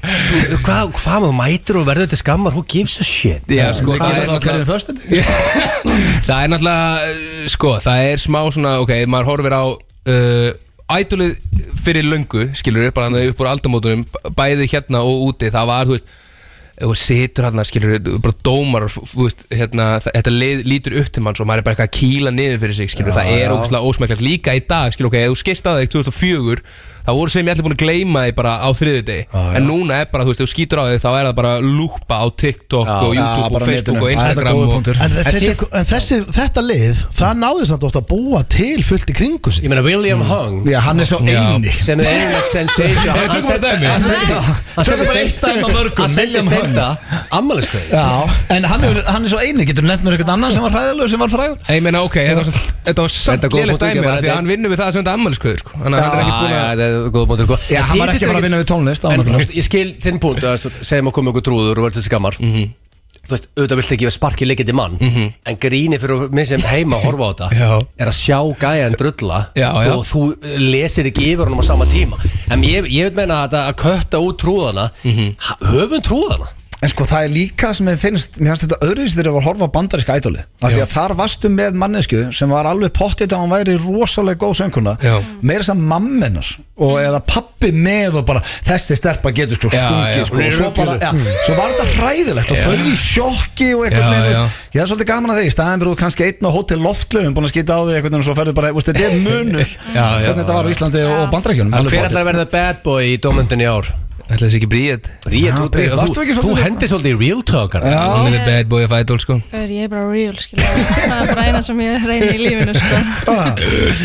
S3: Þú- Hvað, hvað maður mætir og verður þetta skammar Who gives a shit?
S10: Já, sko,
S1: Við gerum
S10: það er
S1: það á hverjum
S10: náttúrulega
S1: föstundi
S10: Það er náttúrulega, uh, sko, það er smá svona, ok, maður horfir á uh, ædolið fyrir löngu, skilur við, bara hann upp úr aldamótunum, b- bæði hérna og úti, það var, þú veist, þú situr hérna, skilur við, bara dómar, og f- þú veist, hérna, þa- þetta leið, lítur upp til manns og maður er bara eitthvað að kýla niður fyrir sig, skilur við, það er ógustlega ósmæklegt líka í dag, skilur við, ok, ef þú skist á þig 2004, þá voru sem ég allir búin að gleyma þig bara á þriði en núna er bara, þú veist, ef þú skýtur á þig, þá er það bara lúpa á TikTok og
S1: já,
S10: YouTube
S1: bara
S10: og
S1: á netinu.
S10: Facebook og
S1: Það er
S10: Instagram
S1: góður
S10: og,
S1: punktur.
S2: En, þessi, en þessi, þetta lið, það náði samt ofta að búa til fullt í kringu sig
S3: Ég meina William Hung
S1: Já, hann er svo
S10: Já.
S1: eini
S3: sem er einnig sensation
S10: Nei, tökum bara dæmi.
S3: Hann
S1: Tökum bara eitt dæmi af mörgum,
S3: Hann sendi
S1: William Hung.
S3: steinda Ammaliskveið
S1: Já, en hann er, hann er svo eini, getur nefnt mér eitthvað annan sem var hræðilegur sem var frægur
S10: Ég meina, ok, þetta var samt- þetta var samt
S3: Þetta er góð
S10: lélega
S3: punktur,
S10: dæmi
S3: ekki bara-
S10: af Því að hann vinnur við það að senda ammæliskvöður sko. Þannig að hann er ekki búin að
S3: Það er góð punktur góð.
S1: Já,
S3: En
S1: hann
S3: þið
S1: var ekki
S3: getur
S1: bara að vinna við tónlist, það var
S3: En
S1: nokkuð.
S3: þú veist, ég skil þinn punkt að þú veist, segjum að koma ykkur trúður og verður þessi skammar
S1: Mhm.
S3: Þú veist, auðvitað vilt ekki við sparki leikindi mann En gríni fyrir mig sem heima að horfa á
S10: Já.
S3: þetta Er að sjá gæjan drulla
S10: Já, já.
S3: Og þú lesir ekki yfir honum á sama tíma En ég, ég veit meina að þetta að kötta út trúðana
S1: Mhm.
S3: ha- Höfum trúðana
S1: En sko það er líka sem ég finnst Mér finnst þetta öðruvísi þegar ég var að horfa á bandaríska ædoli Því að þar varstu með mannesku sem var alveg pottið að hann væri rosalega góð sönguna
S10: Já. Mm.
S1: Meira sem mammenas og eða pappi með og bara þessi stelpa getur sko
S10: Já,
S1: stungið
S10: já.
S1: sko og svo, bara, já, svo var þetta hræðilegt og þau í sjokki og
S10: Mm. Já,
S1: eitthvað neina
S10: já.
S1: Ég er svolítið gaman að því, í staðan verður þú kannski einn á hótel loftlöfum búin að skita á því eitthvað og svo ferðu bara, veist, þetta er munur
S10: *laughs* Já, já,
S1: hvernig þetta var á
S10: já.
S1: Íslandi og bandaríkjunum
S3: En hver ætlar að
S1: sko.
S3: verða bad boy í dómöndinni í ár?
S10: Ætla þessi ekki bríðið
S3: Bríð,
S1: Já,
S3: þú,
S1: Bríet,
S3: þú,
S1: varstu ekki
S3: þú,
S1: svolítið-
S3: hendir svolítið í real talkar
S10: Hann er the bad boy of idol sko.
S9: Gaur, Ég er bara real, skilur Það er bara eina sem ég reyni í lífinu, sko
S1: Ah.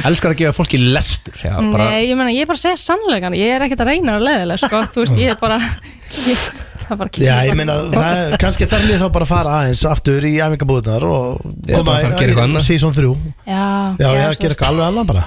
S3: Elskar að gefa fólki lestur Já, bara,
S9: Nei, ég meina, ég er bara að segja sannleikan Ég er ekkert að reyna að leðilega, sko Þú veist, ég er bara ég, Það er bara
S2: Já, ég meina, það er kannski þar lið þá bara að fara aðeins aftur í æfingabúðunar og
S10: Já, bara fara að gera eitthvað annað.
S2: season 3
S9: Já,
S2: Já, ég að
S9: já, svo
S2: gera
S9: veist.
S2: eitthvað alveg annað bara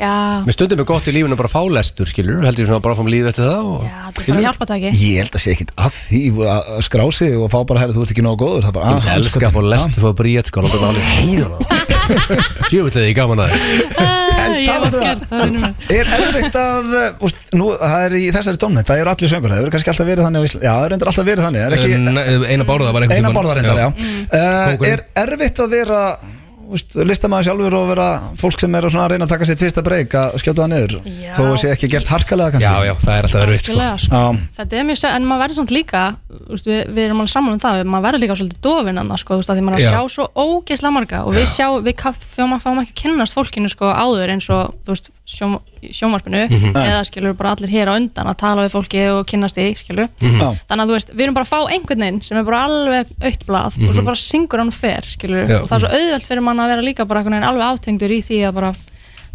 S9: Já,
S3: Mér stundum er gott í lífinu að bara fá lestur, skilur Heldur ég svona bara áfram lífið eftir það og...
S9: já, það er bara hjálpatæki
S1: Ég held að sé ekkit að því að að skrá sig og fá bara, herri, þú ert ekki nógu góður Það er bara,
S3: Ég myndi
S1: ah,
S3: elska að fá lestur fyrir Bríð, sko Láttu mig alveg
S1: *laughs*
S3: heyra það Sjöfullið ég gaman að þess
S9: Ah, Ég
S1: talaðu
S9: hef oft
S1: það.
S9: gert það, vinnum minn
S1: Er erfitt að, uh, úst, nú, það er í þessari tónmynd, það eru allir söngur, það eru kannski alltaf verið þannig á Íslandi, já, það er reyndar alltaf verið þannig, það er ekki
S10: Nei, Einar Bárða var einhvern
S1: eina
S10: tímann.
S1: borða reyndar, já. Uh,
S10: Kóngurinn.
S1: er erfitt að vera, úst, listamaður sjálfur og vera fólk sem er að svona að reyna að taka sitt fyrsta breyk að skjóta það niður,
S9: Já.
S1: þó að sé ekki gert harkalega
S10: Já,
S1: kannski?
S10: já, það er alltaf erfitt sko.
S9: Algjörlega, sko.
S1: Já.
S9: Þetta er mjög sætt, en maður verður samt líka úst, við, við erum alveg saman um það, maður verður líka svolítið dofinn annars, sko, þú veist, af því maður
S10: Já.
S9: er að sjá svo ógeðslega marga og við sjá, við kaff- fáum fáum ekki að kynnast fólkinu sko áður eins og, þú veist, sjóm, í sjónvarpinu
S10: Mhm.
S9: eða skilur bara allir hér á undan að tala við fólki og kynnast því, skilur
S10: Mhm.
S1: Já.
S9: þannig að þú veist, við erum bara að fá einhvern veginn sem er bara alveg aukt blað og svo bara syngur hann og fer, skilur,
S10: Mhm. Já.
S9: og það er svo auðvelt fyrir mann að vera líka bara einhvern veginn alveg átengdur í því að bara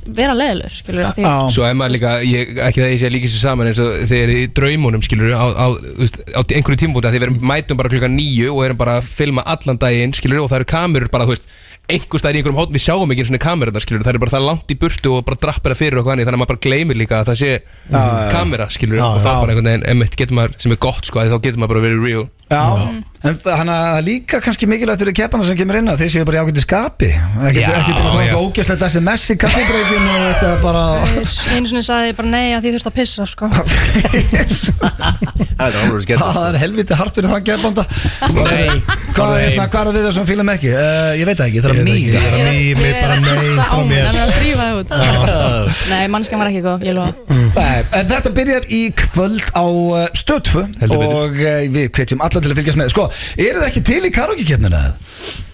S9: vera leðilur, skilur, að því
S1: Já.
S10: Svo er maður líka, ég, ekki það ég sé að líka sér saman eins og þegar í draumunum skilur á, á, þú veist, á einhverju tímbúti að því við erum mætum bara klukkan nýju og erum bara að filma allan daginn skilur og það eru kamerur bara, þú veist einhver staðar í einhverjum hótt, við sjáum ekki svona kamerur það skilur, það eru bara það langt í burtu og bara drappera fyrir og hvernig, þannig að maður bara gleymir líka að það sé kamera skilur og það bara einhvern veginn, emitt getur maður, sem er gott sko, að þá getur maður bara verið real
S1: Já, en þannig að það er líka kannski mikilvægt fyrir keppana sem kemur inn að þeir séu bara í ágæti skapi ekki,
S10: Já,
S1: ekki til að
S10: já.
S1: koma ógæslegt SMS í kaffibreykinu og þetta er bara
S9: einu sinni sagði ég bara nei að því þurft að pissa, sko
S3: Það er alveg skemmt
S1: Það er helviti hart fyrir þann gefbanda
S3: Nei,
S1: Hvað
S3: farðu
S1: er
S3: heim.
S1: hérna, hvað er við þessum fílum ekki? Uh, ég veit það ekki, það er að mýga
S9: Ég er að pissa á mér, hann er að drífa það út Nei, mannskja var ekki góð, ég lofa
S1: Nei, en þetta byrjar í kvöld á uh, stöðfu
S10: Heldur betur.
S1: og uh, við hvetjum alla til að fylgjast með sko, eru þið ekki til í karaoke-kefnina?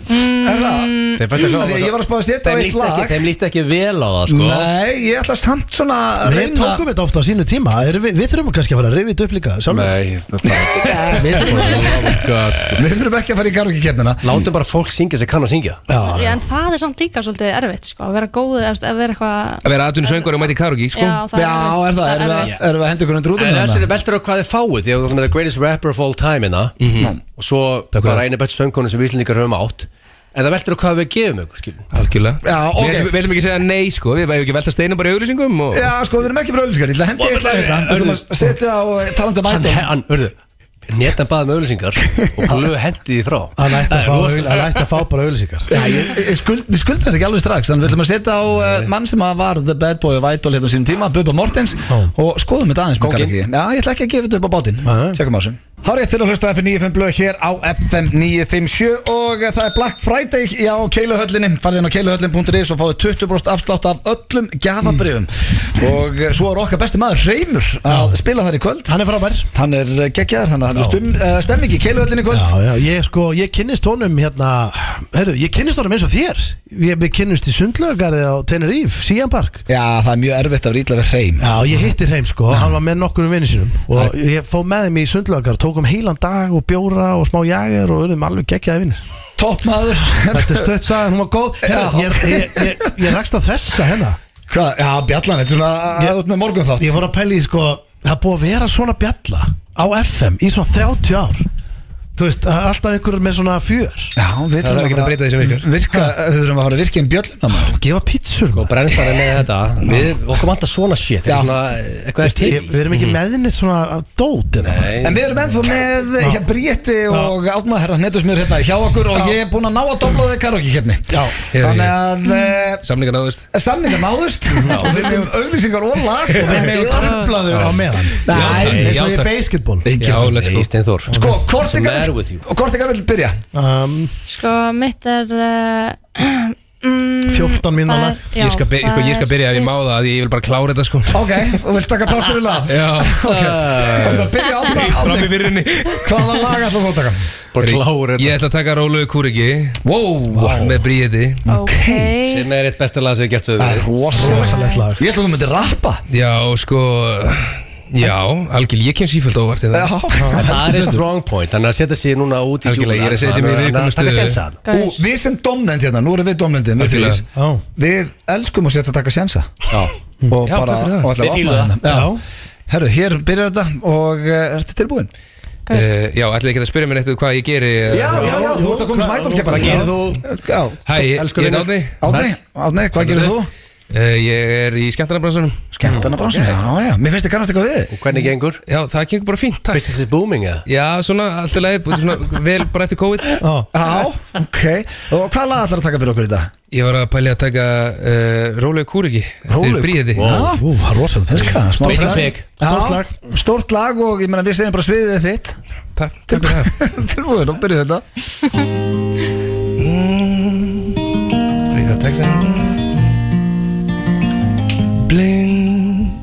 S1: Mm, er það?
S3: Þeim fannst það hljóma
S1: Af því að ég var að spáðast þetta á
S3: Þeim
S1: eitt
S3: líst ekki,
S1: lag
S3: þeim líst ekki vel á það sko
S1: Nei, ég ætla samt svona að
S2: Við tókum þetta ofta á sínu tíma Erum við, við þurfum kannski að fara að rifið upp líka sjálfur.
S10: Nei, þetta
S2: Við þurfum að
S1: Við þurfum ekki að fara í karaoke-kefnina
S3: Oh Látum bara fólk syngja sem kann að syngja
S2: Já,
S9: Já, en það er samt líka svolítið erfitt sko, að vera góð eða þú veist, að vera eitthvað
S10: Að vera aðtunni söngur og mæti karugi, sko
S9: Já, það
S1: Já,
S9: erfitt,
S1: er það, erum við að-
S9: erfitt.
S1: erum við að henda ykkur undir út um
S3: En eftir
S1: hana?
S3: veldur á hvað þið fáið Því að það er the greatest rapper of all time inna
S1: Mhm.
S3: Og svo bara einu bestu söngkonu sem við Íslandingar höfum átt En það veldur á hvað við gefum ykkur skilur
S10: Algjörlega
S1: Já, ok.
S10: Við ætlum- Við ætlum ekki að segja nei, sko Við bæðum ekki að velta steinum bara í auglýsingum og...
S1: Já, sko, við erum ekki frá öllinskar, ég ætla að henda ykkur að þetta Við þurfum að setja á eh, talandi um
S3: Hann,
S1: item
S3: hann, hörðu Netan baði með auðlýsingar Og blöðu hendi því frá
S2: hann ætti að,
S3: Það er
S2: fá
S3: rosa-
S2: auglý- hann ætti að fá bara auðlýsingar
S1: Já, ég, ég skuld, við skuldum þetta ekki alveg strax Þannig við ætlum að setja á uh, mann sem að var The Bad Boy of Idol hérna á sínum tíma Bubba Mortens Og skoðum þetta aðeins með
S3: Kónginn.
S1: karaoke. Já, ég ætla ekki að gefa þetta upp á bátinn Tjekkum á þessu Hárið til að hlusta á FM 95 blöð hér á FM 957 Og eh, það er Black Friday í- á Keiluhöllinni Farðið inn á keiluhöllin.is og fáið 20% afslátt af öllum gafabrifum Og eh, svo er okkar besti maður Reymur að spila þar í kvöld
S2: Hann er frábær
S1: Hann er eh, geggjaður, þannig að hann er stum, uh, stemming í Keiluhöllinni í kvöld
S2: Já, já, ég sko, ég kynnist honum hérna Herru, ég kynnist honum eins og þér Ég, Við kynnist í Sundlögarði á Tenerife, Sian Park
S1: Já, það er mjög erfitt að vera ítla við Reym
S2: Já, ég hitti hreim sko, hann var með nokkur um vinni sínum Og ég fóð með þeim í Sundlögar Tókum heilan dag og bjóra og smá jager Og urðum alveg geggjaði vinnir
S1: Topp maður
S2: Þetta er stött sagan, hún var góð Herru, ég, ég, ég, ég rakst á þessa hennar
S1: Hvað? Já, bjallan, þetta er svona Það er út með morgun þátt
S2: Ég fór að pæli í sko Það er búið að vera svona bjalla á FM í svona 30 ár Þú veist, það er alltaf einhverjur með svona fjör
S1: Já, við
S3: þarf
S1: þurfum
S3: ekki að
S1: fara-
S3: breyta þessu virkjur.
S1: Virka, við þurfum að fara að virka um bjölluna maður.
S2: Og gefa pítsur sko,
S3: Brennslan er með þetta Við, okkur vantar svona shit
S1: Já.
S3: svona, Eitthvað er til
S2: Ég,
S3: í.
S2: Við erum ekki meðinni svona dót eða
S3: Nei.
S1: En við erum ennþá með hjá Bríetti og Átmaður herra Netusmjör hérna hjá okkur og ég er búinn að ná að dobla þig karaoke kefni
S2: Já.
S1: Þannig að eh,
S10: Samlingar náðust
S1: samningar náðust og við erum auglýsingar og lag og
S2: Við
S1: við
S2: megum
S1: megum
S2: tröflaður á meðan
S10: Já,
S2: Nei,
S10: takk.
S2: eins og
S10: Já,
S2: ég
S10: takk.
S2: basketball
S10: Já, let's go
S3: Nei, Steinþór
S1: Sko,
S3: What's the matter with you?
S1: Kortika vil byrja
S2: um,
S9: Sko, mitt er uh, *clears throat* mm,
S2: 14 mínútna
S9: það er-
S2: lag.
S9: já,
S10: Ég skal, by, sko,
S9: það
S10: ég skal
S9: er-
S10: byrja ef ég má það af Því ég vil bara klára þetta, sko
S1: Ok, og vilt taka plástur í lag
S10: Já
S1: Ok, byrja
S10: Fram
S1: Átmaður
S10: í virðinni
S1: Hvaða lag ætlar þú að taka?
S3: Bara klára
S10: Ég ætla að taka Rólaug Kúriki
S1: Wow
S10: Með Bríði
S9: Ok,
S3: Sem er eitt besta lag sem ég gert
S1: Ah.
S3: við verið
S2: Rosalegt lag
S1: Ég ætla að þú myndir rappa
S10: Já, sko Já, algjörlega, ég kem sífælt óvart í það
S1: Já
S3: En það er strong point Þannig að setja sig núna út í djúpuna.
S10: Algjörlega, ég er að setja
S3: Hann
S10: mig í
S3: hann
S10: viðkvæma
S3: að taka
S10: stöðu.
S3: sénsa.
S9: Gauss.
S1: Og við sem domnend hérna, nú erum við domnendin við,
S10: Algjörlega.
S1: þrír. við elskum að setja að taka sjensa Og
S10: Já,
S1: bara
S10: takk fyrir það.
S1: og ætla
S3: Við
S1: að
S3: fílum
S1: opna
S3: það.
S1: hérna. Já. Herru, hér byrjar þetta og uh, ertu tilbúin?
S9: gauss.
S10: Eh, Já, ætlaði ekki að spyrja mér neitt um hvað ég geri eh,
S1: Já, já, já, þú ert að koma sem ædolkeppar
S3: Hvað gerir
S1: þú?
S10: Hæ, ég ég er Átni
S1: Átni, Átni, hvað gerir þú?
S10: Eh, Ég er í skemmtarnabransunum
S1: Skemmtana bransin, já, já, mér finnst þið kannast eitthvað við
S3: Hvernig gengur?
S10: Já, það gengur bara fínt, takk
S3: Business is booming eða?
S10: Já, svona, allt í lagi, búið svona vel bara eftir COVID
S1: Já, ok, og hvað lag ætlar að taka fyrir okkur í dag?
S10: Ég var að pæli að taka uh, Rólaug Kúriki
S1: Róleg-
S10: Rólaug Kúriki
S1: Já,
S2: Ú, það er rosalegt
S1: þess hvað, smá
S3: Basic
S1: fræ-
S3: pick.
S1: Já,
S2: Stórt lag.
S1: Stórt lag og ég meina við segjum bara sviðið er þitt
S10: Takk takk fyrir það
S1: *laughs* Tilbúin, og byrjuð þetta
S10: Ríða textan Blind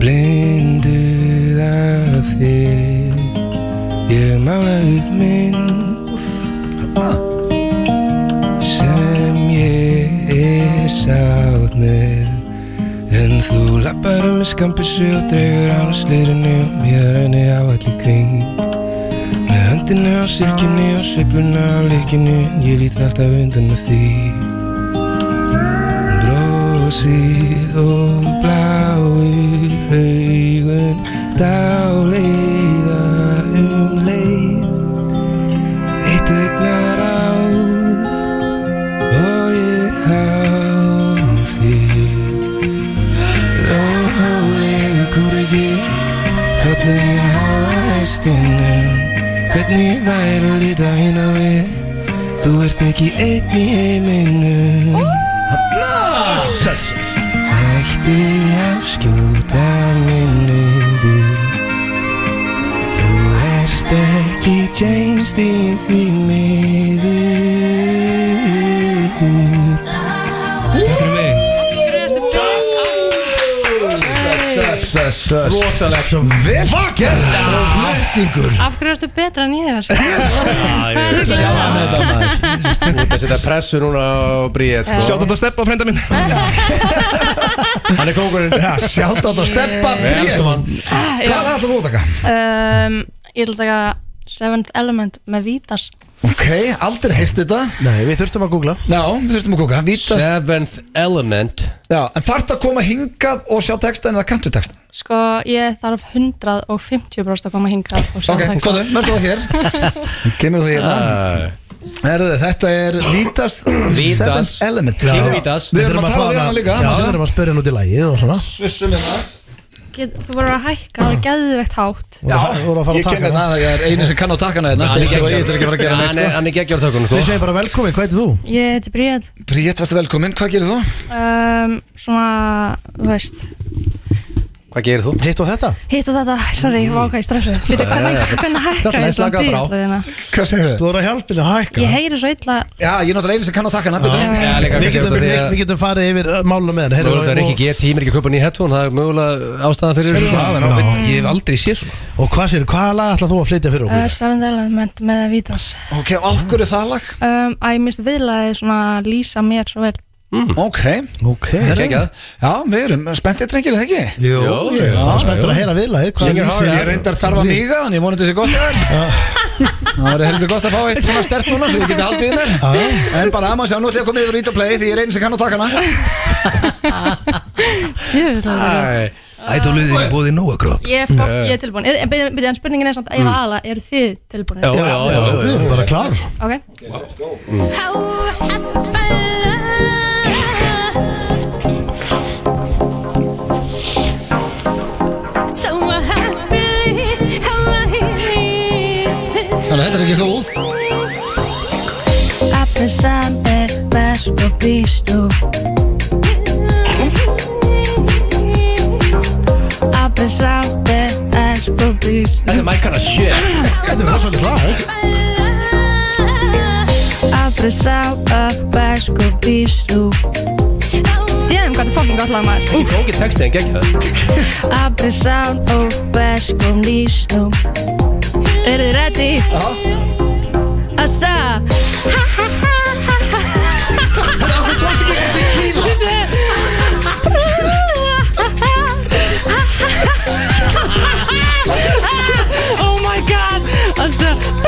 S10: Blinduð af þér Ég mála upp mynd Sem ég er sátt með En þú lappar um skampissu og dregur án slirinu og mér enni á allir kring Með höndinu á sirkinu og sveifluna á leikinu En ég lít alltaf undan með því Brosið og blái haugun Dáleiða um leið Eitt egnar á Og ég á þig Róleg kúrgi Káttu ég á hæstinum Hvernig væri að líta hinn á við Þú ert ekki einn í heiminum Ætti að skjóta minniði Þú ert ekki James Dean því miður Takk fyrir mig
S1: Söss, söss, söss
S3: Rosalegt.
S1: Svo vel gert Flutningur
S9: Af hverju erstu betra en ég þessu?
S1: *laughs*
S9: Hvað er
S3: Sjá
S9: þetta?
S3: hann þetta
S10: *laughs*
S3: maður Þú ert að setja pressu núna á Bríett sko.
S10: Sjátt átt að steppa, frenda minn
S3: Hann er kókurinn
S1: Já, sjátt á þetta steppa
S3: Við elskum hann
S1: Hvað er alltaf þú að taka?
S9: Um, ég ætla að taka Seventh Element með Vítas
S1: Ok, aldrei heist þetta
S2: Nei, við þurftum að googla
S1: Já, við þurfum að kóka Vítast
S3: Seventh Element
S1: Já, en þarf að koma hingað og sjá textan eða kantu textan
S9: Sko, ég þarf 150% að koma hingað og sjá
S1: Ok,
S9: texta.
S1: góðu, mörgðu það *laughs* hér Kemur þú
S3: uh,
S1: hérna Herðu, þetta er Vítast
S3: Vítas.
S1: Seventh Element
S3: Já.
S1: Við
S3: Vítas. Við
S1: erum að tala við hana líka
S2: Já, við erum að spyrja hann út í lagið og svona
S1: Svissum hérna
S9: Get, Þú voru að hækka, það var geðveikt hátt
S1: Já,
S2: Þú voru að fara að
S1: ég
S2: taka
S1: kem hérna
S2: hana.
S1: að ég er eini sem kann á takkana hérna Stefán og ég er ekki að fara að gera neitt
S3: Hann er-
S1: sko
S3: hann er geggjör tökunum
S2: Við
S3: sko
S2: segjum bara velkomin, hvað heitir þú?
S9: Ég heiti Bríð
S1: Bríett, værstu velkominn, hvað gerir þú?
S9: um, Svona, þú veist
S3: Hvað gerir þú?
S2: Hitt og þetta?
S9: Hitt og þetta, sorry, ég var ákveð í stressu Veitu, hvernig, hvernig hækka
S3: Slaka-
S9: ég
S3: slaka bara á.
S9: hérna?
S1: Hvað segir
S2: Þú voru að hjálpa henni að hækka
S9: Ég heyri svo illa
S1: Já, ég er náttúrulega eini sem kann á takkana betur.
S10: Já, líka
S2: Við
S10: kannski
S2: getum,
S10: út af því
S2: við,
S10: að-
S2: við getum farið yfir uh, málunum með henni
S3: Mögulega er ekki G, tímir ekki að kaupa nýja headphone Það er mögulega ástæðan fyrir þessu.
S10: Hraðan á beinni. Ég hef aldrei séð svona
S2: Og hvað sér, hvaða lag ætlað þú að flytja fyrir
S9: uh,
S2: okkur?
S9: Seventh Element með Vítas
S1: Ok, og af hverju það lag?
S9: um, Að ég misti viðlaði svona lýsa mér svo vel
S1: Ok,
S2: ok
S1: herru.
S3: Geggjað.
S1: Já, við erum spenntið drengir, eða ekki?
S2: Jó, ég er bara spenntur að heyra viðlagið hvað
S3: Singer
S2: er
S3: Hall,
S2: lýsir-
S1: Ég reyndar þarf að míga, en ég vonið þessi gott þar Það var heldur gott að fá eitt svona stert núna svo ég geti haldið í mér En bara að maður sjá, nú ætlum ég að koma yfir ít og play því ég er eini sem kann á takkana
S9: Ég
S3: Æ,
S10: Ædolið er búið í nóa gróp
S9: er, fó, ég er tilbúin er, en, byrja- byrja, en spurningin er samt að ég var aðla Eru þið tilbúin?
S3: Mm. Já, já, já,
S2: Já, Við
S3: já
S2: erum bara klár
S9: Ok
S1: Þannig, þetta er ekki þú
S9: Appi sami, best og býstu Appi sami, best og býstu
S3: Þetta er my kind of shit
S2: Þetta er rosalega klár
S9: Appi sami, best og býstu Damn, hvað þetta er fokkin gott lag maður
S3: Ég fók í texti en geggjör
S9: Appi sami, best og býstu Eru þið ready? Já Assa Ha ha ha ha ha *laughs* Oh my god Assa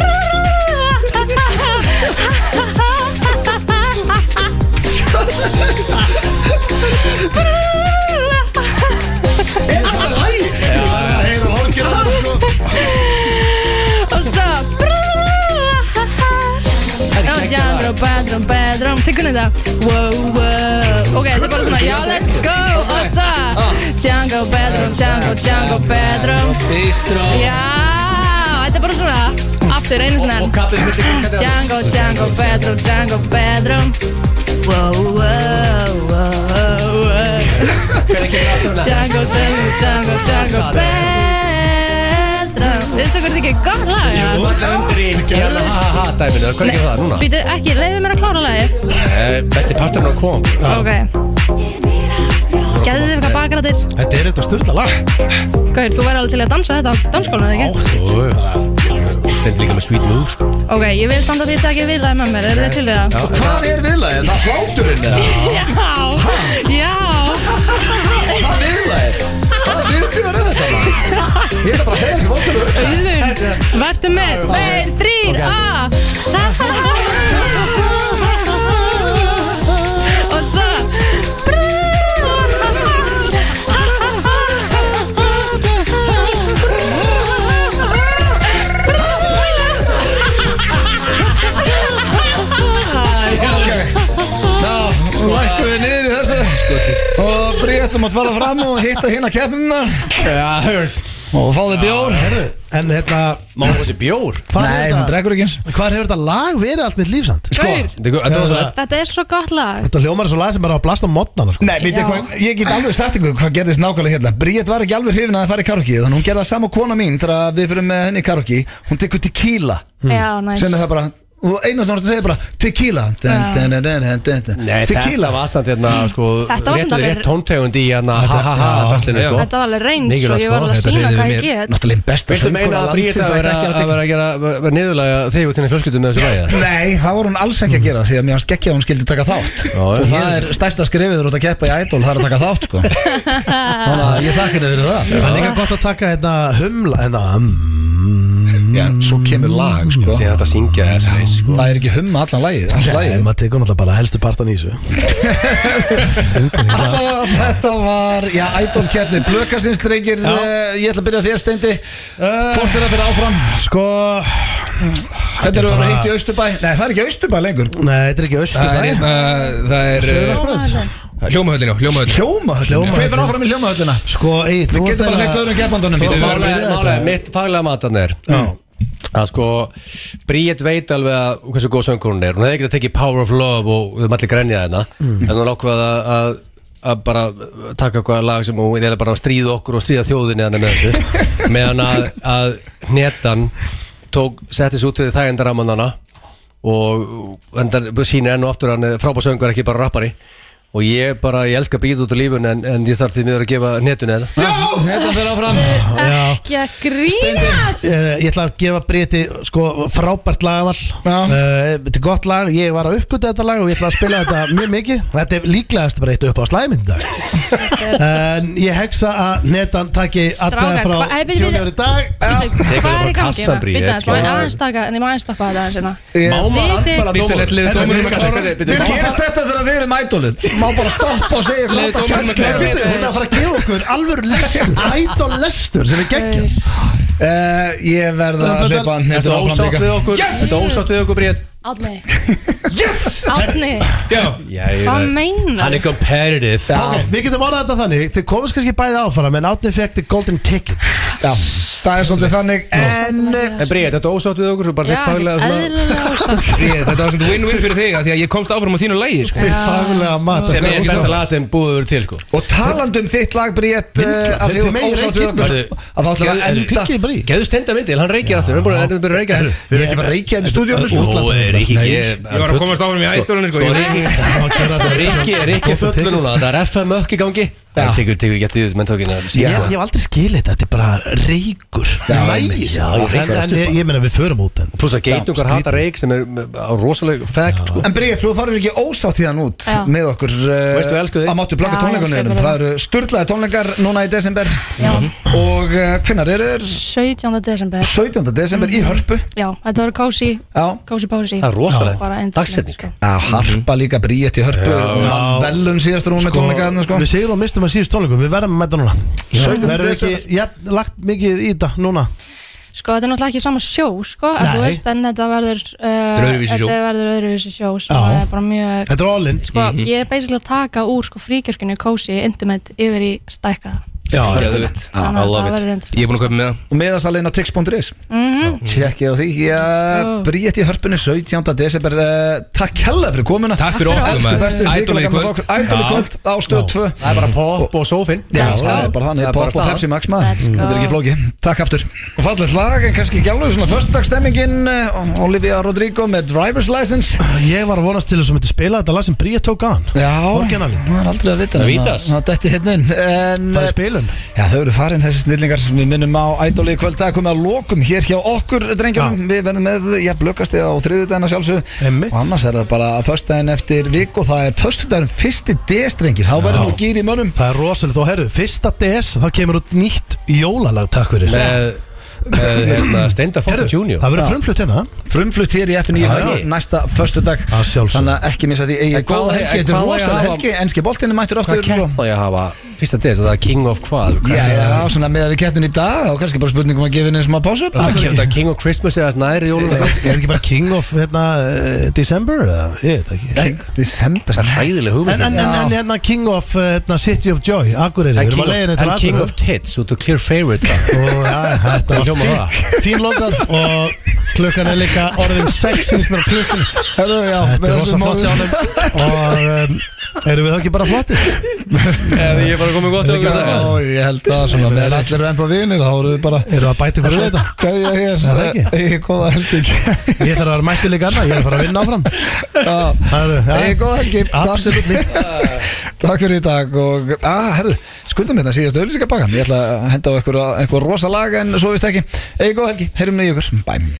S9: Assa Oh, Jandro, Pedro, Pedro Þið kunnið þetta Wow, wow Ok, þetta er bara svona Já, let's go Assa Django, Pedro, Django, Ah. Django, Pedro
S10: Bistró
S9: Já, þetta er bara svona Aftur, einu sinna
S3: Og kappið mitt
S9: Django, Django, Pedro, Django, Pedro Wow, wow, wow, *laughs* wow
S3: Hvernig kemur aftur hana?
S9: Django, Django, Django, Django, Pedro Þetta er ekki gott lag, já
S3: Þú ætlar undir í hérna ha ha ha dæminu Hvernig kemur það núna?
S9: Býtu ekki, leiði mér að klára lagið
S3: Eh, Besti parturinn á kom
S9: Ok Gæðið þið eitthvað bakrættir
S2: Þetta er eitthvað styrla lag
S9: Gaur, þú væri alveg til að dansa þetta á danskólanum, eða ekki?
S3: Stendur líka með sweet move sko
S9: Ok, ég vil samt að þið tekið viðlaði með mér, eru þið til í það?
S1: Hvað er viðlagið? Það er hláturinn eða?
S9: Já, já
S1: Hvað viðlagið? Hvað viðlagið er þetta? maður? Ég ætla bara að segja þessi mótsölu
S9: Auðun, vertu með, tveir, þrýr, a Og svo
S1: Já, lækku við niður í þessu Og bríðum að dvala fram og hitta hérna keppninar
S3: Já, hörn
S1: Og fá þig bjór
S2: Herðu, En hérna
S3: Má þessi bjór
S2: hvar er
S1: Nei,
S2: þetta-
S1: hún drekkur ekki eins
S2: Hvar hefur þetta lag verið allt mitt lífsand?
S9: Gaur,
S3: Þetta er- þetta var svo-
S9: þetta er svo gott lag
S2: Þetta hljómar er svo lag sem bara á að blasta á modnana sko
S1: Nei, veitir
S9: Já.
S1: hvað, ég get alveg sagt ykkur hvað gerðist nákvæmlega hérna Bríett var ekki alveg hrifin að það fara í karokki Þannig hún gerði það sama og kona mín þegar við fyrir með henni í karokki Hún tekur tequila
S9: Já, næs
S1: Sem er það bara, og eina sem þú ert að segja er bara tequila dun, dun, dun, dun, dun, dun, dun.
S3: Nei, þetta
S1: tequila
S3: var samt hérna sko,
S9: Þetta var
S3: rétt,
S9: samt alveg-
S3: rétt tóntegund í hérna ha ha ha
S1: já,
S3: draslinu,
S10: já.
S3: sko.
S9: Þetta var alveg reyns
S3: Mikilvægt,
S9: og ég
S3: sko,
S9: var alveg að
S10: þetta
S9: sína
S10: reyði
S9: hvað ég
S10: mér-
S9: get
S1: náttúrulega einn besta
S3: Viltu meina
S1: söngkona
S3: að Bríða
S1: landsins
S3: að vera að vera að gera niðurlega þig út henni flöskutum með þessu lægi eða?
S1: Nei, það var hún alls ekki að gera því að mér hans geggja að hún skildi taka þátt
S3: Já,
S1: og
S3: já.
S1: það er stærsta skrifiður út að keppa í Idol það er að taka þátt sko þannig að ég þakka henni fyrir það
S2: Það er líka gott að taka hérna humla hérna, mm,
S1: Já, svo kemur lag sko
S3: Sér þetta að syngja þessu leis sko.
S1: Það er ekki humma allan lagið allan
S2: Nei,
S1: lagið.
S2: maður tekur náttúrulega bara helstu partan í þessu
S1: Allavega, Þetta var, já, Idol keppni Blökasins, drengir, eh, ég ætla að byrja á þér, Steindi Hvort er það fyrir áfram?
S2: Sko,
S1: Hvernig eru það að hitt í Austurbæ? Nei, það er ekki Austurbæ lengur
S2: nei, þetta er ekki
S10: Það er,
S2: austur
S10: hérna, það er uh,
S9: Hljómaðurinn.
S10: Hljómahöllin, já, hljómahöllin
S1: Hljómahöllin Hver fyrir áfram í hljómahöllina?
S2: Sko, ei, þú hérna-
S1: Við getum bara hlegt öðrum keppandunum
S3: Býtu,
S1: Þú
S3: málega- málega, Mitt faglega matan er að sko Bríett veit alveg að hversu góð söngur hún er hún hefði ekki að tekið Power of Love og við höfum allir grænjað hérna en hún ákvað að- að að bara taka eitthvað lag sem hún er bara að stríða okkur og stríða þjóðinni hann með þessu meðan að, að hnetan tók, setti sér út fyrir þægendaramannana og en það sýnir enn og aftur að hann er frábær söngur ekki bara rappari og ég bara, ég elska Bríett út á lífun en, en ég þarf því miður að gefa hnetunni þetta
S1: Þetta fyrir áfram
S9: Ekki að grínast
S2: Eh, Ég ætla að gefa Briti sko, frábært lagavall
S1: Já.
S2: Eh, Þetta er gott lag, ég var að uppgöta þetta lag og ég ætla að spila þetta mjög mikið Þetta er líklegast bara eitt upp á slæminn í dag En ég hegsa að netan taki atkvæða
S9: Strákar, eh,
S2: frá
S9: hvað- Æ, bíddu, bíddu.
S2: tjónur í dag
S9: Bíddu, Hvað er í gangi?
S3: kassan, Bríet,
S9: Bíddu,
S3: skilur.
S9: Ég má aðeins taka, en ég má aðeins stoppa þetta aðeins hérna
S1: Má
S9: maður andmæla
S10: Vissalett liðið dómurum að klára
S1: Mér gerist þetta þegar þið eru mædólið Má bara stoppa og segja
S10: Leið
S1: hvað það
S10: dómarinn að klára
S1: kemur
S2: Hún er að fara að gefa okkur alvöru lestur, ædol lestur sem er geggjum
S1: Eh, Ég verð að hleypa hann
S3: Ertu
S1: hérna áfram
S3: ósátt
S1: líka
S3: við okkur? Ertu ósátt við okkur, Bríett?
S2: *laughs*
S9: Átni Átni,
S10: Já,
S3: Já, ég
S9: hvað
S3: veit. Hann
S9: meinar?
S3: er competitive
S2: Ok, Við getum orðað þetta þannig, þið komist kannski bæði áfram en Átni fekk þið golden ticket
S1: Já, það er svolítið þannig En
S3: En Bríett, þetta ósátt við okkur Svo bara
S9: Já,
S3: neitt faglega svona
S9: eðlilega ósatt
S10: Ég, þetta
S1: *laughs*
S10: var svona win-win fyrir þig að Því að ég komst áfram á þínu lægi sko.
S2: Eitt faglega mat
S3: Sem er
S2: Sko,
S3: besta lag sem búið verið til sko
S1: Og talandum þitt lag Bríett eh, Af því
S2: Þið
S1: þú
S2: megið
S1: ert ósátt við okkur
S2: ekki-
S3: Verðu,
S1: Að þá ætlum við að
S3: Gerðu-
S1: enda
S2: Kikið bara í
S3: Geðu stenda myndil, hann reykir aftur Hann er búin að- hann er búin að reykja aftur
S1: Þið eru ekki bara reykja hérna í stúdíónu
S3: Jó, er ekki Ég
S10: Ég var að komast áfram í ædolunni sko. Ég-
S3: Rikki, Rikki er fullu núna Það er FM ökk í gangi Það tekur, tekur, getur þið menntókin að
S2: Ég,
S3: síða
S2: ég hef aldrei skilið þetta, þetta er bara reykur Nægis
S3: já, ég reykur
S2: En, en ég, ég meina við förum út en
S3: Pluss að geitungar hata reik sem er á rosalega fact sko
S1: En Bríett, þú farir ekki ósátt hérna út
S9: Já.
S1: Með okkur
S3: Veistu, elsku þig.
S1: Að máttu
S9: Já,
S1: blokka
S9: ég elska
S1: tónleikunum
S9: þig.
S1: Það eru sturlaði tónleikar núna í desember
S9: Já.
S1: Og hvernar eru þeir?
S9: 17. desember
S1: 17. desember
S9: Mm.
S1: í Hörpu
S9: Já, þetta var kósi
S1: Já.
S9: Kósi pási
S3: Það er rosalegt.
S9: sko.
S3: Dagsetning.
S1: Já,
S9: Mm.
S1: harpa líka Bríett í Hörpu Velun síðast rúna með tónleikaðinu sko
S2: Við segjum og mistum að síðust tónleikum, við verðum að mæta núna Verður ekki, já, lagt mikið í þetta núna
S9: Sko, þetta er náttúrulega ekki sama sjó, sko að Þú
S2: Nei.
S9: veist, en þetta verður uh,
S10: er öðruvísi sjó.
S9: Þetta verður öðruvísi sjó sem
S2: Já.
S9: er bara mjög
S2: Þetta er all-in
S9: Sko, ég er basically að taka úr sko fríkjörkinu kósi intimate yfir í stækkaða
S2: Já,
S10: Geðveikt.
S9: Þannig að það verður Mhm. reyndist
S10: Ég er búin að köpa með það
S1: og meðasalinn á tix.is tjekkið á því Já,
S9: Sko.
S1: Bríett í hörpunni 17. desember eh, takk hella fyrir komuna
S10: Takk fyrir okkur,
S1: Elsku
S10: maður.
S1: bestu
S10: Idol í
S1: hrikalega
S10: kvöld.
S1: gaman fólk. Idol í
S10: Já.
S1: kvöld á stöð 2
S3: Það er bara pop og sofinn
S1: Já, það er bara þannig,
S3: Það er bara
S1: pop og
S3: staðan.
S1: Pepsi Max maður
S9: Let's go.
S1: Þetta er ekki flóki, takk aftur Og fallið lag, en kannski ekki alveg svona Föstudagstemmingin, eh, Olivia Rodrigo með Driver's License
S2: ég var að vonast til þess að myndi spila þetta lag sem Bríja tók að hann
S1: Já,
S2: Orginalinn.
S1: það er aldrei að vita
S3: Það
S1: nema-
S3: vítast.
S1: Það detti hérna inn En,
S2: Það
S1: eh,
S2: er spilun
S1: Já, þau eru farin þessi snillingar sem við minnum á ædoli í kvöld að komið að lokum hér hjá okkur drengjum, við verðum með, já, blökast eða á þriðudagina sjálfsög
S2: Einmitt.
S1: og annars er það bara að föstudaginn eftir vik og það er föstudaginn fyrsti destrengir, þá verðum við gýr í mönnum
S2: Það er rosalegt og herru, fyrsta DS þá kemur út nýtt jólalag takk fyrir
S3: Með, með hérna, Steinda Fóttu
S2: Heyrðu,
S3: Junior
S2: Það verður frumflutt hérna
S1: frumflutt hér í FNI
S2: Já,
S1: höfðu
S2: já.
S1: næsta föstudag,
S2: Að sjálfsögðu.
S1: þannig að ekki missa því
S3: En
S1: eigi
S3: hvað-
S1: góða helgi,
S3: en
S1: þetta er
S3: hvað á ég að
S1: rosalega
S3: hafa-
S1: helgi enski boltinn er mættur
S3: Hvað
S1: aftur
S3: kepp
S1: og-
S3: á ég að hafa fyrsta dæs og það er King of hvað? Hvað
S1: Já,
S3: er það?
S1: já, svona með að við keppnum í dag og kannski bara spurningum að gefa henni sem að pásu upp
S3: Þetta er- þetta er King of Christmas eða næri jólun
S2: Er ekki bara King of hérna, eh, December eða? Ég veit ekki en,
S1: December,
S3: Það er hræðileg hugmynd
S2: en, en,
S1: Já.
S2: en hérna King of eh, hérna, City of Joy Akureyri, við erum
S3: En King
S2: að leiðin
S3: of-
S2: þetta
S3: en *laughs* King of Tits út og Clear Favorite
S2: og, ja, Þetta
S3: Það
S2: var
S3: hljóma
S2: fín,
S3: það
S2: fín lokar og klukkan er líka orðin 6 finnst mér á klukkan
S1: Herðu, já,
S2: Þetta
S1: með
S2: er rosa
S1: þessum
S2: flott hjá
S1: orðum-
S2: honum og um, erum við þá ekki bara flottir?
S10: Eða ég er bara komið gott
S1: Já, ég held það svona Meðan allir eru ennþá vinir þá eru við bara
S2: Erum við að bæta ykkur við þetta?
S1: *laughs* Kveðja
S2: Er það ekki?
S1: hér Egið góða helgi
S2: Ég þarf að vera mættu líka annað, ég er að fara að vinna áfram Hæru,
S1: Egið góða helgi
S2: Absolutt
S1: Takk- *laughs* Takk fyrir í dag og ah, herðu, skuldum hérna síðast auðlýsingabakkan Ég ætla að henda á eitthvað, eitthvað rosa lag en svo vist ekki Egið góða helgi, heyrum niður ykkur Bæm